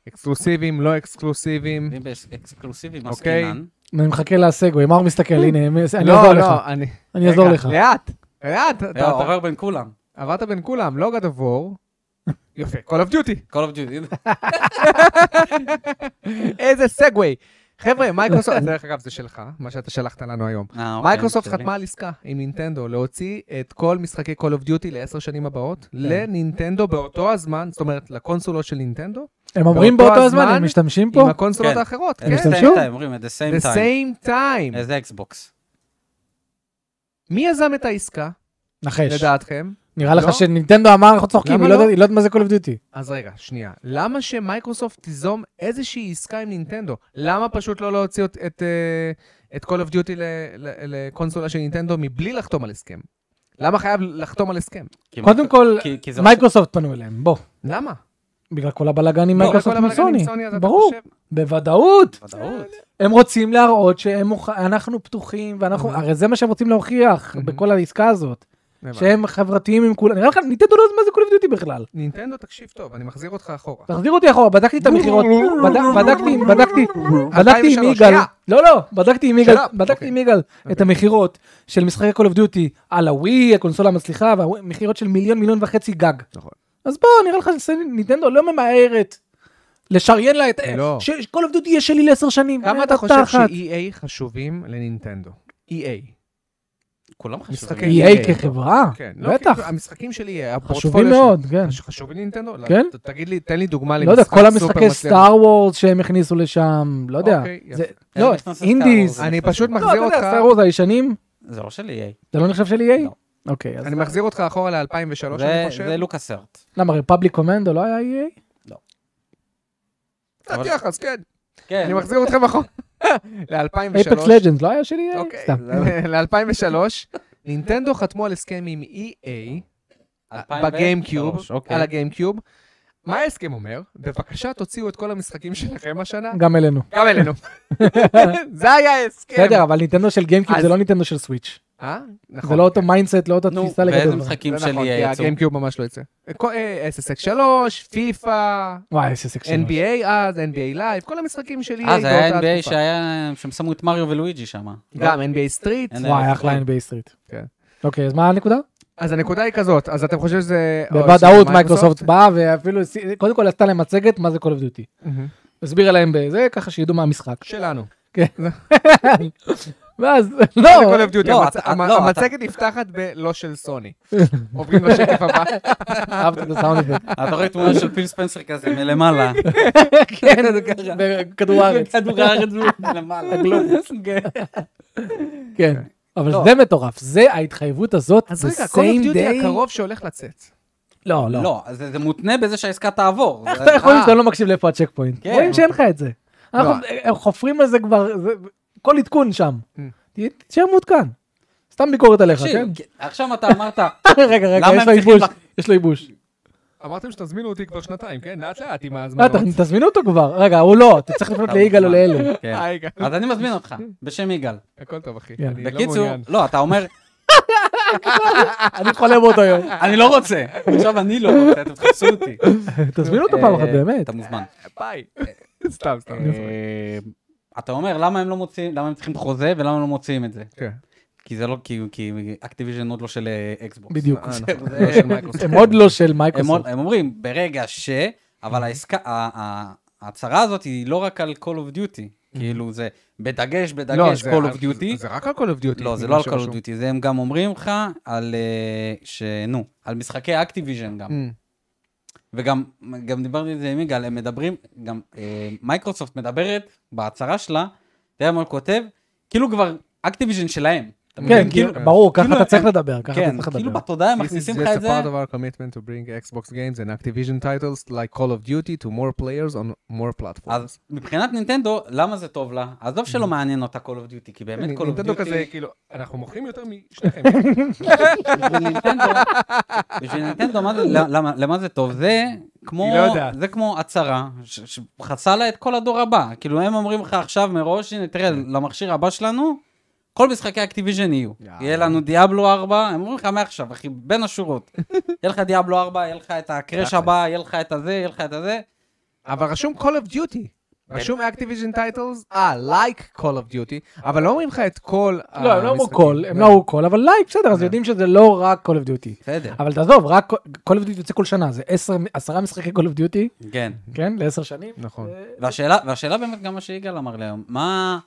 [SPEAKER 3] אקסקלוסיביים, לא אקסקלוסיביים.
[SPEAKER 2] ואם באקסקלוסיבי
[SPEAKER 3] אוקיי.
[SPEAKER 2] מסכינן,
[SPEAKER 1] אני מחכה לסגווי, מאור מסתכל, הנה, הם- אני
[SPEAKER 3] לא,
[SPEAKER 1] אעזור לך.
[SPEAKER 3] לא, אני...
[SPEAKER 1] אני אעזור
[SPEAKER 3] רגע,
[SPEAKER 1] לך.
[SPEAKER 3] לאט, לאט.
[SPEAKER 2] אתה
[SPEAKER 3] אתה- אתה-
[SPEAKER 2] עובר בין כולם.
[SPEAKER 3] עברת בין כולם, לא God of War. יפה, Call of Duty.
[SPEAKER 2] Call of Duty. אה,
[SPEAKER 3] איזה סגווי. חבר'ה, מייקרוסופט, דרך אגב, זה שלך, מה שאתה שלחת לנו היום.
[SPEAKER 2] אה, אוקיי,
[SPEAKER 3] מייקרוסופט
[SPEAKER 2] שלי.
[SPEAKER 3] חתמה על עסקה עם נינטנדו להוציא את כל משחקי Call of Duty לעשר שנים
[SPEAKER 2] כן.
[SPEAKER 3] הבאות לנינטנדו באותו הזמן, זאת אומרת לקונסולות של נינטנדו,
[SPEAKER 1] הם אומרים באותו
[SPEAKER 3] באותו
[SPEAKER 1] הזמן,
[SPEAKER 3] הזמן,
[SPEAKER 1] הם משתמשים פה?
[SPEAKER 3] עם הקונסולות
[SPEAKER 2] כן.
[SPEAKER 3] האחרות,
[SPEAKER 2] At the
[SPEAKER 3] כן,
[SPEAKER 1] משתמשים-
[SPEAKER 2] same time, אומרים, at the
[SPEAKER 3] the
[SPEAKER 2] same time.
[SPEAKER 3] same time.
[SPEAKER 2] איזה אקסבוקס.
[SPEAKER 3] מי יזם את העסקה,
[SPEAKER 1] נחש.
[SPEAKER 3] לדעתכם?
[SPEAKER 1] נראה לך
[SPEAKER 3] לא?
[SPEAKER 1] שנינטנדו אמר, אנחנו צוחקים,
[SPEAKER 3] למה
[SPEAKER 1] היא לא
[SPEAKER 3] לא?
[SPEAKER 1] יודעת- היא לא יודעת מה זה Call of Duty.
[SPEAKER 3] אז רגע, שנייה. למה שמייקרוסופט תיזום איזושהי עסקה עם נינטנדו? למה פשוט לא להוציא את, את, אה, את Call of Duty ל- ל- לקונסולה של נינטנדו מבלי לחתום על הסכם? למה חייב לחתום על הסכם?
[SPEAKER 2] כי-
[SPEAKER 1] קודם כל,
[SPEAKER 2] כי-
[SPEAKER 3] לא-
[SPEAKER 2] כי זה-
[SPEAKER 1] מייקרוסופט פנו אליהם, בוא.
[SPEAKER 3] למה?
[SPEAKER 1] בגלל כל הבלאגן עם
[SPEAKER 3] לא,
[SPEAKER 1] מייקרוסופט
[SPEAKER 3] כל הבלגן עם
[SPEAKER 1] וסוני.
[SPEAKER 3] סוני, אז אתה
[SPEAKER 1] ברור.
[SPEAKER 3] חושב-
[SPEAKER 1] בוודאות.
[SPEAKER 2] ודאות.
[SPEAKER 1] הם רוצים להראות שהם מוכ... אנחנו פתוחים, ואנחנו, הרי זה מה שהם רוצים להוכיח
[SPEAKER 3] Mhm.
[SPEAKER 1] בכל העסקה הזאת,
[SPEAKER 3] הבנתי.
[SPEAKER 1] שהם חברתיים עם כולם. נראה לך, ניתן דולר מה זה קול דיוטי בכלל.
[SPEAKER 3] נינטנדו, תקשיב טוב, אני מחזיר אותך אחורה.
[SPEAKER 1] תחזיר אותי אחורה, בדקתי את המכירות, בד- בדקתי, בדקתי, בדקתי עם
[SPEAKER 3] 2003,
[SPEAKER 1] יגאל,
[SPEAKER 3] שנייה.
[SPEAKER 1] לא לא, בדקתי עם יגאל,
[SPEAKER 3] שלה,
[SPEAKER 1] בדקתי
[SPEAKER 3] אוקיי.
[SPEAKER 1] עם יגאל את
[SPEAKER 3] אוקיי.
[SPEAKER 1] המכירות של משחקי Call of Duty על הווי, הקונסולה המצליחה, והמכירות של מיליון מיליון וחצי גג.
[SPEAKER 3] נכון.
[SPEAKER 1] אז בוא, נראה לך שניטנדו לא ממהרת לשריין לה את,
[SPEAKER 3] לא.
[SPEAKER 1] ש- ש- Call of Duty יהיה שלי לעשר שנים.
[SPEAKER 3] כמה
[SPEAKER 1] אה,
[SPEAKER 3] אתה חושב
[SPEAKER 1] תחת.
[SPEAKER 3] ש-EA חשובים לנינטנדו?
[SPEAKER 1] E
[SPEAKER 3] EA.
[SPEAKER 2] כולם
[SPEAKER 3] משחקי-
[SPEAKER 2] חשובים.
[SPEAKER 1] EA כחברה?
[SPEAKER 3] כן, לא
[SPEAKER 1] בטח,
[SPEAKER 3] כאילו, המשחקים של EA,
[SPEAKER 1] חשובים
[SPEAKER 3] הפורטפוליו של-
[SPEAKER 1] מאוד, כן.
[SPEAKER 3] חש- חשובים לנינטנדו? לא,
[SPEAKER 1] כן.
[SPEAKER 3] ת- תגיד לי, תן לי דוגמה
[SPEAKER 1] לא יודע,
[SPEAKER 3] למשחק
[SPEAKER 1] כל
[SPEAKER 3] סופר
[SPEAKER 1] המשחקי
[SPEAKER 3] מצליח.
[SPEAKER 1] סטאר וורס שהם הכניסו לשם, לא יודע.
[SPEAKER 3] אוקיי, יפה.
[SPEAKER 1] זה-
[SPEAKER 2] אני
[SPEAKER 1] לא,
[SPEAKER 2] נכנס לסטאר
[SPEAKER 1] אינדיז.
[SPEAKER 2] וורס.
[SPEAKER 3] אני פשוט
[SPEAKER 1] לא, אתה
[SPEAKER 3] מחזיר
[SPEAKER 1] יודע,
[SPEAKER 3] אותך...
[SPEAKER 1] סטאר וורס הישנים,
[SPEAKER 2] זה לא של EA.
[SPEAKER 1] זה לא נחשב של EA?
[SPEAKER 2] לא.
[SPEAKER 1] אוקיי, אז
[SPEAKER 3] אני מחזיר אותך אחורה ל-2003,
[SPEAKER 2] זה-
[SPEAKER 3] אני לא חושב.
[SPEAKER 2] זה לוקאס ארט.
[SPEAKER 1] למה, רפבליק קומנדו לא היה EA?
[SPEAKER 3] קצת יחס, כן.
[SPEAKER 2] כן.
[SPEAKER 3] אני מחזיר אותכם אחורה. ל-2003.
[SPEAKER 1] אייפקס לג'נדס לא היה של EA?
[SPEAKER 3] אוקיי,
[SPEAKER 1] סתם.
[SPEAKER 3] ל-2003. נינטנדו חתמו על הסכם עם EA
[SPEAKER 2] 2003,
[SPEAKER 3] בגיימקיוב,
[SPEAKER 2] אוקיי.
[SPEAKER 3] על הגיימקיוב. מה ההסכם אומר? בבקשה תוציאו את כל המשחקים שלכם השנה,
[SPEAKER 1] גם אלינו.
[SPEAKER 3] גם אלינו. זה היה ההסכם.
[SPEAKER 1] בסדר, אבל ניטנדו של גיימקיוב
[SPEAKER 3] אז-
[SPEAKER 1] זה לא ניטנדו של סוויץ'.
[SPEAKER 3] אה?
[SPEAKER 1] זה
[SPEAKER 3] נכון.
[SPEAKER 1] לא אותו מיינדסט, לא אותה
[SPEAKER 2] נו,
[SPEAKER 1] תפיסה לגדול.
[SPEAKER 2] ואיזה משחקים
[SPEAKER 3] לא
[SPEAKER 2] של
[SPEAKER 3] נכון,
[SPEAKER 2] EA
[SPEAKER 3] כי
[SPEAKER 2] יצאו?
[SPEAKER 3] הגיימקיוב ממש לא יצא. כל- אה, SSX 3, פיפא,
[SPEAKER 1] וואי, איזה סקסי.
[SPEAKER 3] NBA אז, NBA לייב, כל המשחקים שלי
[SPEAKER 2] אה, זה היה NBA
[SPEAKER 3] תקופה.
[SPEAKER 2] שהיה, שהם שמו את מריו ולואיג'י שם.
[SPEAKER 3] גם NBA סטריט.
[SPEAKER 2] אין
[SPEAKER 1] וואי,
[SPEAKER 2] NBA.
[SPEAKER 1] אחלה NBA סטריט.
[SPEAKER 3] כן.
[SPEAKER 1] אוקיי, אז מה הנקודה?
[SPEAKER 3] אז הנקודה היא כזאת, אז אתם חושבים שזה...
[SPEAKER 1] בוודאות מייקרוסופט באה ואפילו, הסי- קודם כל עשתה להם מצגת מה זה Call of Duty.
[SPEAKER 3] מהמם.
[SPEAKER 1] הסבירה להם בזה, ככה שידעו מה המשחק.
[SPEAKER 3] שלנו.
[SPEAKER 1] ואז,
[SPEAKER 3] זה
[SPEAKER 1] לא,
[SPEAKER 3] Call of Duty,
[SPEAKER 2] לא,
[SPEAKER 3] המצ-
[SPEAKER 2] אתה-
[SPEAKER 3] המ-
[SPEAKER 2] לא, אתה-
[SPEAKER 3] המצגת נפתחת בלא של סוני. עוברים לשקף הבא.
[SPEAKER 1] אהבתי את הסאונד הזה.
[SPEAKER 2] אתה רואה תמונה של פיל ספנסר כזה מלמעלה.
[SPEAKER 1] כן, בכדור הארץ.
[SPEAKER 2] כדור הארץ מלמעלה.
[SPEAKER 1] כן. אבל
[SPEAKER 2] לא.
[SPEAKER 1] זה מטורף, זה ההתחייבות הזאת,
[SPEAKER 3] אז
[SPEAKER 1] the
[SPEAKER 3] רגע, Call
[SPEAKER 1] same
[SPEAKER 3] of Duty
[SPEAKER 1] day.
[SPEAKER 3] הקרוב שהולך לצאת.
[SPEAKER 1] לא, לא.
[SPEAKER 2] לא, זה זה מותנה בזה שהעסקה תעבור.
[SPEAKER 1] איך
[SPEAKER 2] זה-
[SPEAKER 1] אתה יכול
[SPEAKER 3] אה.
[SPEAKER 1] לראות שאתה לא מקשיב לאיפה הצ'ק פוינט?
[SPEAKER 2] כן.
[SPEAKER 1] רואים שאין לך את זה.
[SPEAKER 3] לא.
[SPEAKER 1] אנחנו הם חופרים על זה כבר, זה- כל עדכון שם.
[SPEAKER 3] Mm.
[SPEAKER 2] אה.
[SPEAKER 1] תהיה- תישאר מעודכן. סתם ביקורת עליך,
[SPEAKER 2] תקשיב,
[SPEAKER 1] כן?
[SPEAKER 2] כי- עכשיו אתה אמרת,
[SPEAKER 1] רגע,
[SPEAKER 2] למה
[SPEAKER 1] רגע, יש
[SPEAKER 2] הם
[SPEAKER 1] לו
[SPEAKER 2] צריכים
[SPEAKER 1] ייבוש.
[SPEAKER 2] לח-
[SPEAKER 1] יש לו ייבוש.
[SPEAKER 3] אמרתם שתזמינו אותי כבר שנתיים, כן? לאט לאט עם
[SPEAKER 1] אה,
[SPEAKER 3] ההזמנות.
[SPEAKER 1] ת- תזמינו אותו כבר. רגע, הוא לא, אתה צריך לפנות
[SPEAKER 2] אתה
[SPEAKER 1] ליגאל או
[SPEAKER 2] מוזמן.
[SPEAKER 1] לאלו.
[SPEAKER 2] כן.
[SPEAKER 3] אה, רגע.
[SPEAKER 2] אז אני מזמין אותך, בשם יגאל.
[SPEAKER 3] הכל טוב, אחי.
[SPEAKER 1] יאללה.
[SPEAKER 3] אני לא
[SPEAKER 2] בקיצור,
[SPEAKER 3] מעוניין.
[SPEAKER 2] לא, אתה אומר,
[SPEAKER 1] אני חולם באותו יום.
[SPEAKER 2] אני לא רוצה. עכשיו אני לא רוצה, אתם תחפשו אותי.
[SPEAKER 1] תזמינו אותו פעם אחת,
[SPEAKER 2] אה,
[SPEAKER 1] באמת.
[SPEAKER 2] אתה מוזמן.
[SPEAKER 3] ביי. סתם, סתם.
[SPEAKER 2] אה, אתה אומר, למה הם לא מוציאים, למה הם צריכים חוזה ולמה הם לא מוציאים את זה?
[SPEAKER 3] כן.
[SPEAKER 2] כי זה לא, כי- כי אקטיביז'ן עוד לא של אה, אקסבוקס.
[SPEAKER 1] בדיוק.
[SPEAKER 3] אה,
[SPEAKER 2] זה-
[SPEAKER 3] נכון. לא של מייקרוסופט.
[SPEAKER 1] הם עוד לא של
[SPEAKER 2] הם עוד-
[SPEAKER 1] מייקרוסופט.
[SPEAKER 2] הם אומרים, ברגע ש... אבל העסקה, ה- ה- ההצהרה הזאת היא לא רק על Call of Duty. כאילו זה בדגש,
[SPEAKER 3] לא,
[SPEAKER 2] בדגש
[SPEAKER 3] זה-
[SPEAKER 2] Call of
[SPEAKER 3] זה-
[SPEAKER 2] Duty.
[SPEAKER 3] זה רק על Call of Duty.
[SPEAKER 2] לא, זה
[SPEAKER 3] ממה
[SPEAKER 2] לא על Call
[SPEAKER 3] שרשום.
[SPEAKER 2] of Duty, זה הם גם אומרים לך על, אה, ש... נו, על משחקי אקטיביז'ן גם.
[SPEAKER 3] Mm.
[SPEAKER 2] וגם גם דיברתי על זה עם יגאל, הם מדברים, גם אה, מייקרוסופט מדברת בהצהרה שלה, אתה יודע מה הוא כותב? כאילו כבר אקטיביז'ן שלהם. אתה מבין?
[SPEAKER 1] כן,
[SPEAKER 2] כאילו,
[SPEAKER 1] כאילו, ברור, ככה
[SPEAKER 2] כאילו
[SPEAKER 1] אתה צריך
[SPEAKER 2] הם-
[SPEAKER 1] לדבר, ככה אתה
[SPEAKER 2] כן,
[SPEAKER 1] צריך
[SPEAKER 2] כאילו
[SPEAKER 1] לדבר.
[SPEAKER 2] בתודעה הם
[SPEAKER 3] This is
[SPEAKER 2] מכניסים לך
[SPEAKER 3] just
[SPEAKER 2] את
[SPEAKER 3] a
[SPEAKER 2] זה.
[SPEAKER 3] part of our commitment to bring Xbox games and Activision titles like Call of Duty to more players on more platforms.
[SPEAKER 2] אז מבחינת נינטנדו, למה זה טוב לה? עזוב שלא מעניין אותה Call of Duty, כי באמת Call of
[SPEAKER 3] Mm-hmm. נינטנדו כזה,
[SPEAKER 2] Duty,
[SPEAKER 3] כאילו, אנחנו מוכרים יותר משניכם.
[SPEAKER 2] בשביל נינטנדו, בשביל נינטנדו, מה זה- למה- למה זה טוב? זה כמו,
[SPEAKER 3] היא לא יודעת.
[SPEAKER 2] זה כמו הצהרה, ש- שחצה לה את כל הדור הבא. כאילו הם אומרים לך עכשיו מראש, הנה תראה,
[SPEAKER 3] כן.
[SPEAKER 2] למכשיר הבא שלנו, כל משחקי אקטיביז'ן יהיו.
[SPEAKER 3] יאללה.
[SPEAKER 2] יהיה לנו דיאבלו 4, הם אומרים לך מעכשיו, אחי, בין השורות. יהיה לך דיאבלו 4, יהיה לך את הקראש
[SPEAKER 3] תכלס.
[SPEAKER 2] הבא, יהיה לך את הזה, יהיה לך את הזה.
[SPEAKER 3] אבל רשום Call of Duty. רשום Activision titles, אה, like Call of Duty, אבל לא אומרים לך את כל
[SPEAKER 2] אה,
[SPEAKER 1] לא, הם לא אמרו
[SPEAKER 3] המשחקים. אה,
[SPEAKER 1] קול, הם לא אמרו קול, אבל לייק, בסדר, אז יודעים שזה לא רק Call of
[SPEAKER 2] כן.
[SPEAKER 1] Duty.
[SPEAKER 2] בסדר.
[SPEAKER 1] אבל תעזוב, רק Call of Duty יוצא כל שנה, זה עשר- עשרה משחקי Call of Duty,
[SPEAKER 2] כן. לא,
[SPEAKER 1] כן, לעשר שנים.
[SPEAKER 3] נכון.
[SPEAKER 1] אה,
[SPEAKER 2] והשאלה, והשאלה באמת גם מה שיגאל אמר לי היום, מה...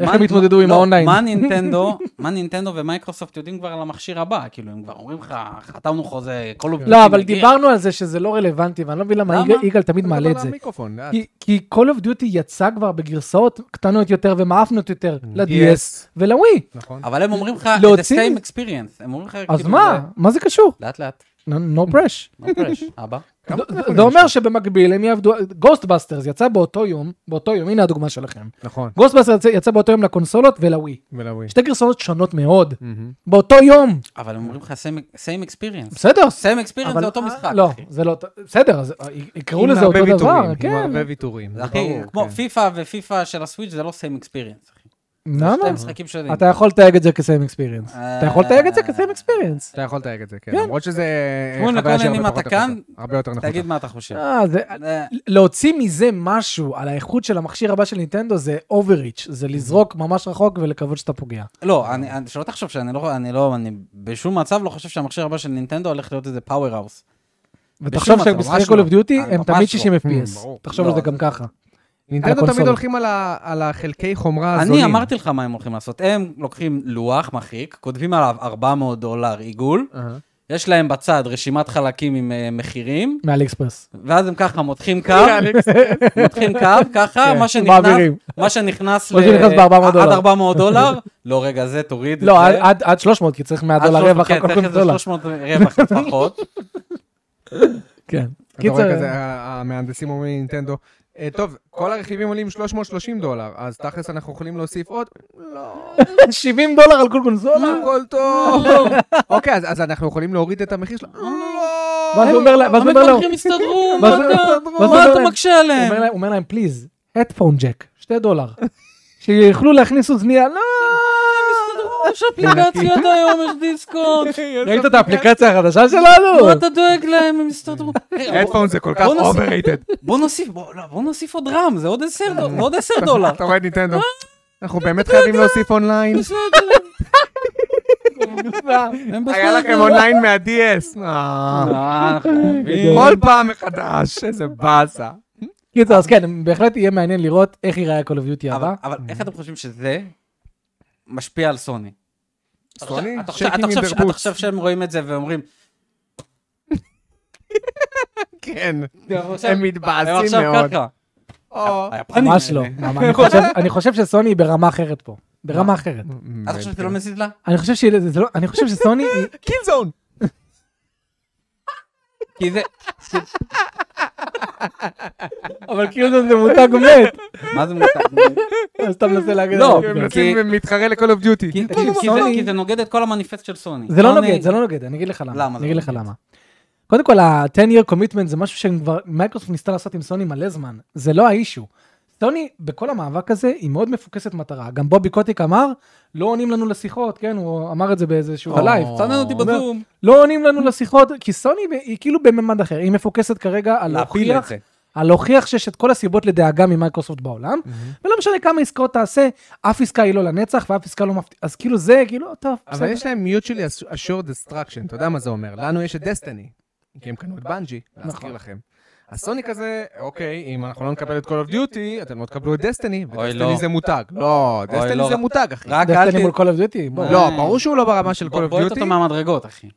[SPEAKER 1] איך
[SPEAKER 2] מה-
[SPEAKER 1] הם התמודדו עם
[SPEAKER 2] לא,
[SPEAKER 1] האונליין?
[SPEAKER 2] מה נינטנדו, מה נינטנדו ומייקרוסופט יודעים כבר על המכשיר הבא, כאילו הם כבר אומרים לך, חתמנו חוזה, כל אופן.
[SPEAKER 1] לא, אבל דיברנו על זה שזה לא רלוונטי, ואני לא מבין למה
[SPEAKER 2] למה? לא
[SPEAKER 1] יגאל- יגאל תמיד מעלה את
[SPEAKER 3] אבל
[SPEAKER 1] זה.
[SPEAKER 3] המיקרופון, לאט.
[SPEAKER 1] כי- כי Call of Duty יצא כבר בגרסאות קטנות יותר ומאפנות יותר
[SPEAKER 2] Mm.
[SPEAKER 1] ל-DS
[SPEAKER 3] Yes.
[SPEAKER 1] ולווי.
[SPEAKER 3] נכון.
[SPEAKER 2] אבל הם אומרים לך, the
[SPEAKER 1] להוציא-
[SPEAKER 2] same experience, הם אומרים לך,
[SPEAKER 1] אז
[SPEAKER 2] כן, כאילו,
[SPEAKER 1] מה? מה זה קשור?
[SPEAKER 2] זה- לאט לאט,
[SPEAKER 1] No no pressure.
[SPEAKER 2] no pressure, אבא. כמה אתם יכולים
[SPEAKER 1] זה אומר
[SPEAKER 2] לשלוח?
[SPEAKER 1] שבמקביל הם יעבדו, גוסטבאסטרס יצא באותו יום, באותו יום, הנה הדוגמה שלכם.
[SPEAKER 3] נכון.
[SPEAKER 1] גוסטבאסטרס יצא- יצא באותו יום לקונסולות ולווי.
[SPEAKER 3] ולווי.
[SPEAKER 1] שתי גרסאות שונות מאוד,
[SPEAKER 3] מהמם.
[SPEAKER 1] באותו יום.
[SPEAKER 2] אבל הם אומרים לך same- same experience.
[SPEAKER 1] בסדר,
[SPEAKER 2] same experience
[SPEAKER 1] אבל-
[SPEAKER 2] זה אותו משחק.
[SPEAKER 1] לא,
[SPEAKER 2] אחי.
[SPEAKER 1] זה לא, בסדר, אז יקראו
[SPEAKER 3] עם
[SPEAKER 1] לזה
[SPEAKER 3] הרבה
[SPEAKER 1] אותו
[SPEAKER 3] ויתורים,
[SPEAKER 1] דבר,
[SPEAKER 3] עם
[SPEAKER 1] כן.
[SPEAKER 3] הרבה ויתורים. זה
[SPEAKER 2] זה הכי,
[SPEAKER 3] ברור,
[SPEAKER 2] כמו
[SPEAKER 3] כן.
[SPEAKER 2] פיפא ופיפא של הסוויץ' זה לא same experience. אחי. זה
[SPEAKER 1] למה?
[SPEAKER 2] שתי משחקים שונים.
[SPEAKER 1] אתה יכול לתייג את זה כסיים אקספיריאנס.
[SPEAKER 2] אה.
[SPEAKER 1] אתה יכול לתייג את זה כסיים אקספיריאנס.
[SPEAKER 3] אתה יכול לתייג את זה, כן.
[SPEAKER 1] כן.
[SPEAKER 3] למרות שזה...
[SPEAKER 2] אומרים
[SPEAKER 3] חוויה
[SPEAKER 2] לכל
[SPEAKER 3] שהיא
[SPEAKER 2] העניינים, אתה
[SPEAKER 3] הרבה פחות
[SPEAKER 2] כאן?
[SPEAKER 3] נחותה. הרבה יותר נחותה.
[SPEAKER 2] תגיד מה אתה
[SPEAKER 3] כן.
[SPEAKER 2] חושב.
[SPEAKER 1] אה,
[SPEAKER 2] זה-
[SPEAKER 1] להוציא מזה משהו על האיכות של המכשיר הבא של נינטנדו זה overreach, זה לזרוק ממש רחוק ולקוות שאתה פוגע.
[SPEAKER 2] לא, אני- אני- שלא תחשוב שאני לא, אני לא, אני בשום מצב לא חושב שהמכשיר הבא של נינטנדו הולך להיות איזה פאוור האוס.
[SPEAKER 1] ותחשוב
[SPEAKER 2] מצב,
[SPEAKER 1] שהם
[SPEAKER 2] ממש
[SPEAKER 1] משחקים Call
[SPEAKER 2] לא.
[SPEAKER 1] of Duty,
[SPEAKER 2] אה,
[SPEAKER 1] הם
[SPEAKER 2] ממש
[SPEAKER 1] תמיד
[SPEAKER 2] לא.
[SPEAKER 1] 60
[SPEAKER 3] Mm,
[SPEAKER 1] FPS.
[SPEAKER 3] ברור.
[SPEAKER 1] תחשוב
[SPEAKER 2] לא,
[SPEAKER 1] על זה
[SPEAKER 2] זה-
[SPEAKER 1] גם ככה. על
[SPEAKER 3] נינטנדו תמיד
[SPEAKER 1] הקונסולות.
[SPEAKER 3] הולכים על ה- על החלקי
[SPEAKER 1] אה,
[SPEAKER 3] חומרה הזולים.
[SPEAKER 2] אני אמרתי לך מה הם הולכים לעשות. הם לוקחים לוח מרחיק, כותבים עליו 400 דולר עיגול,
[SPEAKER 3] אהה.
[SPEAKER 2] יש להם בצד רשימת חלקים עם אה, מחירים,
[SPEAKER 1] מעל אקספרס.
[SPEAKER 2] ואז הם ככה מותחים קו, מותחים קו, ככה,
[SPEAKER 1] כן,
[SPEAKER 2] אה, מה שנכנס,
[SPEAKER 1] מעבירים.
[SPEAKER 2] מה שנכנס
[SPEAKER 1] מה שנכנס ב-400
[SPEAKER 2] עד
[SPEAKER 1] דולר.
[SPEAKER 2] 400 דולר, לא, רגע, זה תוריד את
[SPEAKER 1] לא,
[SPEAKER 2] זה.
[SPEAKER 1] עד- עד- עד 300, כי צריך 100
[SPEAKER 2] עד
[SPEAKER 1] דולר
[SPEAKER 2] 300,
[SPEAKER 1] רווח
[SPEAKER 2] כן,
[SPEAKER 1] על כל
[SPEAKER 2] צריך איזה
[SPEAKER 1] קונסולה.
[SPEAKER 2] 300 רווח לפחות.
[SPEAKER 1] כן.
[SPEAKER 3] אתה
[SPEAKER 1] קיצר,
[SPEAKER 3] רואה כזה, ה- המהנדסים אומרים נינטנדו, "אה, טוב, כל הרכיבים עולים 330 דולר, אז תכלס אנחנו יכולים להוסיף עוד? לא,
[SPEAKER 1] 70 אה, דולר על כל קונסולה?
[SPEAKER 3] הכל טוב. אוקיי, אז אז אנחנו יכולים להוריד את המחיר שלו?
[SPEAKER 2] אה,
[SPEAKER 1] ואז הוא
[SPEAKER 3] לא.
[SPEAKER 1] אומר לה- ואז הוא אומר לו,
[SPEAKER 2] המפתחים הסתדרו,
[SPEAKER 1] ואז
[SPEAKER 2] מה
[SPEAKER 1] הוא-
[SPEAKER 2] אתה-
[SPEAKER 1] ואז הוא
[SPEAKER 2] מה
[SPEAKER 1] אומר
[SPEAKER 2] אתה
[SPEAKER 1] להם-
[SPEAKER 2] מקשה
[SPEAKER 1] הוא
[SPEAKER 2] עליהם?
[SPEAKER 1] אומר להם- הוא אומר להם, פליז, הדפון ג'ק, 2 דולר. שיוכלו להכניס אוזניה, לא!
[SPEAKER 2] יש אפליקציות היום, יש דיסקות.
[SPEAKER 1] ראית את האפליקציה החדשה שלנו?
[SPEAKER 2] מה אתה דואג להם, הם יסתדרו.
[SPEAKER 3] הדפון זה כל כך
[SPEAKER 2] בוא נוסיף-
[SPEAKER 3] overrated.
[SPEAKER 2] בוא נוסיף, בוא לא, בוא נוסיף עוד רם, זה עוד 10 דולר, עוד 10 דולר.
[SPEAKER 3] אתה רואה נינטנדו?
[SPEAKER 2] אה?
[SPEAKER 3] אנחנו באמת חייבים להוסיף אונליין?
[SPEAKER 2] בסדר. הם
[SPEAKER 3] היה
[SPEAKER 2] בסדר.
[SPEAKER 3] לכם אונליין מה-DS. אה.
[SPEAKER 2] אה, אנחנו אוהבים.
[SPEAKER 3] כל פעם מחדש, איזה באסה.
[SPEAKER 1] קיצר, אז כן, בהחלט יהיה מעניין לראות איך ייראה Call of
[SPEAKER 2] אבל
[SPEAKER 1] Duty הבא.
[SPEAKER 2] אבל איך אתם חושבים שזה משפיע על סוני?
[SPEAKER 3] סוני,
[SPEAKER 2] אתה חושב-
[SPEAKER 3] shaking
[SPEAKER 2] אתה
[SPEAKER 3] in
[SPEAKER 2] חושב-
[SPEAKER 3] their
[SPEAKER 2] אתה
[SPEAKER 3] boots.
[SPEAKER 2] חושב שהם רואים את זה ואומרים,
[SPEAKER 3] כן,
[SPEAKER 2] עכשיו-
[SPEAKER 3] הם
[SPEAKER 2] הם
[SPEAKER 3] מתבאסים
[SPEAKER 2] עכשיו
[SPEAKER 3] מאוד.
[SPEAKER 2] ככה.
[SPEAKER 3] או.
[SPEAKER 2] היפנים
[SPEAKER 1] ממש לא.
[SPEAKER 2] האלה.
[SPEAKER 1] ממש. אני חושב- אני חושב שסוני היא ברמה אחרת פה. ברמה אחרת.
[SPEAKER 3] אה,
[SPEAKER 2] אתה חושב שזה לא מזיז לה?
[SPEAKER 1] אני חושב שהיא- זה לא- אני חושב שסוני היא...
[SPEAKER 3] קיל זון.
[SPEAKER 2] כי זה...
[SPEAKER 1] אבל כאילו זה מותג מת.
[SPEAKER 2] מה זה מותר?
[SPEAKER 1] אז אתה מנסה להגיד...
[SPEAKER 2] לא,
[SPEAKER 1] עליו.
[SPEAKER 3] הם
[SPEAKER 2] כי-
[SPEAKER 3] מנסים מתחרה ל-call of duty.
[SPEAKER 2] כי-
[SPEAKER 1] תקשיב,
[SPEAKER 2] כי זה-
[SPEAKER 1] סוני-
[SPEAKER 2] כי זה נוגד את כל המניפסט של סוני.
[SPEAKER 1] זה לא
[SPEAKER 2] סוני-
[SPEAKER 1] נוגד, זה לא נוגד, אני אגיד לך
[SPEAKER 2] למה
[SPEAKER 1] למה.
[SPEAKER 2] זה
[SPEAKER 1] אני אגיד
[SPEAKER 2] לא
[SPEAKER 1] לך
[SPEAKER 2] נוגד?
[SPEAKER 1] למה. קודם כל, ה-10-year commitment זה משהו שהם כבר, מייקרוסופט ניסתה לעשות עם סוני מלא זמן. זה לא האישו. סוני, בכל המאבק הזה, היא מאוד מפוקסת מטרה. גם בובי קוטיק אמר, לא עונים לנו לשיחות, כן? הוא אמר את זה באיזשהו
[SPEAKER 3] או.
[SPEAKER 1] בלייב.
[SPEAKER 2] סנן אותי
[SPEAKER 1] אומר,
[SPEAKER 2] בזום.
[SPEAKER 1] לא עונים לנו לשיחות, כי סוני היא כאילו בממד אחר. היא מפוקסת כרגע על
[SPEAKER 2] להפיל את
[SPEAKER 1] להוכיח
[SPEAKER 2] זה.
[SPEAKER 1] על להוכיח שיש את כל הסיבות לדאגה ממייקרוסופט בעולם, ולא משנה כמה עסקאות תעשה, אף עסקה היא לא לנצח ואף עסקה לא מפתיעה. אז כאילו זה, כאילו, טוב,
[SPEAKER 3] אבל
[SPEAKER 1] בסדר.
[SPEAKER 3] יש להם mutually assured destruction, אתה יודע מה זה אומר? לנו יש את דסטיני, כי הם קנו את בנג'י, להזכיר לכם. אז סוני כזה, אוקיי, אם אנחנו לא נקבל את Call of Duty, אתם לא תקבלו את דסטיני,
[SPEAKER 2] אוי,
[SPEAKER 3] ודסטיני
[SPEAKER 2] לא.
[SPEAKER 3] זה מותג. לא,
[SPEAKER 2] אוי,
[SPEAKER 3] דסטיני
[SPEAKER 2] לא.
[SPEAKER 3] זה מותג, אחי.
[SPEAKER 2] רק אל
[SPEAKER 1] דסטיני
[SPEAKER 2] ת-
[SPEAKER 1] מול Call of Duty? בוא.
[SPEAKER 3] לא, ברור שהוא לא ברמה של Call
[SPEAKER 2] בוא-
[SPEAKER 3] of
[SPEAKER 2] בועט אותו
[SPEAKER 3] Duty.
[SPEAKER 2] מהמדרגות, אחי.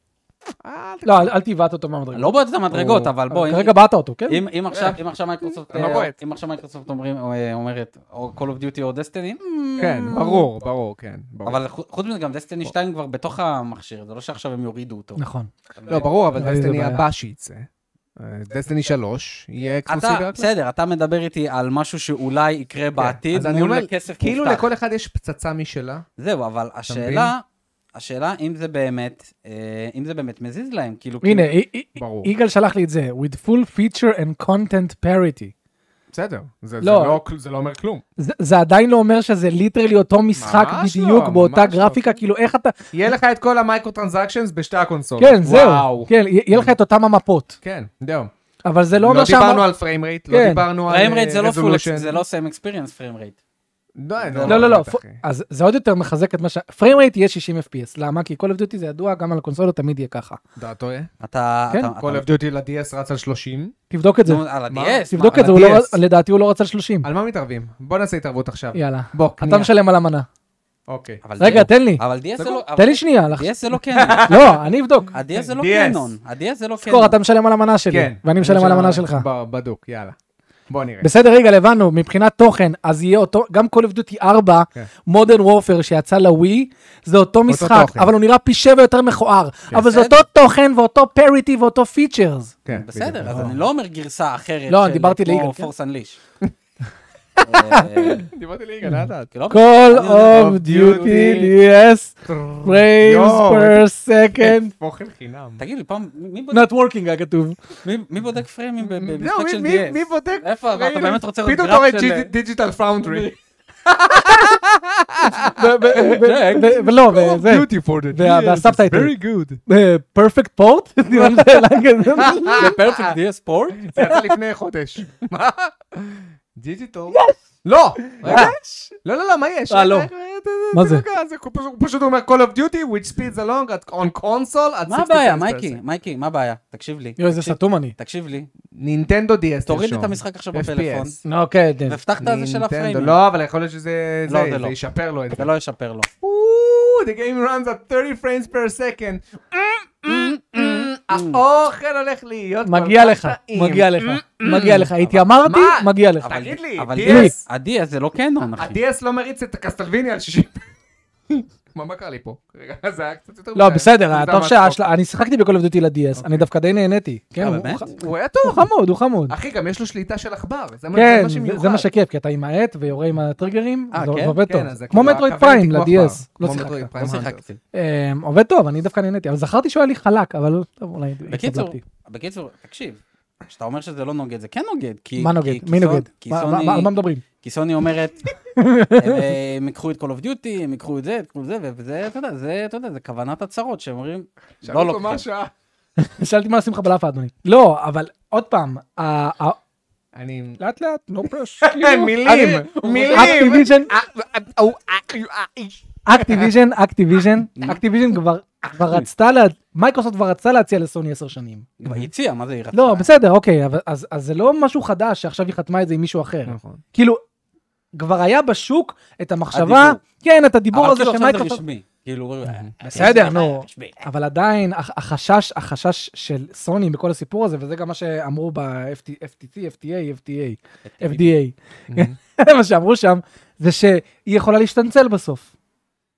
[SPEAKER 3] אה,
[SPEAKER 1] לא, אל אל תבעט אותו מהמדרגה.
[SPEAKER 2] לא בועט את המדרגות, אבל בוא, אם-
[SPEAKER 1] כרגע בעט אותו, כן?
[SPEAKER 2] אם אם עכשיו אם עכשיו מייקרוסופט
[SPEAKER 3] אתה לא
[SPEAKER 2] אה,
[SPEAKER 3] בועט.
[SPEAKER 2] אם עכשיו מייקרוסופט אומרים- או, אה, אומרת, או Call of Duty או דסטיני,
[SPEAKER 3] כן, ברור, ברור, כן. ברור.
[SPEAKER 2] אבל חו- חוץ מזה גם דסטיני 2 כבר בתוך המכשיר, זה לא שעכשיו הם יורידו אותו.
[SPEAKER 1] נכון.
[SPEAKER 2] אתה
[SPEAKER 3] לא,
[SPEAKER 2] מבין?
[SPEAKER 3] ברור, אבל
[SPEAKER 1] אה, זה
[SPEAKER 3] דסטיני
[SPEAKER 1] בעיה.
[SPEAKER 3] הבא שייצא. אה, דסטיני 3 יהיה אקסקלוסיבי רק
[SPEAKER 2] אתה,
[SPEAKER 3] לה.
[SPEAKER 2] בסדר, אתה מדבר איתי על משהו שאולי יקרה
[SPEAKER 3] אז
[SPEAKER 2] בעתיד
[SPEAKER 3] אני
[SPEAKER 2] מול
[SPEAKER 3] אומר,
[SPEAKER 2] כסף
[SPEAKER 3] כאילו
[SPEAKER 2] מובטח.
[SPEAKER 3] לכל אחד יש פצצה משלה.
[SPEAKER 2] זהו, אבל השאלה, השאלה אם זה באמת, אה, אם זה באמת מזיז להם, כאילו,
[SPEAKER 1] הנה,
[SPEAKER 2] כאילו-
[SPEAKER 1] אי- אי-
[SPEAKER 3] ברור.
[SPEAKER 1] יגאל שלח לי את זה, with full feature and content parity.
[SPEAKER 3] בסדר, זה זה
[SPEAKER 1] לא.
[SPEAKER 3] לא כל- זה לא אומר כלום.
[SPEAKER 1] זה- זה עדיין לא אומר שזה ליטרלי אותו משחק
[SPEAKER 3] ממש
[SPEAKER 1] בדיוק,
[SPEAKER 3] לא,
[SPEAKER 1] באותה
[SPEAKER 3] ממש לא.
[SPEAKER 1] גרפיקה, כאילו איך אתה...
[SPEAKER 3] יהיה לך את כל המייקרו טרנזקשיונס בשתי הקונסולות.
[SPEAKER 1] כן, זהו.
[SPEAKER 3] וואו.
[SPEAKER 1] כן, יהיה יהיה לך את אותם המפות.
[SPEAKER 3] כן, זהו.
[SPEAKER 1] אבל זה לא
[SPEAKER 3] לא
[SPEAKER 1] אומר
[SPEAKER 3] דיברנו
[SPEAKER 1] שאמר...
[SPEAKER 3] על פריים רייט, לא
[SPEAKER 1] כן.
[SPEAKER 3] דיברנו על
[SPEAKER 2] פריים רייט זה לא פול,
[SPEAKER 3] רזולושן.
[SPEAKER 2] זה לא סיים אקספיריאנס פריים רייט.
[SPEAKER 1] לא, לא, לא,
[SPEAKER 3] באמת,
[SPEAKER 1] פו-
[SPEAKER 3] אחי.
[SPEAKER 1] אז זה עוד יותר מחזק את מה ש... פריים רייט יהיה 60 FPS, למה? כי Call of Duty זה ידוע, גם על הקונסולות תמיד יהיה ככה.
[SPEAKER 3] אתה טועה?
[SPEAKER 2] אתה,
[SPEAKER 1] כן,
[SPEAKER 2] אתה,
[SPEAKER 3] Call of
[SPEAKER 2] אתה,
[SPEAKER 3] Duty ל-DS רץ על 30.
[SPEAKER 1] תבדוק את זה,
[SPEAKER 2] נו, על
[SPEAKER 3] מה?
[SPEAKER 2] ה-DS,
[SPEAKER 1] תבדוק
[SPEAKER 2] מה,
[SPEAKER 3] אה,
[SPEAKER 1] את זה,
[SPEAKER 2] על
[SPEAKER 1] הוא לא-
[SPEAKER 2] ה-DS.
[SPEAKER 1] לדעתי הוא לא רץ על 30.
[SPEAKER 3] על מה מתערבים? בוא נעשה התערבות עכשיו.
[SPEAKER 1] יאללה.
[SPEAKER 3] בוא,
[SPEAKER 1] אתה
[SPEAKER 3] קנייה.
[SPEAKER 1] משלם על המנה.
[SPEAKER 3] אוקיי.
[SPEAKER 2] אבל
[SPEAKER 1] רגע,
[SPEAKER 2] DS
[SPEAKER 1] תן לי.
[SPEAKER 2] אבל DS זה לא,
[SPEAKER 1] תן לי שנייה. לח-
[SPEAKER 2] ה-DS זה לא קנון,
[SPEAKER 1] לא, אני אבדוק.
[SPEAKER 2] ה-DS זה לא
[SPEAKER 3] DS.
[SPEAKER 2] קנון, ה-DS זה לא
[SPEAKER 1] תזכור,
[SPEAKER 2] קנון.
[SPEAKER 1] אתה משלם על המנה שלי,
[SPEAKER 3] כן.
[SPEAKER 1] ואני משלם על המנה שלך.
[SPEAKER 3] ב- בדוק, יאללה. בוא נראה.
[SPEAKER 1] בסדר, רגע, הבנו, מבחינת תוכן, אז יהיה אותו, גם Call of Duty 4,
[SPEAKER 3] כן.
[SPEAKER 1] מודרן וורפר שיצא לווי, זה אותו משחק,
[SPEAKER 3] תוכן.
[SPEAKER 1] אבל הוא נראה פי שבע יותר מכוער.
[SPEAKER 3] כן.
[SPEAKER 1] אבל זה
[SPEAKER 2] בסדר.
[SPEAKER 1] אותו תוכן ואותו פריטי ואותו פיצ'רס.
[SPEAKER 3] כן, בדיוק.
[SPEAKER 2] בסדר, אז אני לא אומר גרסה אחרת
[SPEAKER 1] לא, דיברתי ליגאל,
[SPEAKER 2] כמו אה,
[SPEAKER 1] כן.
[SPEAKER 2] פורס אנליש.
[SPEAKER 3] דיברתי ליגאל, לאט לאט.
[SPEAKER 2] לא,
[SPEAKER 1] Call
[SPEAKER 3] of
[SPEAKER 1] of
[SPEAKER 3] Duty,
[SPEAKER 1] Duty, yes, frames
[SPEAKER 3] יואו,
[SPEAKER 1] per second.
[SPEAKER 3] אוכל חינם.
[SPEAKER 2] תגיד לי, פעם, מי בודק-
[SPEAKER 1] Not working היה כתוב.
[SPEAKER 2] מי- מי בודק פריימים ב- במשחק
[SPEAKER 3] זהו,
[SPEAKER 2] של
[SPEAKER 3] לא, מי- מי- מי
[SPEAKER 2] DS?
[SPEAKER 3] בודק?
[SPEAKER 2] איפה, אבל אתה
[SPEAKER 3] פריימים?
[SPEAKER 2] באמת רוצה לראות
[SPEAKER 3] פתאום אתה
[SPEAKER 2] גרף
[SPEAKER 3] רואה
[SPEAKER 2] של... אה,
[SPEAKER 3] דיג'יטל פאונדרי.
[SPEAKER 1] ו- ו- ו- ו- ולא, וזה, וה- והסאבטייטל.
[SPEAKER 3] Very good.
[SPEAKER 1] אה, perfect port? נראה לי זה היה כזה.
[SPEAKER 2] זה פרפקט DS פורט?
[SPEAKER 3] זה יצא לפני חודש. מה? דיג'יטל. לא! רגע. לא, לא, לא, מה יש?
[SPEAKER 1] אה, לא.
[SPEAKER 3] רגע, רגע,
[SPEAKER 1] מה
[SPEAKER 3] רגע,
[SPEAKER 1] זה?
[SPEAKER 3] רגע, הוא אה, פשוט- הוא פשוט אומר Call of Duty, which speeds along at- on console at 60
[SPEAKER 2] מה הבעיה,
[SPEAKER 3] frames per
[SPEAKER 2] מייקי?
[SPEAKER 3] second.
[SPEAKER 2] מייקי, מה הבעיה? תקשיב לי.
[SPEAKER 1] יואי, זה
[SPEAKER 2] תקשיב-
[SPEAKER 1] סתום אני.
[SPEAKER 2] תקשיב לי.
[SPEAKER 3] נינטנדו DS תרשום.
[SPEAKER 2] תוריד את המשחק עכשיו
[SPEAKER 3] FPS.
[SPEAKER 2] בפלאפון.
[SPEAKER 1] נו, אוקיי, כן.
[SPEAKER 2] והבטחת את זה של
[SPEAKER 3] נינטנדו,
[SPEAKER 2] הפריימים.
[SPEAKER 3] לא, אבל יכול להיות שזה...
[SPEAKER 2] לא,
[SPEAKER 3] זה-
[SPEAKER 2] זה
[SPEAKER 3] זה
[SPEAKER 2] לא.
[SPEAKER 3] ישפר לו את זה.
[SPEAKER 2] זה לא ישפר לו.
[SPEAKER 3] Ooh, the game runs at 30 frames per second. Mm, האוכל הולך להיות
[SPEAKER 1] Mm, מגיע
[SPEAKER 3] כל כך
[SPEAKER 1] לך,
[SPEAKER 3] טעים. Mm.
[SPEAKER 1] מגיע לך, מגיע לך. התיימרתי,
[SPEAKER 3] מה?
[SPEAKER 1] מגיע לך.
[SPEAKER 2] אבל-
[SPEAKER 3] תגיד לי,
[SPEAKER 2] אבל
[SPEAKER 1] DS?
[SPEAKER 2] ה-DS זה לא קנון, אחי.
[SPEAKER 3] ה-DS לא מריץ את הקסטלוויני על 60. מה, מה קרה לי פה? רגע, זה היה קצת יותר...
[SPEAKER 1] לא,
[SPEAKER 3] מדי. כן. זה
[SPEAKER 1] בסדר,
[SPEAKER 3] היה
[SPEAKER 1] טוב
[SPEAKER 3] מצחוק.
[SPEAKER 1] שההשלה... אני שיחקתי בכל עובדתי ל-DS, אני דווקא די נהניתי. כן,
[SPEAKER 2] אה,
[SPEAKER 1] הוא-
[SPEAKER 2] באמת?
[SPEAKER 3] הוא היה
[SPEAKER 1] הוא
[SPEAKER 3] טוב.
[SPEAKER 1] חמוד, הוא חמוד.
[SPEAKER 3] אחי, גם יש לו שליטה של עכבר. אה, זה מה זה
[SPEAKER 1] כן,
[SPEAKER 3] מה
[SPEAKER 1] זה-
[SPEAKER 3] שמיוחד.
[SPEAKER 1] זה מה שכיף, כי אתה עם העט ויורה עם הטריגרים,
[SPEAKER 2] אה,
[SPEAKER 1] זה
[SPEAKER 2] כן?
[SPEAKER 1] עובד טוב.
[SPEAKER 3] כן, אז זה
[SPEAKER 1] כמו
[SPEAKER 3] כאילו
[SPEAKER 1] מטרויד
[SPEAKER 3] הכוונת
[SPEAKER 1] פריים
[SPEAKER 3] כמו
[SPEAKER 1] ל-DS,
[SPEAKER 3] עכבר.
[SPEAKER 1] לא
[SPEAKER 3] כמו
[SPEAKER 1] שיחקתי.
[SPEAKER 3] מטרויד פריים
[SPEAKER 2] לא
[SPEAKER 3] האנטרס.
[SPEAKER 2] שיחקתי.
[SPEAKER 1] אה, עובד טוב, אני דווקא נהניתי, אבל זכרתי שהוא היה לי חלק, אבל טוב, אולי
[SPEAKER 2] בקיצור,
[SPEAKER 1] התלבטתי.
[SPEAKER 2] בקיצור, תקשיב, כשאתה אומר שזה לא נוגד, זה כן נוגד. כי-
[SPEAKER 1] מה
[SPEAKER 2] כי-
[SPEAKER 1] נוגד?
[SPEAKER 2] כי
[SPEAKER 1] מי
[SPEAKER 2] סון-
[SPEAKER 1] נוגד?
[SPEAKER 2] כי
[SPEAKER 1] מה-
[SPEAKER 2] סוני-
[SPEAKER 1] מה- על מה מדברים?
[SPEAKER 2] כי סוני אומרת, הם, אה, הם ייקחו את Call of Duty, הם ייקחו את זה, ייקחו את זה, וזה, אתה יודע, זה, אתה יודע, זה כוונת הצרות, שהם אומרים,
[SPEAKER 3] שאלו
[SPEAKER 2] לא
[SPEAKER 3] אותו
[SPEAKER 2] לוקחים.
[SPEAKER 3] מה השעה.
[SPEAKER 1] שאלתי מה לשים לך בלאפה, אדוני. לא, אבל עוד פעם, ה- ה-
[SPEAKER 3] אני...
[SPEAKER 1] לאט לאט, כאילו, נו פרש.
[SPEAKER 3] מילים, מילים.
[SPEAKER 1] אקטיביז'ן,
[SPEAKER 3] אה, אה, אה, אה, אה, אה.
[SPEAKER 1] אקטיביז'ן, אקטיביז'ן,
[SPEAKER 2] Mm.
[SPEAKER 1] אקטיביז'ן כבר כבר רצתה, לה- מייקרוסופט כבר רצתה להציע לסוני עשר שנים.
[SPEAKER 2] כבר הציע, מה זה היא רצתה?
[SPEAKER 1] לא, בסדר, אוקיי, אבל- אז אז זה לא משהו חדש שעכשיו היא חתמה את זה עם מישהו אחר.
[SPEAKER 3] נכון.
[SPEAKER 1] כאילו, כבר היה בשוק את המחשבה,
[SPEAKER 2] הדיבור.
[SPEAKER 1] כן, את הדיבור
[SPEAKER 2] אבל
[SPEAKER 1] הזה
[SPEAKER 2] כאילו
[SPEAKER 1] של
[SPEAKER 2] עכשיו זה
[SPEAKER 1] מייקרוסופט,
[SPEAKER 2] רשמי. כאילו,
[SPEAKER 1] בסדר,
[SPEAKER 2] אה,
[SPEAKER 1] נו.
[SPEAKER 2] רשמי.
[SPEAKER 1] אבל עדיין הח- החשש, החשש של סוני בכל הסיפור הזה, וזה גם מה שאמרו ב-FTT, FTA, FTA,
[SPEAKER 2] אה,
[SPEAKER 1] FDA, מה שאמרו שם, זה שהיא יכולה להשתנצל בסוף.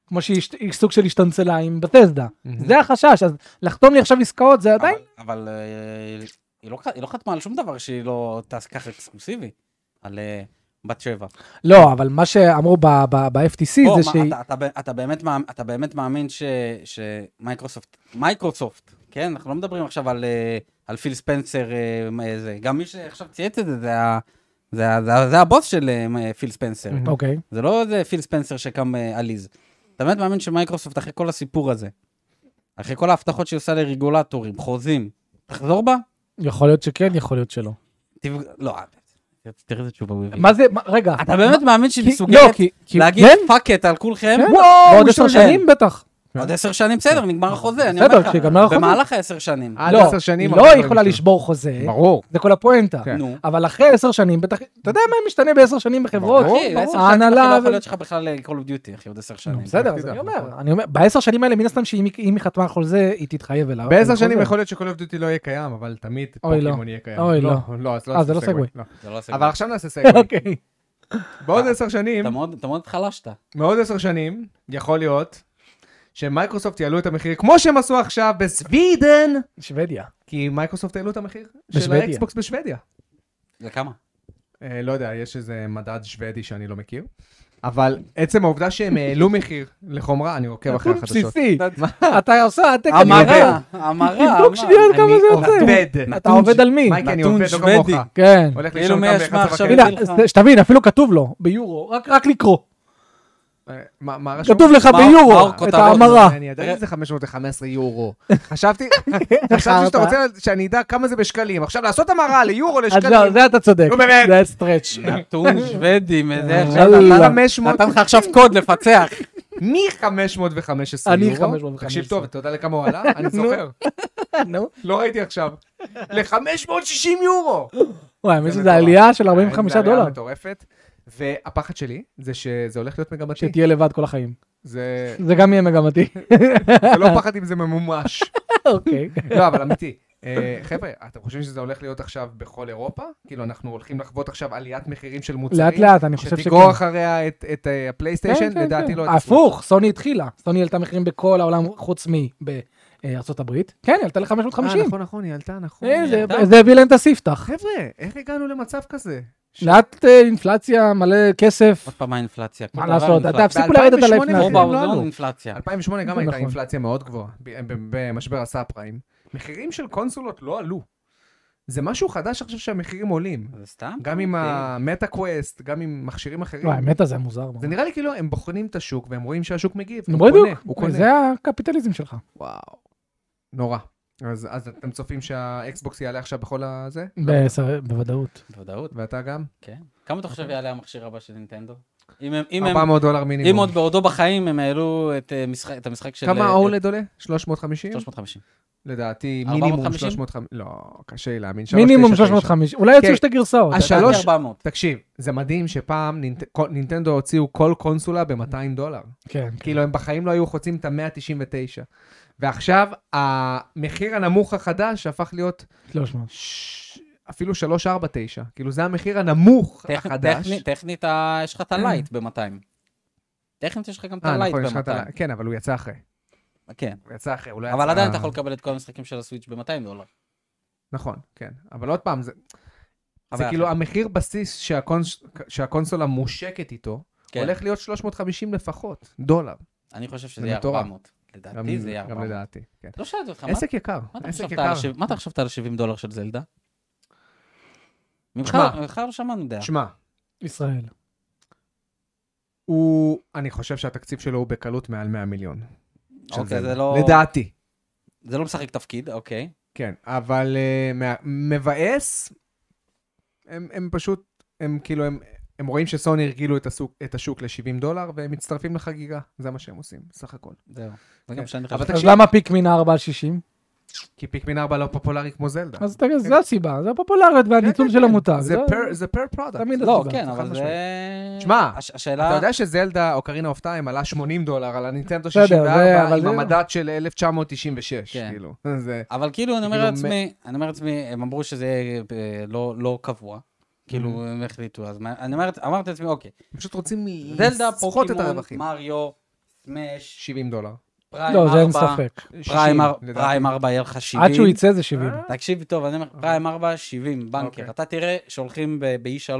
[SPEAKER 1] כמו שהיא השת- היא סוג של השתנצלה עם בתסדה.
[SPEAKER 3] Mm-hmm.
[SPEAKER 1] זה החשש, אז לחתום לי עכשיו עסקאות זה עדיין...
[SPEAKER 2] אבל אבל, אה, היא לא ח- היא לא חתמה על שום דבר שהיא לא תעשה ככה אקסקלוסיבי, על אה, בת שבע.
[SPEAKER 1] לא, אבל מה שאמרו ב-FTC
[SPEAKER 2] בוא,
[SPEAKER 1] זה
[SPEAKER 2] מה,
[SPEAKER 1] שהיא...
[SPEAKER 2] אתה- אתה ב- אתה באמת מאמ- אתה באמת מאמין ש- שמייקרוסופט, מייקרוסופט, כן? אנחנו לא מדברים עכשיו על, אה, על פיל ספנסר, אה, מה זה. גם מי שעכשיו צייץ את זה, זה ה- זה ה- זה ה- זה הבוס של אה, מ- אה, פיל ספנסר.
[SPEAKER 3] Mhm.
[SPEAKER 1] אוקיי.
[SPEAKER 2] זה לא איזה פיל ספנסר שקם אה, עליז. אתה באמת מאמין שמייקרוסופט, אחרי כל הסיפור הזה, אחרי כל ההבטחות שהיא עושה לרגולטורים, חוזים, תחזור בה?
[SPEAKER 1] יכול להיות שכן, יכול להיות שלא.
[SPEAKER 2] תפג- לא, אה, תראה איזה תשובה הוא
[SPEAKER 3] כן.
[SPEAKER 2] הביא.
[SPEAKER 1] מה זה, מה- רגע.
[SPEAKER 2] אתה באמת מאמין שהיא
[SPEAKER 1] כי-
[SPEAKER 2] מסוגלת
[SPEAKER 1] לא, כי- כי-
[SPEAKER 2] להגיד
[SPEAKER 1] כן,
[SPEAKER 2] פאק את על כולכם?
[SPEAKER 1] כן.
[SPEAKER 3] וואו,
[SPEAKER 1] בעוד
[SPEAKER 3] הוא
[SPEAKER 1] עשר
[SPEAKER 2] שואל.
[SPEAKER 1] שנים בטח.
[SPEAKER 2] עוד עשר שנים, בסדר, נגמר החוזה, אני
[SPEAKER 1] בסדר,
[SPEAKER 2] אומר לך.
[SPEAKER 1] כשיגמר החוזה.
[SPEAKER 2] במהלך העשר שנים.
[SPEAKER 3] Mm-hmm. עד
[SPEAKER 1] לא,
[SPEAKER 3] עשר שנים,
[SPEAKER 1] היא
[SPEAKER 3] אבל
[SPEAKER 1] לא
[SPEAKER 3] לא
[SPEAKER 1] יכולה
[SPEAKER 3] לשבור.
[SPEAKER 1] לשבור חוזה,
[SPEAKER 3] ברור.
[SPEAKER 1] זה כל הפואנטה.
[SPEAKER 3] כן.
[SPEAKER 2] נו.
[SPEAKER 1] אבל אחרי עשר שנים, בטח, אתה יודע מה משתנה בעשר שנים בחברות?
[SPEAKER 3] ברור,
[SPEAKER 2] אחי, עשר שנים אחי,
[SPEAKER 1] ההנהלה...
[SPEAKER 2] לא
[SPEAKER 1] ו-
[SPEAKER 2] יכול להיות שלך בכלל אה, Call of Duty, אחי, עוד עשר שנים.
[SPEAKER 1] נו, בסדר, אז
[SPEAKER 3] תדע,
[SPEAKER 1] אני
[SPEAKER 3] נכון.
[SPEAKER 1] אומר, אני אומר, בעשר שנים האלה, מן הסתם שאם היא- אם היא חתמה על חוזה, היא תתחייב אליו.
[SPEAKER 3] בעשר שנים יכול להיות שקול אוף דיוטי לא יהיה קיים, אבל תמיד
[SPEAKER 1] אוקיי, אוי, לא.
[SPEAKER 3] פוקימון יהיה קיים.
[SPEAKER 1] אוי, לא.
[SPEAKER 3] לא, אז לא
[SPEAKER 1] אה, זה
[SPEAKER 3] נעשה
[SPEAKER 1] לא סגווי.
[SPEAKER 3] סגווי, לא.
[SPEAKER 2] זה לא עושה
[SPEAKER 3] אבל
[SPEAKER 2] אבל
[SPEAKER 3] עכשיו נעשה סגווי.
[SPEAKER 1] אוקיי.
[SPEAKER 3] בעוד עשר שנים,
[SPEAKER 2] אתה מאוד- אתה מאוד חלשת.
[SPEAKER 3] בעוד עשר שנים, יכול להיות שמייקרוסופט יעלו את המחיר, כמו שהם עשו עכשיו בסווידן,
[SPEAKER 1] שוודיה.
[SPEAKER 3] כי מייקרוסופט העלו את המחיר של
[SPEAKER 1] בשוודיה.
[SPEAKER 3] האקסבוקס בשוודיה.
[SPEAKER 2] לכמה?
[SPEAKER 3] אה, לא יודע, יש איזה מדד שוודי שאני לא מכיר. אבל עצם העובדה שהם העלו מחיר לחומרה, אני עוקב אחרי
[SPEAKER 1] נתון
[SPEAKER 3] החדשות.
[SPEAKER 1] בסיסי. אתה עושה העתק
[SPEAKER 3] אה,
[SPEAKER 2] המרה,
[SPEAKER 1] המרה.
[SPEAKER 2] המרה.
[SPEAKER 1] תבדוק שנייה
[SPEAKER 3] אני
[SPEAKER 1] כמה זה יוצא.
[SPEAKER 3] עובד.
[SPEAKER 1] אתה עובד על מי?
[SPEAKER 3] מייקי, אני
[SPEAKER 2] נתון
[SPEAKER 3] עובד לא
[SPEAKER 2] שוודי.
[SPEAKER 3] כמוך.
[SPEAKER 1] כן.
[SPEAKER 3] הולך
[SPEAKER 2] כאילו
[SPEAKER 3] לישון
[SPEAKER 2] מי
[SPEAKER 3] גם
[SPEAKER 2] ישמע
[SPEAKER 3] ב-11
[SPEAKER 2] עכשיו
[SPEAKER 3] וחצי.
[SPEAKER 1] הנה,
[SPEAKER 2] אביא לך.
[SPEAKER 1] אז שתבין, אפילו כתוב לו, ביורו, רק- רק לקרוא.
[SPEAKER 3] אה, מה מה רשום?
[SPEAKER 1] כתוב לך
[SPEAKER 2] מאור- מאור
[SPEAKER 1] ביורו את
[SPEAKER 2] כותרות.
[SPEAKER 1] ההמרה.
[SPEAKER 3] לא, אני עדיין איזה 515 יורו. חשבתי, חשבתי שאתה רוצה שאני אדע כמה זה בשקלים. עכשיו לעשות המרה ליורו
[SPEAKER 1] אז
[SPEAKER 3] לשקלים.
[SPEAKER 1] זהו, זה אתה צודק.
[SPEAKER 3] נו, באמת.
[SPEAKER 1] זה היה סטרץ'.
[SPEAKER 2] נתון שוודי,
[SPEAKER 3] אה,
[SPEAKER 2] מזה
[SPEAKER 1] אה,
[SPEAKER 2] עכשיו
[SPEAKER 1] יאללה.
[SPEAKER 2] נתן-
[SPEAKER 3] 500
[SPEAKER 2] נתן לך עכשיו קוד לפצח.
[SPEAKER 3] מ-515
[SPEAKER 1] אני
[SPEAKER 3] יורו.
[SPEAKER 1] 515.
[SPEAKER 3] תקשיב טוב, אתה יודע לכמה הוא עלה? אני זוכר.
[SPEAKER 1] נו.
[SPEAKER 3] לא ראיתי עכשיו. ל-560 יורו.
[SPEAKER 1] וואי, מישהו
[SPEAKER 3] זה אה,
[SPEAKER 1] זה עלייה של 45
[SPEAKER 3] זה עלייה
[SPEAKER 1] דולר.
[SPEAKER 3] מטורפת. והפחד שלי זה שזה הולך להיות מגמתי.
[SPEAKER 1] שתהיה לבד כל החיים.
[SPEAKER 3] זה
[SPEAKER 1] זה גם יהיה מגמתי.
[SPEAKER 3] זה לא פחד אם זה ממומש.
[SPEAKER 1] אוקיי.
[SPEAKER 3] לא, אבל אמיתי. אמ, אה, חבר'ה, אתם חושבים שזה הולך להיות עכשיו בכל אירופה? כאילו, אנחנו הולכים לחוות עכשיו עליית מחירים של מוצרים?
[SPEAKER 1] לאט לאט, אני חושב
[SPEAKER 3] שתגרור אחריה את- את אה, הפלייסטיישן?
[SPEAKER 1] כן, כן,
[SPEAKER 3] לדעתי
[SPEAKER 1] כן.
[SPEAKER 3] לא. תצליח.
[SPEAKER 1] הפוך, סוני התחילה. סוני העלתה מחירים בכל העולם חוץ מבארצות הברית. כן, היא העלתה
[SPEAKER 3] אה,
[SPEAKER 1] ל-550.
[SPEAKER 3] נכון, נכון, היא עלתה, נכון.
[SPEAKER 1] אה, זה-
[SPEAKER 2] נכון.
[SPEAKER 1] זה הביא להם את הספתח.
[SPEAKER 3] חבר'ה, איך הגענו למצב כזה?
[SPEAKER 1] לאט אה, אינפלציה, מלא כסף.
[SPEAKER 2] עוד פעם האינפלציה. כל
[SPEAKER 1] מה
[SPEAKER 2] דבר
[SPEAKER 1] לעשות, אתה
[SPEAKER 2] אינפלציה.
[SPEAKER 1] תפסיקו לרדת על
[SPEAKER 3] ב-2008
[SPEAKER 2] כמו
[SPEAKER 1] האינפלציה.
[SPEAKER 3] מחירים לא
[SPEAKER 2] באוזון
[SPEAKER 3] עלו.
[SPEAKER 2] אינפלציה.
[SPEAKER 3] 2008 גם
[SPEAKER 1] זה
[SPEAKER 3] הייתה
[SPEAKER 1] נכון.
[SPEAKER 3] אינפלציה מאוד גבוהה ב- ב- במשבר הסאב פריים. מחירים של קונסולות לא עלו. זה משהו חדש עכשיו שהמחירים עולים.
[SPEAKER 2] זה סתם?
[SPEAKER 3] גם עם
[SPEAKER 2] אוקיי.
[SPEAKER 3] המטה קווסט, גם עם מכשירים אחרים.
[SPEAKER 1] וואי, לא, האמת הזה מוזר. מאוד.
[SPEAKER 3] זה נראה לי כאילו הם בוחנים את השוק והם רואים שהשוק מגיב.
[SPEAKER 1] נו,
[SPEAKER 3] הוא קונה,
[SPEAKER 1] בדיוק,
[SPEAKER 3] הוא קונה.
[SPEAKER 1] זה הקפיטליזם שלך.
[SPEAKER 3] וואו. נורא. אז אז אתם צופים שהאקסבוקס יעלה עכשיו בכל הזה?
[SPEAKER 1] בעשר- בוודאות.
[SPEAKER 2] בוודאות,
[SPEAKER 3] ואתה גם?
[SPEAKER 2] כן. כמה אתה חושב יעלה המכשיר הבא של נינטנדו? אם הם, אם הם,
[SPEAKER 3] 400 דולר
[SPEAKER 2] אם
[SPEAKER 1] לא.
[SPEAKER 3] מינימום.
[SPEAKER 2] עוד בעודו בחיים הם העלו את, אה, משחק, את המשחק של...
[SPEAKER 3] כמה
[SPEAKER 2] אה,
[SPEAKER 3] ה-OLED עולה? 350?
[SPEAKER 2] 350.
[SPEAKER 3] לדעתי
[SPEAKER 2] 450?
[SPEAKER 3] מינימום 350. לא, קשה לי להאמין.
[SPEAKER 1] מינימום
[SPEAKER 3] 399.
[SPEAKER 1] 350, אולי יוציאו
[SPEAKER 3] כן.
[SPEAKER 1] שתי גרסאות.
[SPEAKER 3] הש- השלוש-
[SPEAKER 2] לדעתי 400.
[SPEAKER 3] תקשיב, זה מדהים שפעם נינט... כל- נינטנדו הוציאו כל קונסולה ב-200 דולר.
[SPEAKER 1] כן, כן.
[SPEAKER 3] כאילו, הם בחיים לא היו חוצים את ה-199. ועכשיו, המחיר הנמוך החדש הפך להיות
[SPEAKER 1] 300.
[SPEAKER 3] ש... אפילו 349. כאילו, זה המחיר הנמוך
[SPEAKER 2] טכ-
[SPEAKER 3] החדש. כן.
[SPEAKER 2] טכנית- טכנית, אה, יש לך את הלייט ב-200. טכנית יש לך גם את
[SPEAKER 3] אה,
[SPEAKER 2] הלייט
[SPEAKER 3] נכון, יש לך את ה...
[SPEAKER 2] ב-200.
[SPEAKER 3] כן, אבל הוא יצא אחרי.
[SPEAKER 2] כן.
[SPEAKER 3] הוא יצא אחרי, הוא לא יצא...
[SPEAKER 2] אבל עדיין אתה יכול לקבל את כל המשחקים של הסוויץ' ב-200 דולר.
[SPEAKER 3] נכון, כן. אבל עוד פעם, זה, זה
[SPEAKER 2] אבל-
[SPEAKER 3] כאילו המחיר בסיס שהקונס... שהקונסולה מושקת איתו,
[SPEAKER 2] כן.
[SPEAKER 3] הולך להיות 350 לפחות, דולר.
[SPEAKER 2] אני חושב שזה
[SPEAKER 3] זה
[SPEAKER 2] יהיה
[SPEAKER 3] מטורף.
[SPEAKER 2] 400.
[SPEAKER 3] גם,
[SPEAKER 2] לדעתי זה יהיה
[SPEAKER 3] גם
[SPEAKER 2] 400.
[SPEAKER 3] לדעתי. כן.
[SPEAKER 2] לא שאלתי אותך, מה
[SPEAKER 3] עסק יקר,
[SPEAKER 2] מה אתה
[SPEAKER 3] עסק
[SPEAKER 2] חשבת
[SPEAKER 3] יקר.
[SPEAKER 2] על השבעים- מה אתה חשבת על ה-70 דולר של זלדה? ממך
[SPEAKER 3] שמע.
[SPEAKER 2] ממך לא שמענו דעה.
[SPEAKER 3] שמע,
[SPEAKER 1] ישראל.
[SPEAKER 3] הוא, אני חושב שהתקציב שלו הוא בקלות מעל 100 מיליון. של
[SPEAKER 2] אוקיי,
[SPEAKER 3] זלדה.
[SPEAKER 2] זה לא-
[SPEAKER 3] לדעתי,
[SPEAKER 2] זה לא משחק תפקיד, אוקיי.
[SPEAKER 3] כן. אבל אה, מה- מבאס, הם הם פשוט, הם כאילו, הם... הם רואים שסוני הרגילו את השוק, את השוק ל-70 דולר, והם מצטרפים לחגיגה. זה מה שהם עושים, סך הכל.
[SPEAKER 2] זהו. זה
[SPEAKER 3] כן.
[SPEAKER 2] גם שאני
[SPEAKER 3] אבל
[SPEAKER 2] חושב.
[SPEAKER 1] אז
[SPEAKER 3] תקשיב.
[SPEAKER 1] למה פיקמין 4 על 60?
[SPEAKER 3] כי פיקמין 4 לא פופולרי כמו זלדה.
[SPEAKER 1] אז תגיד, זו הסיבה, זה הפופולריות והניצול של המותג.
[SPEAKER 3] כן, זה
[SPEAKER 1] זה-
[SPEAKER 3] per- זה פר פרודקט.
[SPEAKER 1] לא? תמיד
[SPEAKER 2] לא,
[SPEAKER 1] הסיבה,
[SPEAKER 2] כן,
[SPEAKER 3] חד
[SPEAKER 2] אבל זה...
[SPEAKER 3] משמעית. שמע,
[SPEAKER 2] הש- השאלה...
[SPEAKER 3] אתה יודע שזלדה, אוקרינה אוף טיים, עלה 80 דולר על הנינטנדו
[SPEAKER 1] בסדר,
[SPEAKER 3] 64
[SPEAKER 1] זה- אבל
[SPEAKER 3] עם
[SPEAKER 1] זה- לא.
[SPEAKER 3] המדד של 1996,
[SPEAKER 2] כן.
[SPEAKER 3] כאילו. זה...
[SPEAKER 2] אבל כאילו, אני אומר
[SPEAKER 3] כאילו,
[SPEAKER 2] לעצמי, אני אומר לעצמי, הם אמרו שזה יהיה, אה, לא- לא קבוע. כאילו, הם החליטו, אז מה- אני אומר- אמרתי לעצמי, אוקיי.
[SPEAKER 3] פשוט רוצים
[SPEAKER 2] זלדה,
[SPEAKER 3] לסחוט את
[SPEAKER 2] פוקימון,
[SPEAKER 3] הרווחים.
[SPEAKER 2] מריו, סמאש,
[SPEAKER 3] 70 דולר.
[SPEAKER 2] פריים 4.
[SPEAKER 1] לא, זה אין ספק.
[SPEAKER 3] 60,
[SPEAKER 2] פריים אר-
[SPEAKER 3] לדעתי.
[SPEAKER 2] פריים 4 יהיה לך 70.
[SPEAKER 1] עד שהוא יצא זה 70.
[SPEAKER 3] אה?
[SPEAKER 2] תקשיב טוב, אני אומר, פריים 4, 70,
[SPEAKER 3] אוקיי.
[SPEAKER 2] בנקר. אתה תראה שהולכים ב-E3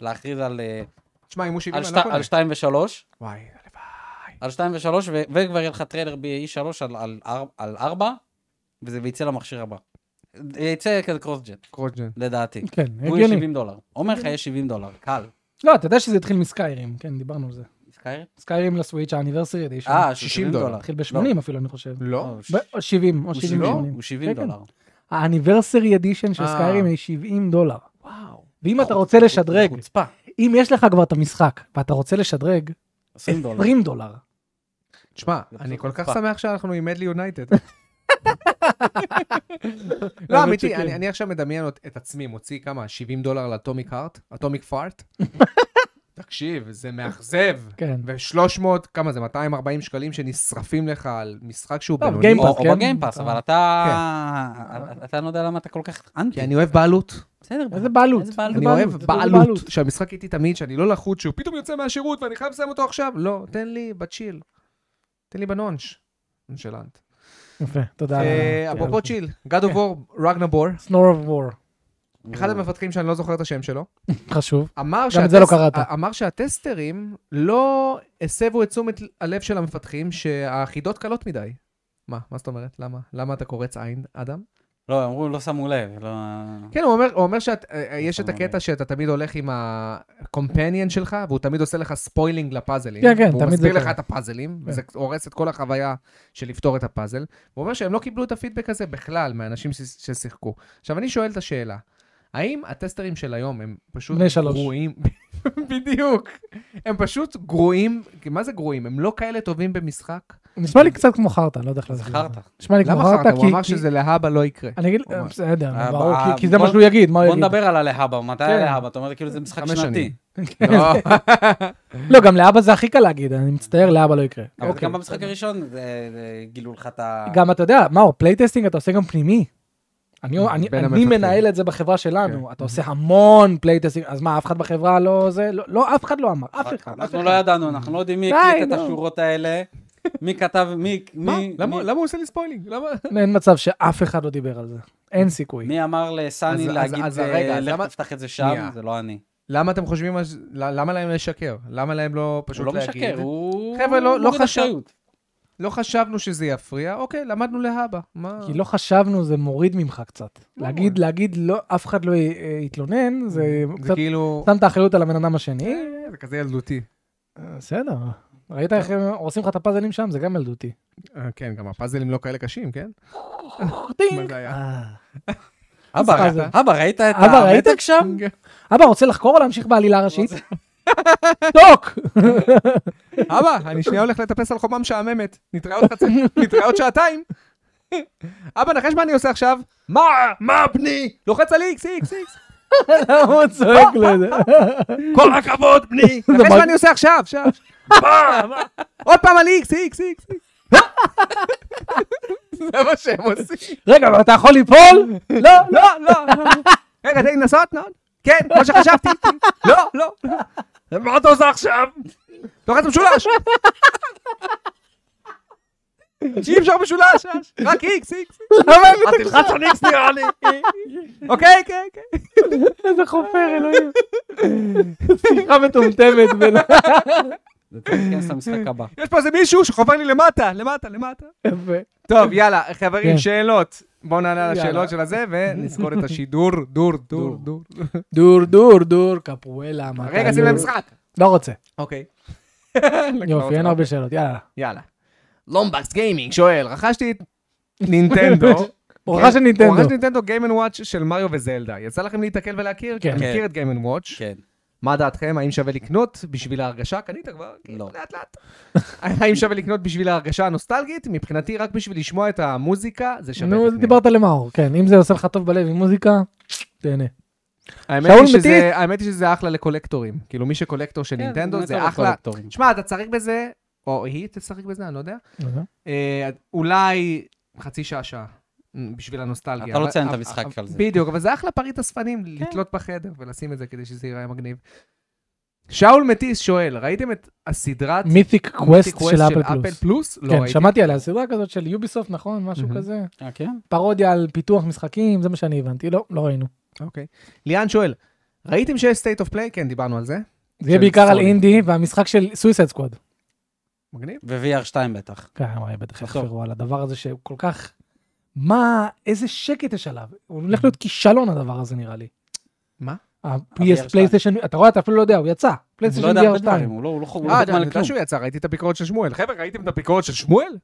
[SPEAKER 2] להכריז על, אה,
[SPEAKER 3] תשמע, אם הוא 70,
[SPEAKER 2] על
[SPEAKER 3] אני
[SPEAKER 2] שתי-
[SPEAKER 3] לא קונה.
[SPEAKER 2] על 2 ו-3,
[SPEAKER 3] וואי, הלוואי.
[SPEAKER 2] על 2 ו-3, וכבר יהיה לך טריילר ב-E3 על- על אר- על 4, וזה יצא למכשיר הבא. יצא כזה קרוסג'ט,
[SPEAKER 3] קרוג'ן.
[SPEAKER 2] לדעתי.
[SPEAKER 1] כן,
[SPEAKER 2] הוא יהיה
[SPEAKER 1] הגיוני.
[SPEAKER 2] 70 דולר. אומר לך, יהיה 70 דולר, קל.
[SPEAKER 1] לא, אתה יודע שזה התחיל מסקיירים, כן, דיברנו על זה.
[SPEAKER 2] סקיירים?
[SPEAKER 1] סקיירים לסוויץ' האניברסרי אדישן.
[SPEAKER 2] אה,
[SPEAKER 3] 60
[SPEAKER 2] 60
[SPEAKER 3] דולר.
[SPEAKER 2] דולר.
[SPEAKER 1] התחיל ב-80 אפילו, אני חושב.
[SPEAKER 3] לא?
[SPEAKER 1] ב- או 70, או
[SPEAKER 2] הוא
[SPEAKER 1] 70
[SPEAKER 2] 70
[SPEAKER 3] לא?
[SPEAKER 1] ו-80.
[SPEAKER 2] הוא 70
[SPEAKER 1] כן, כן.
[SPEAKER 2] דולר.
[SPEAKER 1] האניברסרי אדישן של
[SPEAKER 3] אה. נכון,
[SPEAKER 1] סקיירים היא 70 דולר.
[SPEAKER 3] וואו.
[SPEAKER 1] ואם אתה רוצה לשדרג,
[SPEAKER 2] חוצפה.
[SPEAKER 1] אם יש לך כבר את המשחק, ואתה רוצה לשדרג,
[SPEAKER 2] 20 דולר.
[SPEAKER 1] 20 דולר.
[SPEAKER 3] לא, תשמע,
[SPEAKER 2] זה
[SPEAKER 3] אני
[SPEAKER 2] פשוט
[SPEAKER 3] כל כך
[SPEAKER 2] חוצפה.
[SPEAKER 3] שמח שאנחנו עם מדלי יונייטד. לא,
[SPEAKER 1] האמת
[SPEAKER 3] אמיתי,
[SPEAKER 1] שכן.
[SPEAKER 3] אני אני עכשיו מדמיין אות- את עצמי, מוציא כמה? 70 דולר על אטומיק הארט? אטומיק פארט? תקשיב, זה מאכזב.
[SPEAKER 1] כן.
[SPEAKER 3] ו-300, כמה זה? 240 שקלים שנשרפים לך על משחק שהוא
[SPEAKER 1] טוב,
[SPEAKER 3] בינוני.
[SPEAKER 1] גיימפאס,
[SPEAKER 2] או או
[SPEAKER 1] כן?
[SPEAKER 2] בגיימפאס, אבל אתה... אתה לא יודע למה אתה כל כך אנטי.
[SPEAKER 3] כי אני אוהב בעלות.
[SPEAKER 2] בסדר,
[SPEAKER 1] איזה בעלות.
[SPEAKER 2] איזה בעלות?
[SPEAKER 3] אני
[SPEAKER 1] בעלות,
[SPEAKER 3] אוהב
[SPEAKER 1] זה
[SPEAKER 3] בעלות.
[SPEAKER 1] בעלות.
[SPEAKER 3] שהמשחק איתי תמיד, שאני לא לחוץ, שהוא פתאום יוצא מהשירות ואני חייב לסיים אותו עכשיו. לא, תן לי בצ'יל. תן לי בנונש. נונשלנט.
[SPEAKER 1] יפה, תודה. כן. על
[SPEAKER 3] אה,
[SPEAKER 1] ה-
[SPEAKER 3] אפרופו צ'יל, God of War, רגנבור,
[SPEAKER 1] Snore of War,
[SPEAKER 3] אחד המפתחים שאני לא זוכר את השם שלו,
[SPEAKER 1] חשוב.
[SPEAKER 3] אמר,
[SPEAKER 1] Mm. גם את זה לא קראת.
[SPEAKER 3] אמר שהטסטרים לא הסבו את תשומת הלב של המפתחים שהחידות קלות מדי. מה? מה זאת אומרת? למה? למה אתה קורץ עין, אדם?
[SPEAKER 2] לא, אמרו, לא שמו לב, לא...
[SPEAKER 3] כן, הוא אומר, הוא אומר שיש את
[SPEAKER 2] שמו
[SPEAKER 1] אוקיי.
[SPEAKER 3] הקטע
[SPEAKER 2] לב.
[SPEAKER 3] שאתה תמיד הולך עם הקומפניאן שלך, והוא תמיד עושה לך ספוילינג לפאזלים.
[SPEAKER 1] כן, כן, תמיד
[SPEAKER 3] והוא
[SPEAKER 1] זה כן.
[SPEAKER 3] מסביר לך
[SPEAKER 1] ככה.
[SPEAKER 3] את הפאזלים, וזה הורס את כל החוויה של לפתור את הפאזל. הוא אומר שהם לא קיבלו את הפידבק הזה בכלל מהאנשים ש- ששיחקו. עכשיו, אני שואל את השאלה, האם הטסטרים של היום הם פשוט
[SPEAKER 1] בני שלוש.
[SPEAKER 3] גרועים? בדיוק. הם פשוט גרועים, כי מה זה גרועים? הם לא כאלה טובים במשחק?
[SPEAKER 1] נשמע לי קצת כמו חרטא, לא יודע איך להסביר.
[SPEAKER 2] זכרת.
[SPEAKER 1] נשמע לי כמו
[SPEAKER 3] למה
[SPEAKER 1] חרטא,
[SPEAKER 3] כן. חרטא?
[SPEAKER 1] כי...
[SPEAKER 3] הוא אמר
[SPEAKER 1] כי-
[SPEAKER 3] שזה להבא לא יקרה.
[SPEAKER 1] אני אגיד,
[SPEAKER 3] הוא אמר.
[SPEAKER 1] בסדר,
[SPEAKER 2] אה,
[SPEAKER 1] ברור,
[SPEAKER 2] אה,
[SPEAKER 1] כי- כי זה
[SPEAKER 2] בוא-
[SPEAKER 1] מה שהוא יגיד, מה הוא
[SPEAKER 2] בוא
[SPEAKER 1] יגיד?
[SPEAKER 2] נדבר על הלהבא, מתי
[SPEAKER 1] כן.
[SPEAKER 2] הלהבא? אתה אומר, כאילו, זה משחק
[SPEAKER 3] חמש
[SPEAKER 2] שנתי.
[SPEAKER 3] שנים. לא.
[SPEAKER 1] לא, גם לאבא זה הכי קל להגיד, אני מצטער, לאבא לא יקרה.
[SPEAKER 2] אבל
[SPEAKER 1] אוקיי.
[SPEAKER 2] גם במשחק הראשון זה- זה גילו לך את ה...
[SPEAKER 1] גם אתה יודע, מאור, פלייטסטינג אתה עושה גם פנימי. אני, אני,
[SPEAKER 3] בין
[SPEAKER 1] אני
[SPEAKER 3] המפתחים.
[SPEAKER 1] מנהל את זה בחברה
[SPEAKER 2] כן.
[SPEAKER 1] שלנו, אתה עושה המון פלייטסים, אז מה, אף אחד בחברה לא זה? לא- לא, אף אחד לא אמר, אף אחד. אף
[SPEAKER 2] אנחנו
[SPEAKER 1] אחד.
[SPEAKER 2] לא ידענו, אנחנו לא יודעים מי
[SPEAKER 1] די,
[SPEAKER 2] הקליט את
[SPEAKER 1] נו.
[SPEAKER 2] השורות האלה, מי כתב, מי...
[SPEAKER 3] מה?
[SPEAKER 2] מי-
[SPEAKER 3] למה
[SPEAKER 2] מי-
[SPEAKER 3] למה הוא עושה לי ספוילינג? למה?
[SPEAKER 1] אין מצב שאף אחד לא דיבר על זה. אין סיכוי.
[SPEAKER 2] מי אמר לסני
[SPEAKER 3] אז- אז-
[SPEAKER 2] להגיד,
[SPEAKER 3] אז
[SPEAKER 2] אה,
[SPEAKER 3] רגע, אז
[SPEAKER 2] לך
[SPEAKER 3] למה-
[SPEAKER 2] תפתח את זה שם,
[SPEAKER 3] שנייה.
[SPEAKER 2] זה לא אני.
[SPEAKER 3] למה אתם חושבים, אז- למה להם לשקר? למה להם לא
[SPEAKER 2] הוא
[SPEAKER 3] פשוט
[SPEAKER 2] לא
[SPEAKER 3] להגיד?
[SPEAKER 2] משקר, הוא...
[SPEAKER 3] חבר'ה, לא- לא
[SPEAKER 2] מוריד
[SPEAKER 3] חשב-
[SPEAKER 2] אחריות.
[SPEAKER 3] לא חשבנו שזה יפריע, אוקיי, למדנו להבא. מה?
[SPEAKER 1] כי לא חשבנו, זה מוריד ממך קצת.
[SPEAKER 3] לא
[SPEAKER 1] להגיד, להגיד, לא, אף אחד לא י- אה, יתלונן, זה
[SPEAKER 3] זה
[SPEAKER 1] קצת
[SPEAKER 3] כאילו...
[SPEAKER 1] שם את האחריות על הבן אדם
[SPEAKER 2] כן.
[SPEAKER 1] השני.
[SPEAKER 3] אה, זה כזה ילדותי.
[SPEAKER 1] אה, בסדר. ראית איך הם הורסים לך את הפאזלים שם? זה גם ילדותי.
[SPEAKER 3] אה, כן, גם הפאזלים לא כאלה קשים, כן? מה
[SPEAKER 1] טינג!
[SPEAKER 3] זה היה?
[SPEAKER 1] אה.
[SPEAKER 2] אבא,
[SPEAKER 1] סליחה, זה-
[SPEAKER 2] אבא, ראית את
[SPEAKER 1] אבא, ראית?
[SPEAKER 2] המתק שם?
[SPEAKER 3] כן.
[SPEAKER 1] אבא, רוצה לחקור או להמשיך בעלילה הראשית? טוק!
[SPEAKER 3] אבא, אני שנייה הולך לטפס על חומה משעממת. נתראה עוד חצי... נתראה עוד שעתיים. אבא, נחש מה אני עושה עכשיו? מה? מה, בני? לוחץ על איקס, איקס, איקס.
[SPEAKER 1] למה הוא צועק לו את זה?
[SPEAKER 3] כל הכבוד, בני. נחש
[SPEAKER 1] מה-
[SPEAKER 3] מה אני עושה עכשיו, עכשיו. מה? מה? עוד פעם על איקס, איקס, איקס. איקס. זה מה שהם עושים.
[SPEAKER 1] רגע, אבל אתה יכול ליפול? לא, לא.
[SPEAKER 3] לא, לא. לא. רגע, תן לי לנסות, נון? כן, כמו שחשבתי. לא, לא. מה אתה עושה עכשיו? לוחץ משולש. שאי אפשר משולש, אש. רק איקס, איקס.
[SPEAKER 1] למה אין לי
[SPEAKER 3] תלחץ על איקס נראה לי. אוקיי, כן, כן.
[SPEAKER 1] איזה לא, חופר, אלוהים. שיחה מטומטמת. בין-
[SPEAKER 2] זה צריך להיכנס למשחק הבא.
[SPEAKER 3] יש פה איזה מישהו שחובר לי למטה, למטה, למטה.
[SPEAKER 1] יפה.
[SPEAKER 3] טוב, יאללה, חברים,
[SPEAKER 1] כן.
[SPEAKER 3] שאלות. בואו נענה על
[SPEAKER 1] יאללה.
[SPEAKER 3] השאלות של הזה, ונזכור את השידור, דור, דור,
[SPEAKER 1] דור.
[SPEAKER 3] דור.
[SPEAKER 1] דור, דור, דור, קפואלה.
[SPEAKER 3] רגע, שים להם משחק.
[SPEAKER 1] לא
[SPEAKER 3] לא
[SPEAKER 1] רוצה.
[SPEAKER 3] אוקיי.
[SPEAKER 1] יופי, אין הרבה שאלות, יאללה.
[SPEAKER 3] יאללה. לומבקס גיימינג שואל, רכשתי את נינטנדו. כן,
[SPEAKER 1] הוא רכש את נינטנדו.
[SPEAKER 3] הוא רכש נינטנדו גיימן וואץ' של מריו וזלדה. יצא לכם להתקל ולהכיר?
[SPEAKER 1] כן.
[SPEAKER 3] אני
[SPEAKER 2] כן.
[SPEAKER 3] מכיר את גיימן וואץ'.
[SPEAKER 2] כן.
[SPEAKER 3] מה דעתכם? האם שווה לקנות בשביל ההרגשה? קנית כבר? כן,
[SPEAKER 2] לא.
[SPEAKER 3] לאט לאט. האם שווה לקנות בשביל ההרגשה הנוסטלגית? מבחינתי רק בשביל לשמוע את המוזיקה זה שווה.
[SPEAKER 1] נו,
[SPEAKER 3] לקנות.
[SPEAKER 1] דיברת למאור, כן, אם זה עושה לך טוב בלב עם מוזיקה, תהנה.
[SPEAKER 3] האמת
[SPEAKER 1] שאול
[SPEAKER 3] היא שזה-
[SPEAKER 1] מטיף.
[SPEAKER 3] האמת היא שזה אחלה לקולקטורים. כאילו מי שקולקטור של
[SPEAKER 2] כן,
[SPEAKER 3] נינטנדו
[SPEAKER 2] באמת
[SPEAKER 3] זה
[SPEAKER 2] לא
[SPEAKER 3] אחלה.
[SPEAKER 2] לקולקטורים.
[SPEAKER 3] שמע, אתה צריך בזה, או היא תשחק בזה, אני לא יודע. אה, אולי חצי שעה, שעה, מ, בשביל הנוסטלגיה.
[SPEAKER 2] אתה לא
[SPEAKER 3] אבל-
[SPEAKER 2] ציין את
[SPEAKER 3] אבל-
[SPEAKER 2] המשחק
[SPEAKER 3] אבל-
[SPEAKER 2] על זה. כן.
[SPEAKER 3] בדיוק, אבל זה אחלה פריט אספנים, לתלות בחדר ולשים את זה כדי שזה ייראה מגניב. שאול מטיס שואל, ראיתם את הסדרת
[SPEAKER 1] מיתיק קווסט של אפל
[SPEAKER 3] אפל
[SPEAKER 1] פלוס.
[SPEAKER 3] פלוס? לא
[SPEAKER 1] כן,
[SPEAKER 3] ראיתי.
[SPEAKER 1] שמעתי עליה, סדרה כזאת של יוביסופט, נכון? משהו
[SPEAKER 3] מהמם.
[SPEAKER 1] כזה.
[SPEAKER 2] אה, כן?
[SPEAKER 1] פרודיה על פיתוח משחקים, זה מה שאני הבנתי. לא, לא ראינו.
[SPEAKER 3] אוקיי. ליאן שואל, ראיתם שיש state of play? כן, דיברנו על זה.
[SPEAKER 1] זה יהיה
[SPEAKER 3] של
[SPEAKER 1] בעיקר על
[SPEAKER 3] סוני.
[SPEAKER 1] אינדי והמשחק של סויסד סקווד.
[SPEAKER 3] מגניב.
[SPEAKER 2] ו-VR 2 בטח.
[SPEAKER 1] כן, וואי, בטח
[SPEAKER 2] בסוף.
[SPEAKER 1] יחפרו על הדבר הזה שהוא כל כך... מה, איזה שקט יש עליו. הוא הולך להיות כישלון הדבר הזה נראה לי.
[SPEAKER 3] מה?
[SPEAKER 2] ה-VR2.
[SPEAKER 1] ה-PS פלייסטיישן, אתה רואה, אתה אפילו לא יודע, הוא יצא.
[SPEAKER 2] לא
[SPEAKER 1] פלייסטיישן
[SPEAKER 2] יודע הרבה
[SPEAKER 1] VR2.
[SPEAKER 2] דברים, הוא לא הוא לא חו- הוא לא
[SPEAKER 3] אה,
[SPEAKER 2] חותם
[SPEAKER 3] אני
[SPEAKER 2] על
[SPEAKER 3] יודע
[SPEAKER 2] כלום.
[SPEAKER 3] שהוא יצא, ראיתי את הביקורת של שמואל. חבר'ה, ראיתם את הביקורת של שמואל?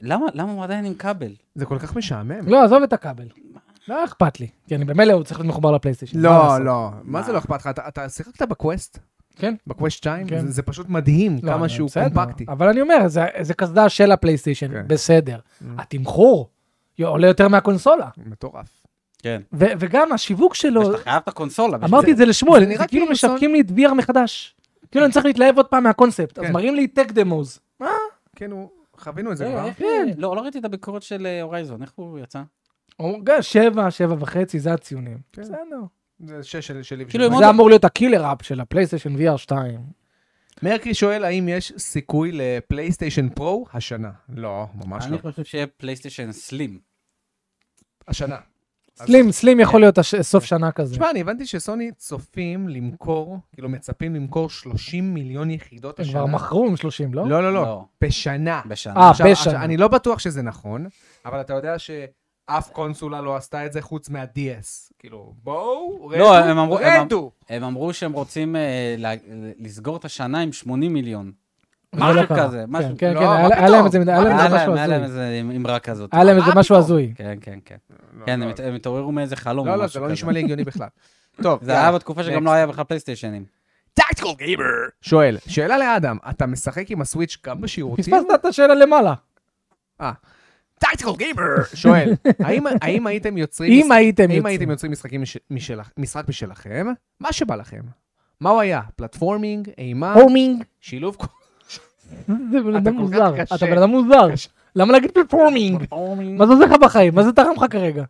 [SPEAKER 2] למה למה הוא עדיין עם כבל?
[SPEAKER 3] זה כל כך משעמם.
[SPEAKER 1] לא, עזוב את הכבל. לא אכפת לי. כי אני במילא הוא צריך להיות מחובר לפלייסטיישן. מה
[SPEAKER 3] לא,
[SPEAKER 1] לעשות?
[SPEAKER 3] לא. מה זה לא אכפת לך? אתה- אתה שיחקת בקווסט?
[SPEAKER 1] כן.
[SPEAKER 3] בקווסט 2?
[SPEAKER 1] כן.
[SPEAKER 3] זה- זה פשוט מדהים
[SPEAKER 1] לא,
[SPEAKER 3] כמה
[SPEAKER 1] אני-
[SPEAKER 3] שהוא
[SPEAKER 1] בסדר,
[SPEAKER 3] קומפקטי.
[SPEAKER 1] אבל אני אומר, זה- זה קסדה של הפלייסטיישן,
[SPEAKER 3] כן.
[SPEAKER 1] בסדר. התמחור עולה יותר מהקונסולה.
[SPEAKER 3] מטורף.
[SPEAKER 2] כן.
[SPEAKER 1] ו- וגם השיווק שלו,
[SPEAKER 2] שאתה חייב את הקונסולה. בשביל
[SPEAKER 1] אמרתי
[SPEAKER 2] לא- זה.
[SPEAKER 1] את זה לשמואל,
[SPEAKER 3] זה
[SPEAKER 1] זה
[SPEAKER 3] נראה
[SPEAKER 1] כאילו
[SPEAKER 3] כאילו סול-
[SPEAKER 1] משווקים לי את VR מחדש. כאילו אני צריך להתלהב עוד פעם מהקונספט, אז
[SPEAKER 3] כן.
[SPEAKER 1] מראים לי טק דמוז.
[SPEAKER 3] כן, הוא- חווינו את זה
[SPEAKER 2] אה,
[SPEAKER 3] כבר.
[SPEAKER 2] איך- לא, לא ראיתי את הביקורת של אה, הורייזון, איך הוא יצא?
[SPEAKER 1] אומרים, "גא, שבע, שבע וחצי, זה הציונים.
[SPEAKER 3] Oh כן.
[SPEAKER 1] בסדר.
[SPEAKER 3] זה לא- שש של- שלי.
[SPEAKER 2] כאילו,
[SPEAKER 3] ושל-
[SPEAKER 2] הם
[SPEAKER 1] זה אמור להיות הקילר אפ של הפלייסטיישן VR 2.
[SPEAKER 3] מרקרי שואל האם יש סיכוי לפלייסטיישן פרו השנה. לא, ממש לא.
[SPEAKER 2] אני חושב שיהיה פלייסטיישן סלים.
[SPEAKER 3] השנה. אז-
[SPEAKER 1] סלים, סלים יכול להיות הש- סוף שנה כזה.
[SPEAKER 3] כן. תשמע, אני הבנתי שסוני צופים למכור, כאילו מצפים למכור 30 מיליון יחידות
[SPEAKER 1] הם
[SPEAKER 3] השנה.
[SPEAKER 1] כבר מכרו עם 30, לא?
[SPEAKER 3] לא, לא, לא.
[SPEAKER 2] לא.
[SPEAKER 3] בשנה.
[SPEAKER 2] בשנה.
[SPEAKER 1] אה,
[SPEAKER 3] עכשיו,
[SPEAKER 1] בשנה.
[SPEAKER 3] עכשיו, אני לא בטוח שזה נכון, אבל אתה יודע שאף קונסולה לא עשתה את זה חוץ מה-DS. כאילו, בואו, רדו,
[SPEAKER 2] לא, הם אמרו- הם אמ-
[SPEAKER 3] רדו.
[SPEAKER 2] הם אמרו שהם רוצים אה, ל- לסגור את השנה עם 80 מיליון.
[SPEAKER 1] זה לא
[SPEAKER 2] משהו
[SPEAKER 1] קרה.
[SPEAKER 2] כזה,
[SPEAKER 1] כן,
[SPEAKER 2] משהו-
[SPEAKER 1] כן,
[SPEAKER 3] לא,
[SPEAKER 1] כן,
[SPEAKER 3] מה
[SPEAKER 1] היה היה
[SPEAKER 3] פתאום?
[SPEAKER 1] להם איזה היה להם
[SPEAKER 2] היה
[SPEAKER 1] איזה
[SPEAKER 2] להם-
[SPEAKER 1] משהו
[SPEAKER 2] היה להם
[SPEAKER 1] הזוי.
[SPEAKER 2] איזה אמרה כזאת.
[SPEAKER 1] היה להם איזה
[SPEAKER 3] מה
[SPEAKER 1] משהו
[SPEAKER 3] פתאום?
[SPEAKER 1] הזוי.
[SPEAKER 2] כן, כן, כן.
[SPEAKER 3] לא,
[SPEAKER 2] כן, הם
[SPEAKER 3] לא,
[SPEAKER 2] הת- הם התעוררו מאיזה חלום או משהו
[SPEAKER 3] לא, לא,
[SPEAKER 2] כזה.
[SPEAKER 3] זה לא נשמע לי הגיוני בכלל. טוב, אה,
[SPEAKER 2] זה היה בתקופה שגם לא היה בכלל פלייסטיישנים.
[SPEAKER 3] טקטיקל גיימר. שואל, שאלה לאדם, אתה משחק עם הסוויץ' גם בשירותים?
[SPEAKER 1] פספסת את השאלה למעלה.
[SPEAKER 3] טקטיקל גיימר. שואל, האם- האם הייתם יוצרים...
[SPEAKER 1] אם הייתם
[SPEAKER 3] אם הייתם
[SPEAKER 1] יוצאים.
[SPEAKER 3] יוצרים משחקים מש- משלכ- משחק משלכם, מה שבא לכם. מה הוא היה? פלטפורמינג, אימה,
[SPEAKER 1] פרפורמינג.
[SPEAKER 3] שילוב כל-
[SPEAKER 1] זה בן
[SPEAKER 3] אתה
[SPEAKER 1] אדם
[SPEAKER 3] כל כך
[SPEAKER 1] מוזר.
[SPEAKER 3] קשה.
[SPEAKER 1] אתה בן אדם מוזר.
[SPEAKER 3] קשה.
[SPEAKER 1] למה להגיד פרפורמינג? מה זה עוזר לך בחיים? מה זה תרם לך כרגע?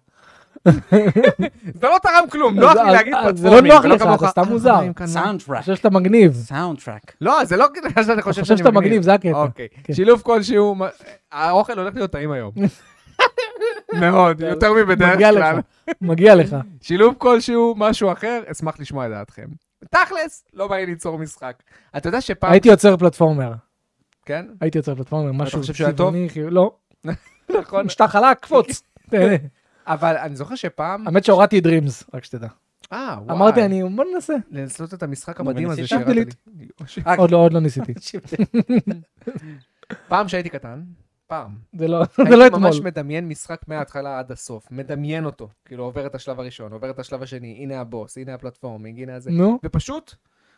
[SPEAKER 3] זה לא תרם כלום, נוח לי
[SPEAKER 1] אז-
[SPEAKER 3] להגיד
[SPEAKER 1] אז זה
[SPEAKER 3] פלטפורמים.
[SPEAKER 1] לא נוח לך,
[SPEAKER 3] כמוך.
[SPEAKER 1] אתה סתם
[SPEAKER 3] אה,
[SPEAKER 1] מוזר.
[SPEAKER 3] חברים, כאן, מה?
[SPEAKER 1] אני
[SPEAKER 2] סאונדטרק.
[SPEAKER 1] חושב שאתה מגניב.
[SPEAKER 2] סאונדטרק.
[SPEAKER 3] לא, זה לא כדי שאתה
[SPEAKER 1] אתה
[SPEAKER 3] חושב
[SPEAKER 1] חושב
[SPEAKER 3] שאני
[SPEAKER 1] שאתה מגניב, זה הקטע.
[SPEAKER 3] אוקיי.
[SPEAKER 1] כן.
[SPEAKER 3] שילוב כלשהו, מה- האוכל הולך להיות טעים היום. מאוד, יותר מבדרך
[SPEAKER 1] מגיע
[SPEAKER 3] כלל.
[SPEAKER 1] לך, מגיע לך.
[SPEAKER 3] שילוב כלשהו, משהו אחר, אשמח לשמוע את דעתכם. תכלס, לא בא לי ליצור משחק. אתה יודע שפעם...
[SPEAKER 1] הייתי יוצר פלטפורמר.
[SPEAKER 3] כן?
[SPEAKER 1] הייתי יוצר פלטפורמר, משהו
[SPEAKER 3] חושב שהוא היה טוב?
[SPEAKER 1] צבעוני, חיו- לא.
[SPEAKER 3] נכון.
[SPEAKER 1] משטח חלק, קפוץ. תהנה.
[SPEAKER 3] אבל אני זוכר שפעם...
[SPEAKER 1] האמת שהורדתי את דרימס, רק שתדע.
[SPEAKER 3] אה, וואי.
[SPEAKER 1] אמ- אמרתי, אני, בוא ננסה.
[SPEAKER 3] לנסות את המשחק
[SPEAKER 2] נו,
[SPEAKER 3] המדהים הזה
[SPEAKER 2] וניסית?
[SPEAKER 3] שהרדת
[SPEAKER 1] delete.
[SPEAKER 3] לי. אה,
[SPEAKER 1] עוד לא, עוד לא ניסיתי.
[SPEAKER 3] פעם שהייתי קטן, פעם.
[SPEAKER 1] זה לא זה לא
[SPEAKER 3] הייתי
[SPEAKER 1] אתמול.
[SPEAKER 3] ממש מדמיין משחק מההתחלה עד הסוף. מדמיין אותו. כאילו, עובר את השלב הראשון, עובר את השלב השני, הנה הבוס, הנה הפלטפורמינג, הנה הזה.
[SPEAKER 1] נו,
[SPEAKER 3] ופשוט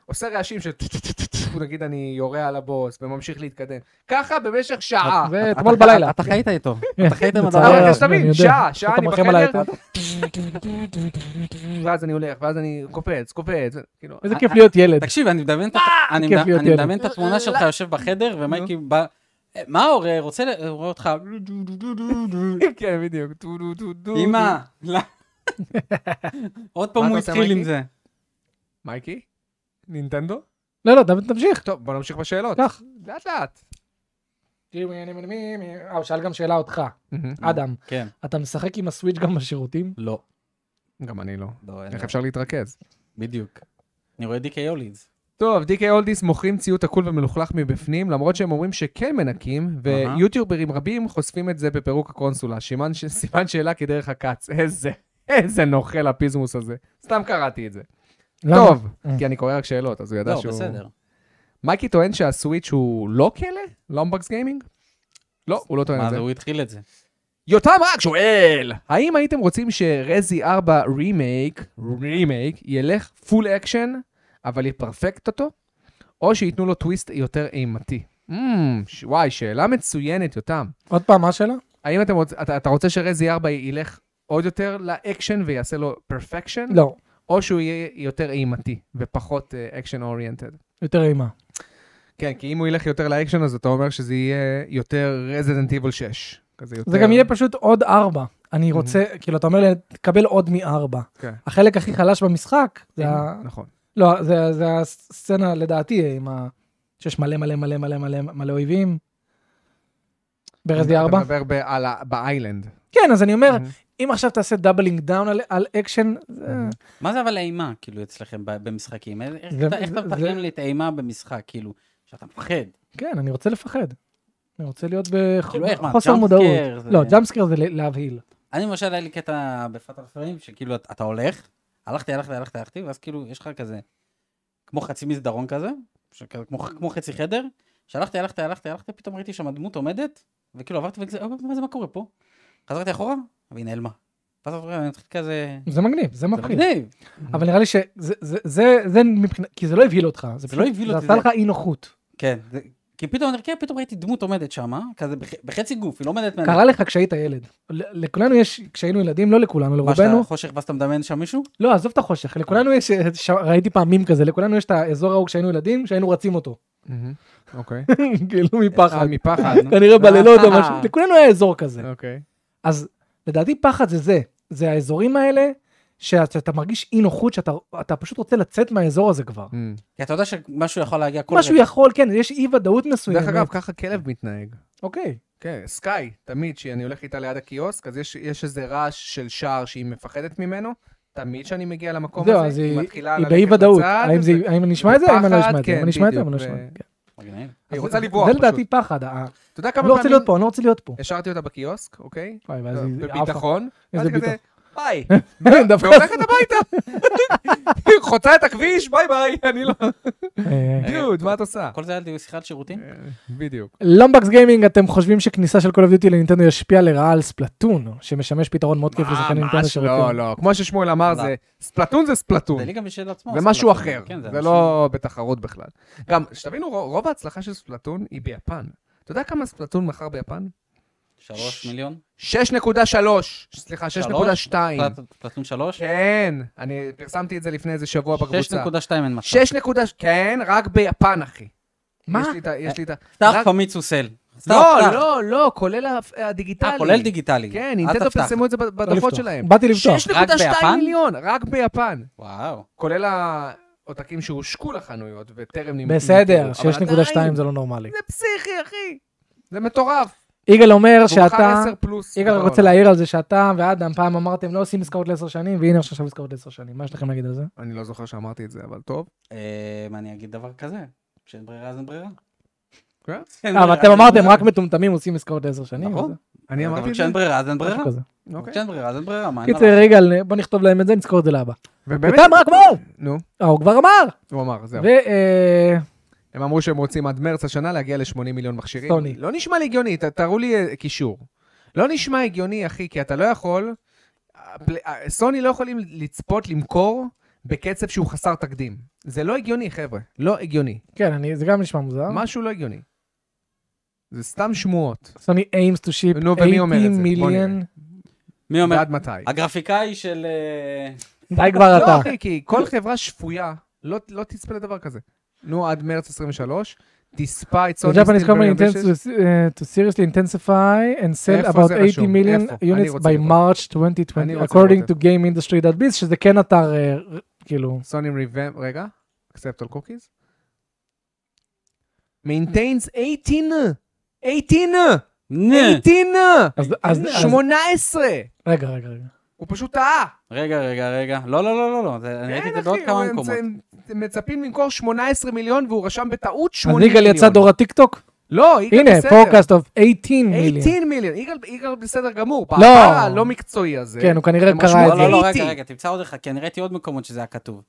[SPEAKER 3] עושה רעשים של טו-טו-טו-טו, נגיד אני יורה על הבוס וממשיך להתקדם. ככה במשך
[SPEAKER 1] אה,
[SPEAKER 3] שעה.
[SPEAKER 1] ואתמול בלילה.
[SPEAKER 2] אתה חיית איתו. אתה חיית עם
[SPEAKER 1] לצערי
[SPEAKER 2] הדבר
[SPEAKER 3] אבל
[SPEAKER 1] הרב,
[SPEAKER 3] יש
[SPEAKER 1] לא אני
[SPEAKER 3] תמיד,
[SPEAKER 1] יודע.
[SPEAKER 3] שעה, שעה
[SPEAKER 1] אתה
[SPEAKER 3] אני
[SPEAKER 1] מרחם עליי
[SPEAKER 3] בחדר,
[SPEAKER 1] יותר.
[SPEAKER 3] ואז אני הולך, ואז אני קופץ, קופץ. כאילו,
[SPEAKER 1] איזה כיף להיות ילד.
[SPEAKER 2] תקשיב, אני מדמיין את- אני
[SPEAKER 1] אה! כיף
[SPEAKER 2] מד-
[SPEAKER 1] להיות
[SPEAKER 2] אני
[SPEAKER 1] ילד. לא,
[SPEAKER 2] מדמיין את התמונה שלך יושב בחדר, ומייקי בא... "אה, מה ההורה רוצה ל- הוא רואה אותך?
[SPEAKER 3] כן, בדיוק. טו, טו, טו, טו.
[SPEAKER 2] אמא, לא. עוד פעם
[SPEAKER 3] מה
[SPEAKER 2] הוא
[SPEAKER 3] אתה עושה,
[SPEAKER 2] התחיל עם
[SPEAKER 3] מייקי?
[SPEAKER 2] זה.
[SPEAKER 3] מייקי? נינטנדו?
[SPEAKER 1] לא, לא, ת- תמשיך.
[SPEAKER 3] טוב, בוא נמשיך בשאלות.
[SPEAKER 1] קח.
[SPEAKER 3] לאט לאט.
[SPEAKER 1] אה, הוא שאל גם שאלה אותך, אדם.
[SPEAKER 2] כן.
[SPEAKER 1] אתה משחק עם הסוויץ' גם בשירותים?
[SPEAKER 2] לא.
[SPEAKER 3] גם אני לא.
[SPEAKER 2] לא, אין
[SPEAKER 3] איך
[SPEAKER 2] לו.
[SPEAKER 3] אפשר להתרכז?
[SPEAKER 2] בדיוק. אני רואה דיקי יולידס.
[SPEAKER 3] טוב, DK אולדיס מוכרים ציוד עקול ומלוכלך מבפנים, למרות שהם אומרים שכן מנקים,
[SPEAKER 2] אהה.
[SPEAKER 3] ויוטיוברים רבים חושפים את זה בפירוק הקונסולה. סימן, ש... סימן שאלה כדרך הקץ. איזה, איזה נוכל הפיזמוס הזה. סתם קראתי את זה.
[SPEAKER 1] למה?
[SPEAKER 3] טוב,
[SPEAKER 1] אה.
[SPEAKER 3] כי אני קורא רק שאלות, אז הוא ידע
[SPEAKER 2] לא,
[SPEAKER 3] שהוא...
[SPEAKER 2] בסדר.
[SPEAKER 3] מייקי טוען שהסוויץ' הוא לא כלא? לומבקס גיימינג? לא, הוא לא טוען את
[SPEAKER 2] מה
[SPEAKER 3] זה.
[SPEAKER 2] זה, הוא התחיל את זה.
[SPEAKER 3] יותם רק שואל, האם הייתם רוצים שרזי 4 רימייק, רימייק, ילך פול אקשן, אבל יפרפקט אותו, או שייתנו לו טוויסט יותר אימתי? Mm, ש- וואי, שאלה מצוינת, יותם.
[SPEAKER 1] עוד פעם, מה השאלה?
[SPEAKER 3] האם אתם רוצ... אתה, אתה רוצה שרזי 4 ילך עוד יותר לאקשן ויעשה לו פרפקשן?
[SPEAKER 1] לא,
[SPEAKER 3] או שהוא יהיה יותר אימתי ופחות אקשן uh, אוריינטד?
[SPEAKER 1] יותר אימה.
[SPEAKER 3] כן, כי אם הוא ילך יותר לאקשן, אז אתה אומר שזה יהיה יותר רזידנט איבל 6. כזה יותר...
[SPEAKER 1] זה גם יהיה פשוט עוד ארבע. אני רוצה, כאילו, אתה אומר לי, תקבל עוד מארבע.
[SPEAKER 3] כן.
[SPEAKER 1] החלק הכי חלש במשחק, זה ה-
[SPEAKER 3] נכון.
[SPEAKER 1] לא, זה- זה הסצנה לדעתי, עם ה... שיש מלא מלא מלא מלא מלא מלא אויבים. ברזי ארבע.
[SPEAKER 3] אתה מדבר ב- על ה- באיילנד.
[SPEAKER 1] כן, אז אני אומר,
[SPEAKER 3] Mhm.
[SPEAKER 1] אם עכשיו תעשה דאבלינג דאון על- על אקשן, זה-
[SPEAKER 3] Mhm.
[SPEAKER 2] מה זה אבל אימה, כאילו, אצלכם ב- במשחקים? איך- איך
[SPEAKER 1] זה-
[SPEAKER 2] אתה- איך אתה
[SPEAKER 1] זה-
[SPEAKER 2] מתרגם
[SPEAKER 1] זה-
[SPEAKER 2] לי את האימה במשחק, כאילו, שאתה מפחד?
[SPEAKER 1] כן, אני רוצה לפחד. אני רוצה להיות
[SPEAKER 2] כאילו, איך, מה,
[SPEAKER 1] בחוסר
[SPEAKER 2] jump
[SPEAKER 1] מודעות.
[SPEAKER 2] scare, זה-
[SPEAKER 1] לא, ג'אמפסקר זה ל- להבהיל.
[SPEAKER 2] אני למשל, היה לי קטע בפאטל פריים, שכאילו, אתה אתה הולך, הלכתי, הלכתי, הלכתי, הלכתי, ואז כאילו, יש לך כזה, כמו חצי מסדרון כזה, שכזה, כמו- כמו חצי חדר, שהלכתי, הלכתי, הלכתי, הלכתי, פתאום ראיתי שם דמות עומדת, וכאילו עברתי וכזה, "אה, מה זה, מה קורה פה? חזרתי אחורה, והיא נעלמה. ואז אמרתי, "אה, אני מתחיל כזה,
[SPEAKER 1] זה מגניב, זה
[SPEAKER 2] זה לא
[SPEAKER 1] מפחיד.
[SPEAKER 2] מגניב.
[SPEAKER 1] אבל נראה לי שזה, זה- זה- זה מבחינת, כי זה לא הבהיל אותך.
[SPEAKER 2] זה
[SPEAKER 1] פשוט-
[SPEAKER 2] לא הבהיל אותי,
[SPEAKER 1] זה עשה
[SPEAKER 2] זה-
[SPEAKER 1] לך אי נוחות.
[SPEAKER 2] כן, זה- כי פתאום אני כן, פתאום ראיתי דמות עומדת שמה, כזה בח- בחצי גוף, היא לא עומדת
[SPEAKER 1] קרה לך כשהיית ילד. ל- לכולנו יש, כשהיינו ילדים, לא לכולנו,
[SPEAKER 2] מה שאתה
[SPEAKER 1] לרובנו.
[SPEAKER 2] חושך ואז אתה מדמיין שם מישהו?
[SPEAKER 1] לא, עזוב את החושך, לכולנו יש, ש- ראיתי פעם מים כזה, לכולנו יש את האזור ההוא כשהיינו ילדים, שהיינו רצים אותו.
[SPEAKER 3] אוקיי.
[SPEAKER 1] כאילו מפחד.
[SPEAKER 3] אה, מפחד. נו.
[SPEAKER 1] כנראה בלילות או
[SPEAKER 2] אה.
[SPEAKER 1] משהו, לכולנו היה אזור כזה.
[SPEAKER 3] אוקיי.
[SPEAKER 1] אז לדעתי פחד זה זה, זה האזורים האלה, שאתה שאתה מרגיש אי נוחות, שאתה אתה פשוט רוצה לצאת מהאזור הזה כבר.
[SPEAKER 2] כי אתה יודע שמשהו יכול להגיע כל
[SPEAKER 1] משהו יכול, כן, יש אי ודאות מסוימת.
[SPEAKER 3] דרך אגב, ככה כלב מתנהג.
[SPEAKER 1] אוקיי.
[SPEAKER 3] כן, סקאי, תמיד כשאני הולך איתה ליד הקיוסק, אז יש- יש איזה רעש של שער שהיא מפחדת ממנו. תמיד כשאני מגיע למקום
[SPEAKER 1] זהו,
[SPEAKER 3] הזה,
[SPEAKER 1] אז
[SPEAKER 3] היא
[SPEAKER 1] היא
[SPEAKER 3] מתחילה
[SPEAKER 1] היא
[SPEAKER 3] ללכת
[SPEAKER 1] באי ודאות.
[SPEAKER 3] בצד,
[SPEAKER 1] האם זה-
[SPEAKER 3] ו-
[SPEAKER 1] האם אני אשמע את זה, האם אני לא
[SPEAKER 3] ופחד,
[SPEAKER 1] אשמע את זה?
[SPEAKER 3] כן,
[SPEAKER 1] האם אני אשמע את זה,
[SPEAKER 3] בדיוק,
[SPEAKER 1] האם אני לא אשמע את זה?
[SPEAKER 3] ו-
[SPEAKER 1] כן.
[SPEAKER 2] מגניב.
[SPEAKER 3] היא
[SPEAKER 1] אז
[SPEAKER 3] רוצה
[SPEAKER 1] זה-
[SPEAKER 3] לברוח
[SPEAKER 1] זה
[SPEAKER 3] פשוט.
[SPEAKER 1] לדעתי פחד. אה,
[SPEAKER 3] אתה יודע
[SPEAKER 1] אני
[SPEAKER 3] כמה
[SPEAKER 1] לא רוצה
[SPEAKER 3] פעמים
[SPEAKER 1] להיות פה, אני לא רוצה להיות פה.
[SPEAKER 3] השארתי אותה בקיוסק, אוקיי?
[SPEAKER 1] וואי, ואז היא עפה.
[SPEAKER 3] בביטחון.
[SPEAKER 1] איזה
[SPEAKER 3] ואז כזה,
[SPEAKER 1] ביטחון.
[SPEAKER 3] ביי.
[SPEAKER 1] דווקא-
[SPEAKER 3] והולכת הביתה. היא חוצה את הכביש, ביי ביי. אני לא...
[SPEAKER 1] אה,
[SPEAKER 3] דוד, מה את עושה?
[SPEAKER 2] כל זה היה שיחת שירותים?
[SPEAKER 3] בדיוק.
[SPEAKER 1] לומבקס גיימינג, אתם חושבים שכניסה של כל אוף דיוטי לנינטנדו ישפיע לרעה על ספלטון, שמשמש פתרון מאוד כיף לשחקן נינטנדו
[SPEAKER 3] ממש לא, לא. כמו ששמואל אמר,
[SPEAKER 2] לא.
[SPEAKER 3] זה ספלטון זה ספלטון.
[SPEAKER 2] זה ליגה בשביל עצמו.
[SPEAKER 3] זה
[SPEAKER 2] אז
[SPEAKER 3] משהו
[SPEAKER 2] כאילו,
[SPEAKER 3] אחר,
[SPEAKER 2] כן,
[SPEAKER 3] זה
[SPEAKER 2] אנשים-
[SPEAKER 3] לא בתחרות בכלל. גם, שתבינו, רו- רוב ההצלחה של ספלטון היא ביפן. אתה יודע כמה ספלטון מכר ביפן?
[SPEAKER 2] שלוש מיליון?
[SPEAKER 3] 6.3, סליחה, 6.2.
[SPEAKER 2] פלט- פלטון שלוש?
[SPEAKER 3] כן, אני פרסמתי את זה לפני איזה שבוע בקבוצה.
[SPEAKER 2] 6.2 אין מצב.
[SPEAKER 3] 6.2, כן, רק ביפן, אחי.
[SPEAKER 1] מה?
[SPEAKER 3] יש לי את ה... יש לי את ה...
[SPEAKER 2] פתח
[SPEAKER 3] רק-
[SPEAKER 2] פמיצו סל. אה, סתם,
[SPEAKER 3] לא,
[SPEAKER 2] פתח.
[SPEAKER 3] לא, לא, כולל ה- הדיגיטלי.
[SPEAKER 2] אה, כולל דיגיטלי. אה,
[SPEAKER 3] כן,
[SPEAKER 2] אל
[SPEAKER 3] נינטנדו
[SPEAKER 2] תפתח.
[SPEAKER 3] פרסמו את זה ב-
[SPEAKER 1] לא
[SPEAKER 3] בדוחות
[SPEAKER 1] לפתוח.
[SPEAKER 3] שלהם.
[SPEAKER 1] באתי לפתוח.
[SPEAKER 3] 6.2
[SPEAKER 2] ביפן?
[SPEAKER 3] מיליון, רק ביפן.
[SPEAKER 2] וואו.
[SPEAKER 3] כולל העותקים שהושקו לחנויות וטרם נמכרו.
[SPEAKER 1] בסדר,
[SPEAKER 3] אבל
[SPEAKER 1] 6.2
[SPEAKER 3] עדיין,
[SPEAKER 1] זה לא נורמלי.
[SPEAKER 3] זה פסיכי, אחי. זה מטורף.
[SPEAKER 1] יגאל אומר
[SPEAKER 3] והוא מכר
[SPEAKER 1] לא, שאתה,
[SPEAKER 3] 10 פלוס.
[SPEAKER 1] יגאל
[SPEAKER 3] בכל
[SPEAKER 1] רוצה
[SPEAKER 3] העולם.
[SPEAKER 1] להעיר על זה שאתה ואדם פעם אמרתם לא עושים עסקאות לעשר שנים, והנה יש עכשיו עסקאות לעשר שנים. מה יש לכם להגיד על זה?
[SPEAKER 3] אני לא זוכר שאמרתי את זה, אבל טוב.
[SPEAKER 2] אה, מה אני אגיד דבר כזה? כשאין ברירה אז אין ברירה.
[SPEAKER 3] אה, כן.
[SPEAKER 2] אין
[SPEAKER 1] אה, אבל
[SPEAKER 2] ברירה,
[SPEAKER 1] אתם
[SPEAKER 2] אז אין
[SPEAKER 1] אמרתם
[SPEAKER 2] ברירה.
[SPEAKER 1] רק מטומטמים עושים עסקאות לעשר שנים.
[SPEAKER 2] נכון.
[SPEAKER 1] אז
[SPEAKER 3] אני
[SPEAKER 2] אבל
[SPEAKER 3] אמרתי את זה?
[SPEAKER 2] כשאין ברירה אז אין
[SPEAKER 1] זה
[SPEAKER 2] ברירה.
[SPEAKER 1] משהו כזה.
[SPEAKER 3] אוקיי.
[SPEAKER 2] כשאין ברירה אז אין ברירה. מה, אין
[SPEAKER 1] קיצר,
[SPEAKER 2] עליו?
[SPEAKER 1] יגאל, בוא נכתוב להם את זה, נזכור את זה לאבא.
[SPEAKER 3] ובאמת,
[SPEAKER 1] אותם רק אמר!
[SPEAKER 3] נו,
[SPEAKER 1] אה, הוא כבר אמר! אה,
[SPEAKER 3] הוא אמר, זהו.
[SPEAKER 1] וסוני.
[SPEAKER 3] הם אמרו שהם רוצים עד מרץ השנה להגיע ל-80 מיליון מכשירים.
[SPEAKER 1] סוני.
[SPEAKER 3] לא נשמע לי הגיוני, ת- תראו לי אה, קישור. לא נשמע הגיוני, אחי, כי אתה לא יכול... הפל- אה, סוני לא יכולים לצפות למכור בקצב שהוא חסר תקדים. זה לא הגיוני, חבר'ה. לא הגיוני.
[SPEAKER 1] כן, אני- זה גם נשמע מוזר.
[SPEAKER 3] משהו לא הגיוני. זה סתם שמועות.
[SPEAKER 1] סוני aims to ship 80
[SPEAKER 3] נו, ומי אומר את זה? בוא
[SPEAKER 1] מיליון.
[SPEAKER 3] נראה.
[SPEAKER 2] מי אומר?
[SPEAKER 3] ועד מתי?
[SPEAKER 2] הגרפיקאי של... אה,
[SPEAKER 1] די כבר
[SPEAKER 3] לא,
[SPEAKER 1] אתה.
[SPEAKER 3] אחי, כי כל חברה שפויה לא לא תצפה לדבר כזה. נו, עד מרץ 23, תספה את
[SPEAKER 1] So
[SPEAKER 3] סוני
[SPEAKER 1] Japanese
[SPEAKER 3] סטיל
[SPEAKER 1] company intends to,
[SPEAKER 3] ברנבשש.
[SPEAKER 1] uh, to seriously intensify and sell
[SPEAKER 3] איפה
[SPEAKER 1] about
[SPEAKER 3] זה
[SPEAKER 1] 80
[SPEAKER 3] רשום?
[SPEAKER 1] million
[SPEAKER 3] איפה? אני
[SPEAKER 1] units
[SPEAKER 3] רוצה
[SPEAKER 1] by
[SPEAKER 3] לראות.
[SPEAKER 1] March
[SPEAKER 3] אני
[SPEAKER 1] 2020,
[SPEAKER 3] רוצה
[SPEAKER 1] according
[SPEAKER 3] לראות
[SPEAKER 1] to GameIndustry.biz, שזה כן אתר, אה, ר- כאילו,
[SPEAKER 3] סוני ריבם, רגע, accept all cookies. maintains 18, 18,
[SPEAKER 2] נה.
[SPEAKER 3] 18,
[SPEAKER 1] אז- אז אז-
[SPEAKER 3] 18.
[SPEAKER 1] רגע, רגע, רגע.
[SPEAKER 3] הוא פשוט טעה.
[SPEAKER 2] רגע, רגע, רגע. לא, לא, לא, לא, לא. זה- אני ראיתי את זה בעוד כמה
[SPEAKER 3] הם-
[SPEAKER 2] מקומות.
[SPEAKER 3] הם- הם מצפים למכור 18 מיליון והוא רשם בטעות
[SPEAKER 1] אז
[SPEAKER 3] 80 מיליון.
[SPEAKER 1] יגאל יצא דור הטיקטוק?
[SPEAKER 3] לא, יגאל
[SPEAKER 1] הנה,
[SPEAKER 3] בסדר.
[SPEAKER 1] forecast of 18 מיליון.
[SPEAKER 3] 18 מיליון. יגאל, יגאל בסדר גמור. לא. לא מקצועי הזה.
[SPEAKER 1] כן, הוא כנראה
[SPEAKER 3] הם
[SPEAKER 1] קרא
[SPEAKER 3] משמעו
[SPEAKER 1] את
[SPEAKER 2] לא,
[SPEAKER 1] זה.
[SPEAKER 2] לא, לא, רגע,
[SPEAKER 3] ראיתי.
[SPEAKER 2] רגע, תמצא עוד אחד, כי אני ראיתי עוד מקומות שזה היה כתוב.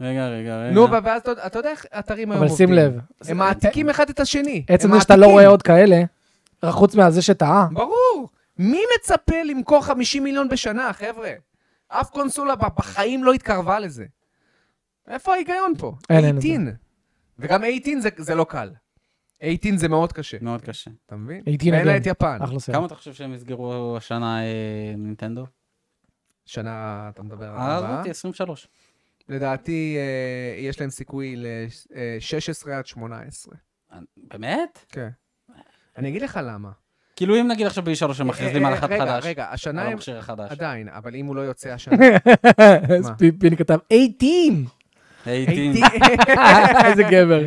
[SPEAKER 2] רגע, רגע, רגע.
[SPEAKER 3] נו, ואז אתה אתה יודע איך אתרים היום
[SPEAKER 1] אבל
[SPEAKER 3] עובדים.
[SPEAKER 1] שים לב, אה,
[SPEAKER 3] הם מעתיקים אחד את השני.
[SPEAKER 1] עצם
[SPEAKER 3] הם
[SPEAKER 1] זה שאתה לא
[SPEAKER 3] מעתיקים.
[SPEAKER 1] רואה עוד כאלה, חוץ מהזה שטעה,
[SPEAKER 3] ברור. מי מצפה למכור 50 מיליון בשנה, חבר'ה? אף קונסולה ב- בחיים לא התקרבה לזה. איפה ההיגיון פה?
[SPEAKER 1] אין, אין את זה.
[SPEAKER 3] 18. וגם 18 זה, זה לא קל. 18 זה מאוד קשה,
[SPEAKER 2] מאוד קשה.
[SPEAKER 3] אתה מבין?
[SPEAKER 1] 18
[SPEAKER 3] ואין לה
[SPEAKER 1] again.
[SPEAKER 3] את יפן.
[SPEAKER 1] אחלה סרט.
[SPEAKER 2] כמה אתה חושב שהם יסגרו השנה אה, נינטנדו?
[SPEAKER 3] שנה, אתה מדבר על
[SPEAKER 2] אה,
[SPEAKER 3] הבאה.
[SPEAKER 2] זאת 23.
[SPEAKER 3] לדעתי, אה, יש להם סיכוי ל-16 עד 18.
[SPEAKER 2] באמת?
[SPEAKER 3] כן. אני אגיד לך למה.
[SPEAKER 2] כאילו אם נגיד עכשיו ב-E3 הם מכריזים
[SPEAKER 3] אה,
[SPEAKER 2] על
[SPEAKER 3] אה,
[SPEAKER 2] אחד
[SPEAKER 3] רגע,
[SPEAKER 2] חדש. לא
[SPEAKER 3] רגע, השנה
[SPEAKER 2] על
[SPEAKER 3] הם...
[SPEAKER 2] המכשיר החדש.
[SPEAKER 3] עדיין, אבל אם הוא לא יוצא השנה...
[SPEAKER 1] אז
[SPEAKER 3] מה?
[SPEAKER 1] פיני כתב 18!
[SPEAKER 2] הייתי...
[SPEAKER 1] איזה גבר.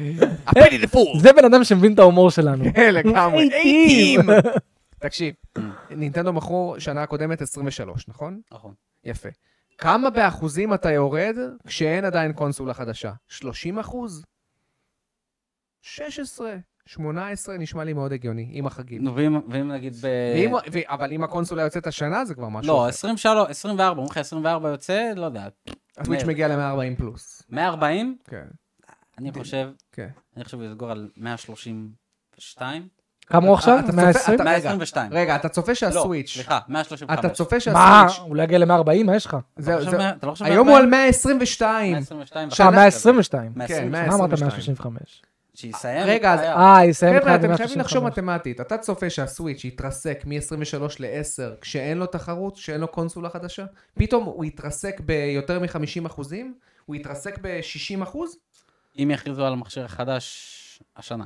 [SPEAKER 3] הפני לפור.
[SPEAKER 1] זה בן אדם שמבין את ההומור שלנו.
[SPEAKER 3] כן, לגמרי.
[SPEAKER 1] 18.
[SPEAKER 3] 18. תקשיב, נינטנדו מכרו שנה הקודמת 23, נכון?
[SPEAKER 2] נכון.
[SPEAKER 3] יפה. כמה באחוזים אתה יורד כשאין עדיין קונסולה חדשה? 30 אחוז? 16, 18 נשמע לי מאוד הגיוני, עם החגים.
[SPEAKER 2] נו, ואם- ואם נגיד ב...
[SPEAKER 3] ואם- ו- אבל אם הקונסולה יוצאת השנה זה כבר משהו
[SPEAKER 2] אה. לא,
[SPEAKER 3] אחר.
[SPEAKER 2] 23, 24, אומרים לך 24 יוצא, לא יודע.
[SPEAKER 3] הטוויץ'
[SPEAKER 2] מאיר.
[SPEAKER 3] מגיע ל-140 פלוס.
[SPEAKER 2] 140,
[SPEAKER 3] כן,
[SPEAKER 2] אני חושב,
[SPEAKER 3] כן.
[SPEAKER 2] אני חושב שהוא יסגור על 132.
[SPEAKER 1] כמה הוא עכשיו?
[SPEAKER 3] אתה צופה-
[SPEAKER 1] 120?
[SPEAKER 3] אתה- רגע.
[SPEAKER 2] 122.
[SPEAKER 3] רגע, אתה צופה
[SPEAKER 2] אה. לא,
[SPEAKER 3] שהסוויץש...
[SPEAKER 2] סליחה, 135.
[SPEAKER 3] אתה צופה
[SPEAKER 1] מה?
[SPEAKER 3] שהסוויץ'...
[SPEAKER 1] הוא לא יגיע ל-140? מה יש לך?
[SPEAKER 3] זהו,
[SPEAKER 2] אתה
[SPEAKER 3] זהו.
[SPEAKER 2] חושב מה- אתה לא חושב
[SPEAKER 3] היום הוא על
[SPEAKER 2] 140?
[SPEAKER 3] 122.
[SPEAKER 2] 122.
[SPEAKER 1] אה, 122.
[SPEAKER 3] כן,
[SPEAKER 1] מה
[SPEAKER 3] 122.
[SPEAKER 1] אמרת 135?
[SPEAKER 2] שיסיים.
[SPEAKER 3] רגע, אז-
[SPEAKER 2] היה.
[SPEAKER 1] אה, יסיים
[SPEAKER 3] חבר'ה,
[SPEAKER 1] אחד
[SPEAKER 3] אתם חייבים לחשוב
[SPEAKER 1] ב-135.
[SPEAKER 3] מתמטית. אתה צופה שהסוויץ' יתרסק מ-23 ל-10 כשאין לו תחרות, כשאין לו קונסולה חדשה? פתאום הוא יתרסק ביותר מ-50 אחוזים? הוא יתרסק ב-60 כן, אחוז?
[SPEAKER 2] אם יכריזו על המכשיר החדש השנה.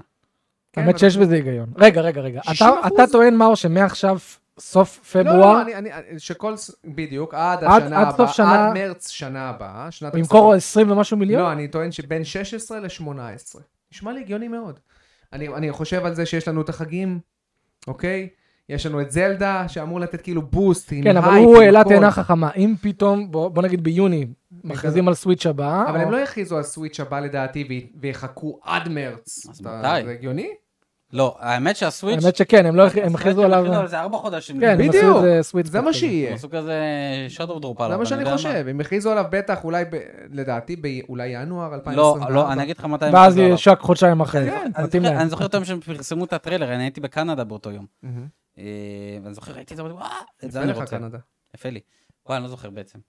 [SPEAKER 1] האמת שיש בזה היגיון. רגע, רגע, רגע. אתה-
[SPEAKER 3] 60%?
[SPEAKER 1] אתה טוען, מאור, שמעכשיו סוף
[SPEAKER 3] לא, לא,
[SPEAKER 1] פברואר
[SPEAKER 3] אני- אני- אני- שכל... ס- בדיוק, עד
[SPEAKER 1] עד-
[SPEAKER 3] השנה
[SPEAKER 1] עד
[SPEAKER 3] הבאה.
[SPEAKER 1] סוף שנה-
[SPEAKER 3] עד מרץ שנה הבאה. שנת
[SPEAKER 1] הוא
[SPEAKER 3] הכספים.
[SPEAKER 1] ימכור 20 ומשהו מיליון?
[SPEAKER 3] לא, אני טוען שבין 16 ל-18. נשמע לי הגיוני מאוד. אני, אני חושב על זה שיש לנו את החגים, אוקיי? יש לנו את זלדה, שאמור לתת כאילו בוסט עם
[SPEAKER 1] כן, אבל
[SPEAKER 3] הייפ,
[SPEAKER 1] הוא
[SPEAKER 3] עם
[SPEAKER 1] העלה
[SPEAKER 3] הכל.
[SPEAKER 1] תאנה חכמה. אם פתאום, בוא בוא נגיד ביוני, מכריזים על סוויץ' הבא,
[SPEAKER 3] אבל
[SPEAKER 1] או-
[SPEAKER 3] הם לא יכריזו על סוויץ' הבא לדעתי וי- ויחכו עד מרץ.
[SPEAKER 2] אז
[SPEAKER 3] אתה-
[SPEAKER 2] מתי?
[SPEAKER 3] זה הגיוני?
[SPEAKER 2] לא, האמת שהסוויץ'...
[SPEAKER 1] האמת שכן, הם לא- הם
[SPEAKER 2] הסוויץ'
[SPEAKER 1] הכריזו
[SPEAKER 2] הם
[SPEAKER 1] עליו.
[SPEAKER 2] הכריזו על זה ארבע חודשים.
[SPEAKER 1] כן, הם עשו את
[SPEAKER 3] בדיוק.
[SPEAKER 1] זה סוויץ'.
[SPEAKER 3] זה מה שיהיה.
[SPEAKER 2] עשו כזה shadow drop עליו.
[SPEAKER 3] זה מה
[SPEAKER 2] לא אני
[SPEAKER 3] שאני
[SPEAKER 2] יודע
[SPEAKER 3] חושב. הם הכריזו עליו בטח אולי, ב- לדעתי, ב- אולי ינואר
[SPEAKER 2] לא,
[SPEAKER 3] 2024.
[SPEAKER 2] לא, אני אגיד לך מתי הם
[SPEAKER 1] ואז
[SPEAKER 2] הכריזו עליו.
[SPEAKER 1] יהיה שק חודשיים אחרי.
[SPEAKER 3] כן,
[SPEAKER 2] אני זוכר-
[SPEAKER 1] מתאים להם.
[SPEAKER 2] אני זוכר את היום שהם פרסמו את הטריילר, אני הייתי בקנדה באותו יום.
[SPEAKER 3] מהמם.
[SPEAKER 2] אה, ואני זוכר, ראיתי את זה, אמרתי, "וואה, את זה
[SPEAKER 3] יפה
[SPEAKER 2] אני
[SPEAKER 3] לך,
[SPEAKER 2] רוצה. אוקיי.
[SPEAKER 3] קנדה.
[SPEAKER 2] יפה לי. וואי, אני לא זוכר בעצם.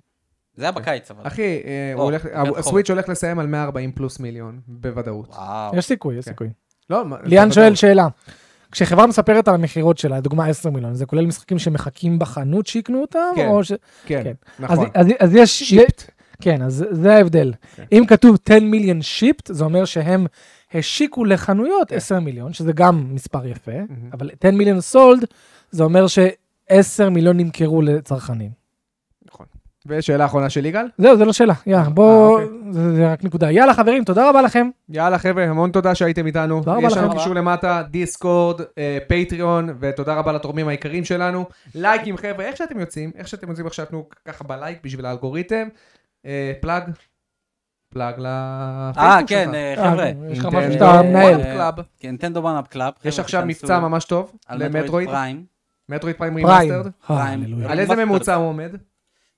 [SPEAKER 2] זה היה בקיץ, אבל.
[SPEAKER 3] אחי, אה, הוא
[SPEAKER 2] או,
[SPEAKER 3] הולך-
[SPEAKER 2] לקראת חורף.
[SPEAKER 3] הסוויץ' הולך לסיים על 140 פלוס מיליון, בוודאות.
[SPEAKER 2] וואו.
[SPEAKER 1] יש סיכוי, יש
[SPEAKER 3] כן.
[SPEAKER 1] סיכוי.
[SPEAKER 3] לא, מה-
[SPEAKER 1] ליאן
[SPEAKER 3] בוודאות.
[SPEAKER 1] שואל שאלה. כשחברה מספרת על המכירות שלה, לדוגמה 10 מיליון, זה כולל משחקים שמחכים בחנות שיקנו אותם?
[SPEAKER 3] כן.
[SPEAKER 1] או ש...
[SPEAKER 3] כן,
[SPEAKER 1] כן.
[SPEAKER 3] נכון.
[SPEAKER 1] אז, אז, אז יש...
[SPEAKER 3] Shipped.
[SPEAKER 1] כן, אז זה ההבדל.
[SPEAKER 3] כן.
[SPEAKER 1] אם כתוב 10 מיליון שיפט, זה אומר שהם השיקו לחנויות
[SPEAKER 3] כן. Mhm.
[SPEAKER 1] 10 מיליון, שזה גם מספר יפה,
[SPEAKER 3] מהמם.
[SPEAKER 1] אבל 10 מיליון סולד, זה אומר ש-10 מיליון נמכרו לצרכנים.
[SPEAKER 3] ושאלה אחרונה של יגאל.
[SPEAKER 1] זהו, זה לא שאלה. יאללה,
[SPEAKER 3] אה,
[SPEAKER 1] בואו,
[SPEAKER 3] אה,
[SPEAKER 1] זה זה רק נקודה. יאללה, חברים, תודה רבה לכם.
[SPEAKER 3] יאללה חבר'ה, המון תודה שהייתם איתנו.
[SPEAKER 1] תודה רבה
[SPEAKER 3] יש לנו
[SPEAKER 1] לכם.
[SPEAKER 3] קישור למטה, דיסקורד, אה, פטריון, ותודה רבה לתורמים היקרים שלנו. לייקים חבר'ה, איך שאתם יוצאים, איך שאתם יוצאים עכשיו תנו ככה בלייק בשביל האלגוריתם. אה, פלאג, פלאג לפייסבוק שלך.
[SPEAKER 2] אה, כן, אה, חבר'ה. כן,
[SPEAKER 1] אה, יש לך
[SPEAKER 3] נינטנדו.
[SPEAKER 1] משהו שאתה מנהל.
[SPEAKER 3] וואלה. קלאב.
[SPEAKER 2] נינטנדו וואנאפ קלאב.
[SPEAKER 3] יש
[SPEAKER 2] חבר'ה,
[SPEAKER 3] עכשיו
[SPEAKER 2] תיכנסו
[SPEAKER 3] מבצע ממש טוב
[SPEAKER 2] על
[SPEAKER 3] למטרואיד,
[SPEAKER 2] מטרואיד פריים,
[SPEAKER 3] מטרואיד פריים
[SPEAKER 1] פריים.
[SPEAKER 3] רימאסטרד.
[SPEAKER 2] פריים.
[SPEAKER 1] הללויה.
[SPEAKER 3] על איזה
[SPEAKER 2] רימאסטרד.
[SPEAKER 3] ממוצע הוא עומד?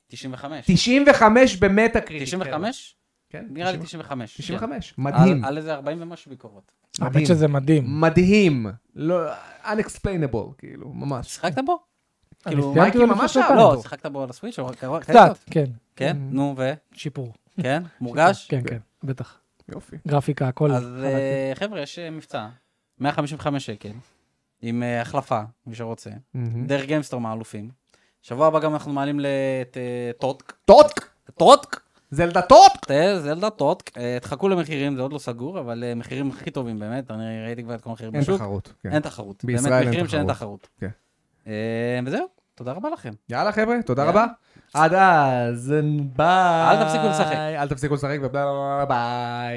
[SPEAKER 2] 95.
[SPEAKER 3] 95 במטה קריטי.
[SPEAKER 2] 95?
[SPEAKER 3] כן,
[SPEAKER 2] נראה לי
[SPEAKER 3] 90.
[SPEAKER 2] 95.
[SPEAKER 3] 95.
[SPEAKER 2] כן. על-
[SPEAKER 3] מדהים.
[SPEAKER 2] על איזה 40 ומשהו ביקורות.
[SPEAKER 1] האמת שזה מדהים.
[SPEAKER 3] מדהים. לא, unexplainable, כאילו, ממש.
[SPEAKER 2] שיחקת בו?
[SPEAKER 1] אני
[SPEAKER 2] כאילו,
[SPEAKER 1] סיימתי
[SPEAKER 3] מייקי
[SPEAKER 1] אותו
[SPEAKER 3] ממש
[SPEAKER 1] לפני
[SPEAKER 3] אהב
[SPEAKER 1] שנתיים.
[SPEAKER 3] אותו.
[SPEAKER 2] לא, שיחקת בו על הסוויץ' או
[SPEAKER 1] קצת, כן,
[SPEAKER 2] כן, נו, ו?
[SPEAKER 1] שיפור.
[SPEAKER 2] כן, מורגש?
[SPEAKER 1] כן, כן, בטח.
[SPEAKER 3] יופי.
[SPEAKER 1] גרפיקה, הכל.
[SPEAKER 2] אז אה, חבר'ה, יש אה, מבצע, 155 שקל, עם אה, החלפה, מי שרוצה.
[SPEAKER 1] Mm.
[SPEAKER 3] Mm-hmm.
[SPEAKER 2] דרך גיימסטורם האלופים. שבוע הבא גם אנחנו מעלים אה, לטוטק.
[SPEAKER 3] טוטק!
[SPEAKER 2] טוטק?
[SPEAKER 3] זלדה טוטק!
[SPEAKER 2] אה, זלדה טוטק. אה, תחכו למחירים, זה עוד לא סגור, אבל אה, מחירים הכי טובים באמת, אני ראיתי כבר את כל
[SPEAKER 1] כן,
[SPEAKER 2] המחירים בשוק.
[SPEAKER 3] תחרות. כן.
[SPEAKER 2] אין תחרות.
[SPEAKER 3] בישראל
[SPEAKER 2] באמת,
[SPEAKER 3] אין
[SPEAKER 2] מחירים שאין תחרות.
[SPEAKER 3] כן.
[SPEAKER 2] אה, וזהו, תודה רבה לכם.
[SPEAKER 3] יאללה חבר'ה, תודה
[SPEAKER 2] יאללה.
[SPEAKER 3] רבה. עד אז, ביי.
[SPEAKER 2] אל תפסיקו לשחק.
[SPEAKER 3] אל תפסיקו לשחק וביי.